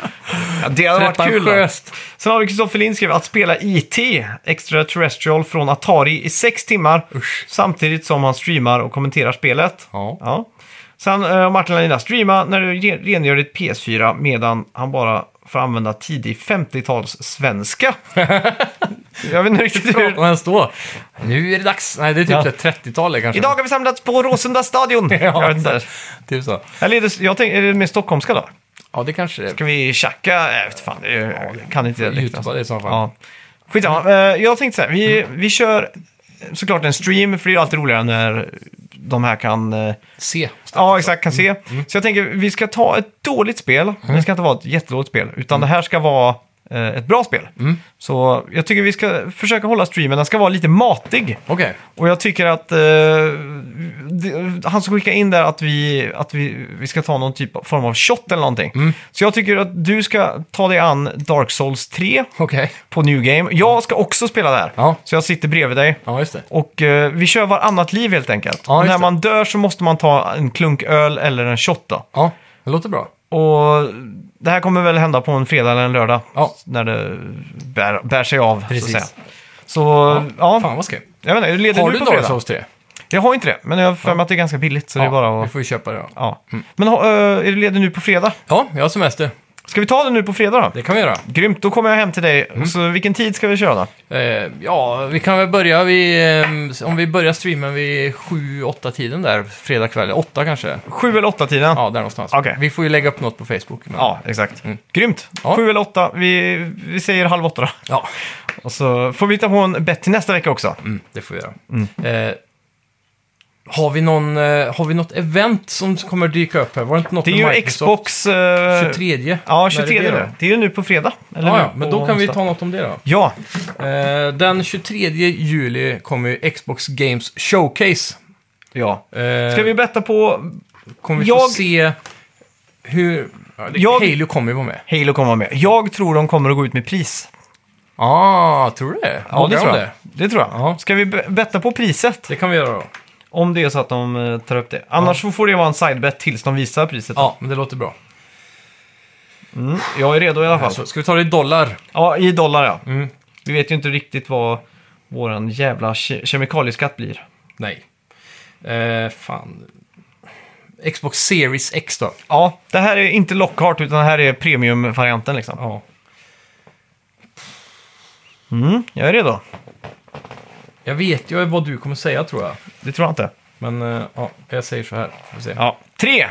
Speaker 1: Ja, det hade varit kul. då.
Speaker 2: Pretentiöst.
Speaker 1: Sen har vi Kristoffer Lind skriver att spela IT, Extraterrestrial, från Atari i sex timmar. Samtidigt som han streamar och kommenterar spelet.
Speaker 2: Ja.
Speaker 1: Ja. Sen eh, Martin Landina, streama när du re- rengör ditt PS4 medan han bara får använda tidig 50-tals svenska. Jag vet inte riktigt hur...
Speaker 2: Och ens då? Nu är det dags. Nej, det är typ
Speaker 1: Ja.
Speaker 2: ja. 30-talet kanske.
Speaker 1: Idag har vi samlats på Råsunda stadion. Jag vet inte.
Speaker 2: Typ så.
Speaker 1: Eller är det, jag tänker, är det mer stockholmska då?
Speaker 2: Ja, det kanske det är.
Speaker 1: Ska vi tjacka? Jag vet fan, det är- kan inte det riktigt.
Speaker 2: Youtuba det i så fall.
Speaker 1: Ja. Skitsamma, Eh, jag tänkte så här, vi, vi kör såklart en stream, för det är ju alltid roligare när de här kan... eh,
Speaker 2: Se.
Speaker 1: Ja, exakt, kan se. Så jag tänker, vi ska ta ett dåligt spel, det ska inte vara ett jättedåligt spel, utan det här ska vara eh, ett bra spel. Så jag tycker vi ska försöka hålla streamen, den ska vara lite matig.
Speaker 2: Okej.
Speaker 1: Och jag tycker att eh, det- han som skickade in där att vi, att vi, vi ska ta någon typ av form av shot eller någonting. Så jag tycker att du ska ta dig an Dark Souls 3
Speaker 2: Okej.
Speaker 1: på New Game. Jag ska också spela där.
Speaker 2: Ja.
Speaker 1: Så jag sitter bredvid dig.
Speaker 2: Ja, just det.
Speaker 1: Och eh, vi kör varannat liv helt enkelt.
Speaker 2: Ja, just
Speaker 1: När
Speaker 2: det.
Speaker 1: man dör så måste man ta en klunk öl eller en shot då.
Speaker 2: Ja, det låter bra.
Speaker 1: Och det här kommer väl hända på en fredag eller en lördag.
Speaker 2: Ja.
Speaker 1: När det bär, bär sig av,
Speaker 2: Precis.
Speaker 1: så att säga. Så, ja.
Speaker 2: Fan vad skoj.
Speaker 1: Jag vet inte, leder
Speaker 2: Har
Speaker 1: du
Speaker 2: du
Speaker 1: på
Speaker 2: Dark
Speaker 1: fredag?
Speaker 2: Souls 3?
Speaker 1: Jag har inte det, men jag har för mig att det är ganska billigt. Så det är bara
Speaker 2: Vi
Speaker 1: att...
Speaker 2: får ju köpa det då.
Speaker 1: Ja. Men ha- eh, är du ledig nu på fredag?
Speaker 2: Ja, jag har semester.
Speaker 1: Ska vi ta det nu på fredag då?
Speaker 2: Det Mm. kan vi göra.
Speaker 1: Grymt, då kommer jag hem till dig. Så vilken tid ska vi köra då?
Speaker 2: Eh, ja, vi kan väl börja vid... Eh, om vi börjar streamen vid 7-8-tiden där, fredag kväll. 8 kanske.
Speaker 1: Sju eller åtta tiden?
Speaker 2: Ja, där någonstans.
Speaker 1: Okej.
Speaker 2: Vi får ju lägga upp något på Facebook. men-
Speaker 1: Ja, exakt. Grymt.
Speaker 2: Ja.
Speaker 1: Sju eller åtta. Vi, vi säger halv åtta då.
Speaker 2: ja.
Speaker 1: Och så får vi ta på en bett till nästa vecka också.
Speaker 2: Mm, det får vi göra. Eh, har, vi någon, eh, har vi något event som kommer dyka upp här? Var det inte något
Speaker 1: Det är
Speaker 2: med
Speaker 1: ju
Speaker 2: Microsoft?
Speaker 1: Xbox... eh,
Speaker 2: 23.
Speaker 1: Ja,
Speaker 2: När
Speaker 1: 23
Speaker 2: är det
Speaker 1: nu.
Speaker 2: då?
Speaker 1: Det är ju nu på fredag. Eller
Speaker 2: Ja,
Speaker 1: nu
Speaker 2: ja, men
Speaker 1: på
Speaker 2: då kan vi
Speaker 1: onsdag.
Speaker 2: ta något om det då.
Speaker 1: Ja,
Speaker 2: Eh, den 23 juli kommer ju Xbox Games Showcase.
Speaker 1: ja.
Speaker 2: Eh,
Speaker 1: Ska vi betta på...
Speaker 2: kommer vi få
Speaker 1: jag-
Speaker 2: se hur... Ja, det,
Speaker 1: Jag-
Speaker 2: Halo kommer ju vara med.
Speaker 1: Halo kommer vara med. Jag tror de kommer att gå ut med pris.
Speaker 2: Ah, tror du det? Vågar de
Speaker 1: tror jag.
Speaker 2: Det?
Speaker 1: Det tror jag.
Speaker 2: Ja.
Speaker 1: Ska vi be- betta på priset?
Speaker 2: det kan vi göra då.
Speaker 1: Om det är så att de eh, tar upp det. Annars så får det vara en sidebet tills de visar priset.
Speaker 2: Ja, men det låter bra.
Speaker 1: Jag är redo i alla fall.
Speaker 2: Alltså, ska vi ta det i dollar?
Speaker 1: Ja, i dollar ja.
Speaker 2: Mm.
Speaker 1: Vi vet ju inte riktigt vad våran jävla ke- kemikalieskatt blir.
Speaker 2: Nej. Eh, fan. Xbox Series X då?
Speaker 1: Ja, det här är inte Lockhart utan det här är premiumvarianten liksom.
Speaker 2: Ja.
Speaker 1: Mm, jag är redo.
Speaker 2: Jag vet ju vad du kommer säga tror jag.
Speaker 1: Det tror jag inte.
Speaker 2: Men eh, ja, jag säger så här. Får vi se.
Speaker 1: Ja. 3,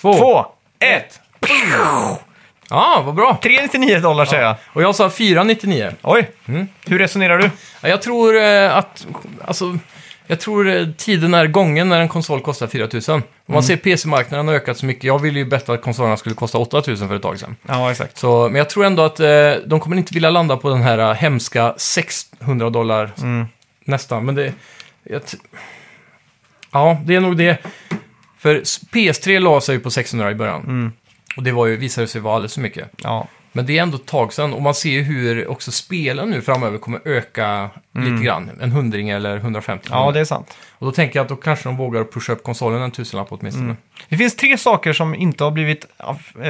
Speaker 2: Två.
Speaker 1: 2, 1.
Speaker 2: Ja, vad bra.
Speaker 1: 3,99 dollar säger jag.
Speaker 2: Och jag sa 499.
Speaker 1: Oj, hur resonerar du?
Speaker 2: Ja, Jag tror eh, att... Alltså, jag tror eh, tiden är gången när en konsol kostar 4000. Om man ser PC-marknaden har ökat så mycket. Jag ville ju betta att konsolerna skulle kosta 8000 för ett tag sedan.
Speaker 1: Ja, exakt.
Speaker 2: Så, men jag tror ändå att eh, de kommer inte vilja landa på den här eh, hemska 600 dollar
Speaker 1: Mm.
Speaker 2: nästan. Men det... Jag, t- ja, det är nog det. För s- PS3 la sig ju på 600 i början.
Speaker 1: Mm.
Speaker 2: Och det var ju, visade sig vara alldeles för mycket.
Speaker 1: Ja.
Speaker 2: Men det är ändå ett tag sedan och man ser ju hur också spelen nu framöver kommer öka lite grann. En hundring eller 150.
Speaker 1: Mm. ja, det Mm. är sant.
Speaker 2: Och då tänker jag att då kanske de vågar pusha upp konsolen en tusenlapp åtminstone.
Speaker 1: Det finns tre saker som inte har blivit aff eh,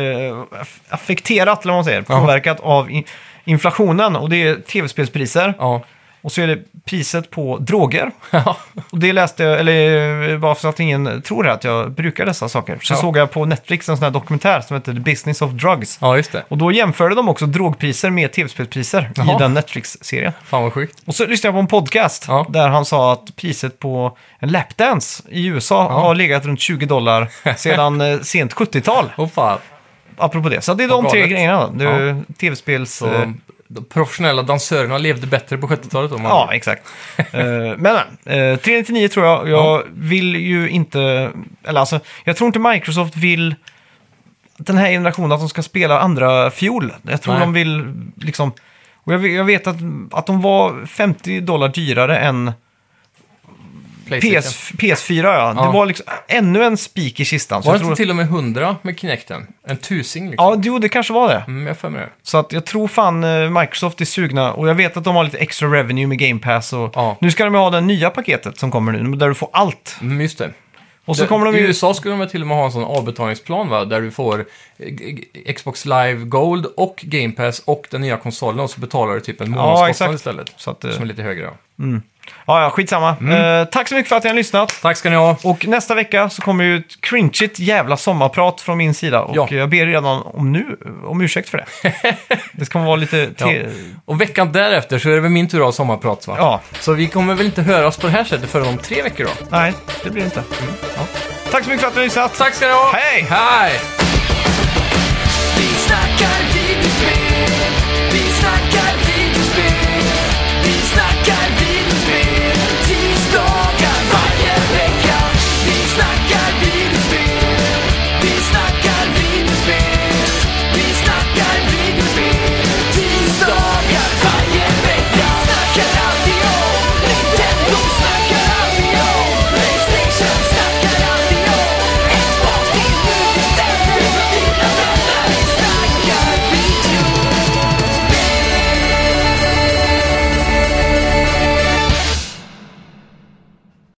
Speaker 1: aff- affekterat, eller vad man säger, påverkat av i- inflationen. Och det är tv-spelspriser
Speaker 2: Ja.
Speaker 1: och så är det priset på droger.
Speaker 2: Ja.
Speaker 1: Och det läste jag, eller eh, bara för att ingen tror att jag brukar dessa saker, så
Speaker 2: Ja.
Speaker 1: såg jag på Netflix en sån här dokumentär som heter The Business of Drugs.
Speaker 2: ja, just det.
Speaker 1: Och då jämförde de också drogpriser med tv-spelspriser
Speaker 2: Jaha.
Speaker 1: i den Netflix-serien.
Speaker 2: Fan vad sjukt.
Speaker 1: Och så lyssnade jag på en podcast
Speaker 2: Ja.
Speaker 1: där han sa att priset på en lapdance i USA har legat runt 20 dollar sedan eh, sent 70-tal.
Speaker 2: Åh fan.
Speaker 1: Apropå det. Så det är de
Speaker 2: Vad
Speaker 1: tre
Speaker 2: galet.
Speaker 1: grejerna. då. Det är ju tv-spels...
Speaker 2: Så
Speaker 1: eh,
Speaker 2: de, de professionella dansörerna levde bättre på 70-talet om man
Speaker 1: Ja, exakt. Eh, men uh, 399 tror jag. Jag vill ju inte... Eller alltså, jag tror inte Microsoft vill den här generationen att de ska spela andra fiol. Jag tror
Speaker 2: Nej.
Speaker 1: de vill liksom... Och jag vet, jag vet att, att de var 50 dollar dyrare än
Speaker 2: Playstation.
Speaker 1: PS, PS4. Ja.
Speaker 2: Ja.
Speaker 1: Det var liksom ännu en spik i kistan. Så
Speaker 2: Var det
Speaker 1: jag tror,
Speaker 2: inte till och med 100 med Kinecten? En tusing liksom?
Speaker 1: Ja, jo, det kanske var det.
Speaker 2: Mm, jag har för mig det.
Speaker 1: Så att jag tror fan eh, Microsoft är sugna och jag vet att de har lite extra revenue med Game Pass och
Speaker 2: Ja.
Speaker 1: nu ska de ju ha det nya paketet som kommer nu där du får allt.
Speaker 2: Mm, just det.
Speaker 1: Och så kommer de
Speaker 2: I
Speaker 1: ju...
Speaker 2: USA skulle de väl till och med ha en sån avbetalningsplan va? Där du får eh, g- g- Xbox Live Gold och Game Pass och den nya konsolen och så betalar du typ en månadskostnad
Speaker 1: exakt.
Speaker 2: istället.
Speaker 1: Så att, eh,
Speaker 2: Som är lite högre.
Speaker 1: ja, ja, skitsamma. Eh, tack så mycket för att ni har lyssnat.
Speaker 2: Tack ska ni ha.
Speaker 1: Och nästa vecka så kommer ju ett cringeigt jävla sommarprat från min sida. Och
Speaker 2: Ja.
Speaker 1: jag ber redan om nu om ursäkt för det. det ska vara lite... Te...
Speaker 2: Och veckan därefter så är det väl min tur att ha sommarprat va?
Speaker 1: Ja.
Speaker 2: Så vi kommer väl inte höras på det här sättet förrän om tre veckor då?
Speaker 1: Nej, det blir det inte. Ja. Tack så mycket för att ni har lyssnat.
Speaker 2: Tack ska ni ha!
Speaker 1: Hej!
Speaker 2: Hej!
Speaker 3: Vi snackar videospel,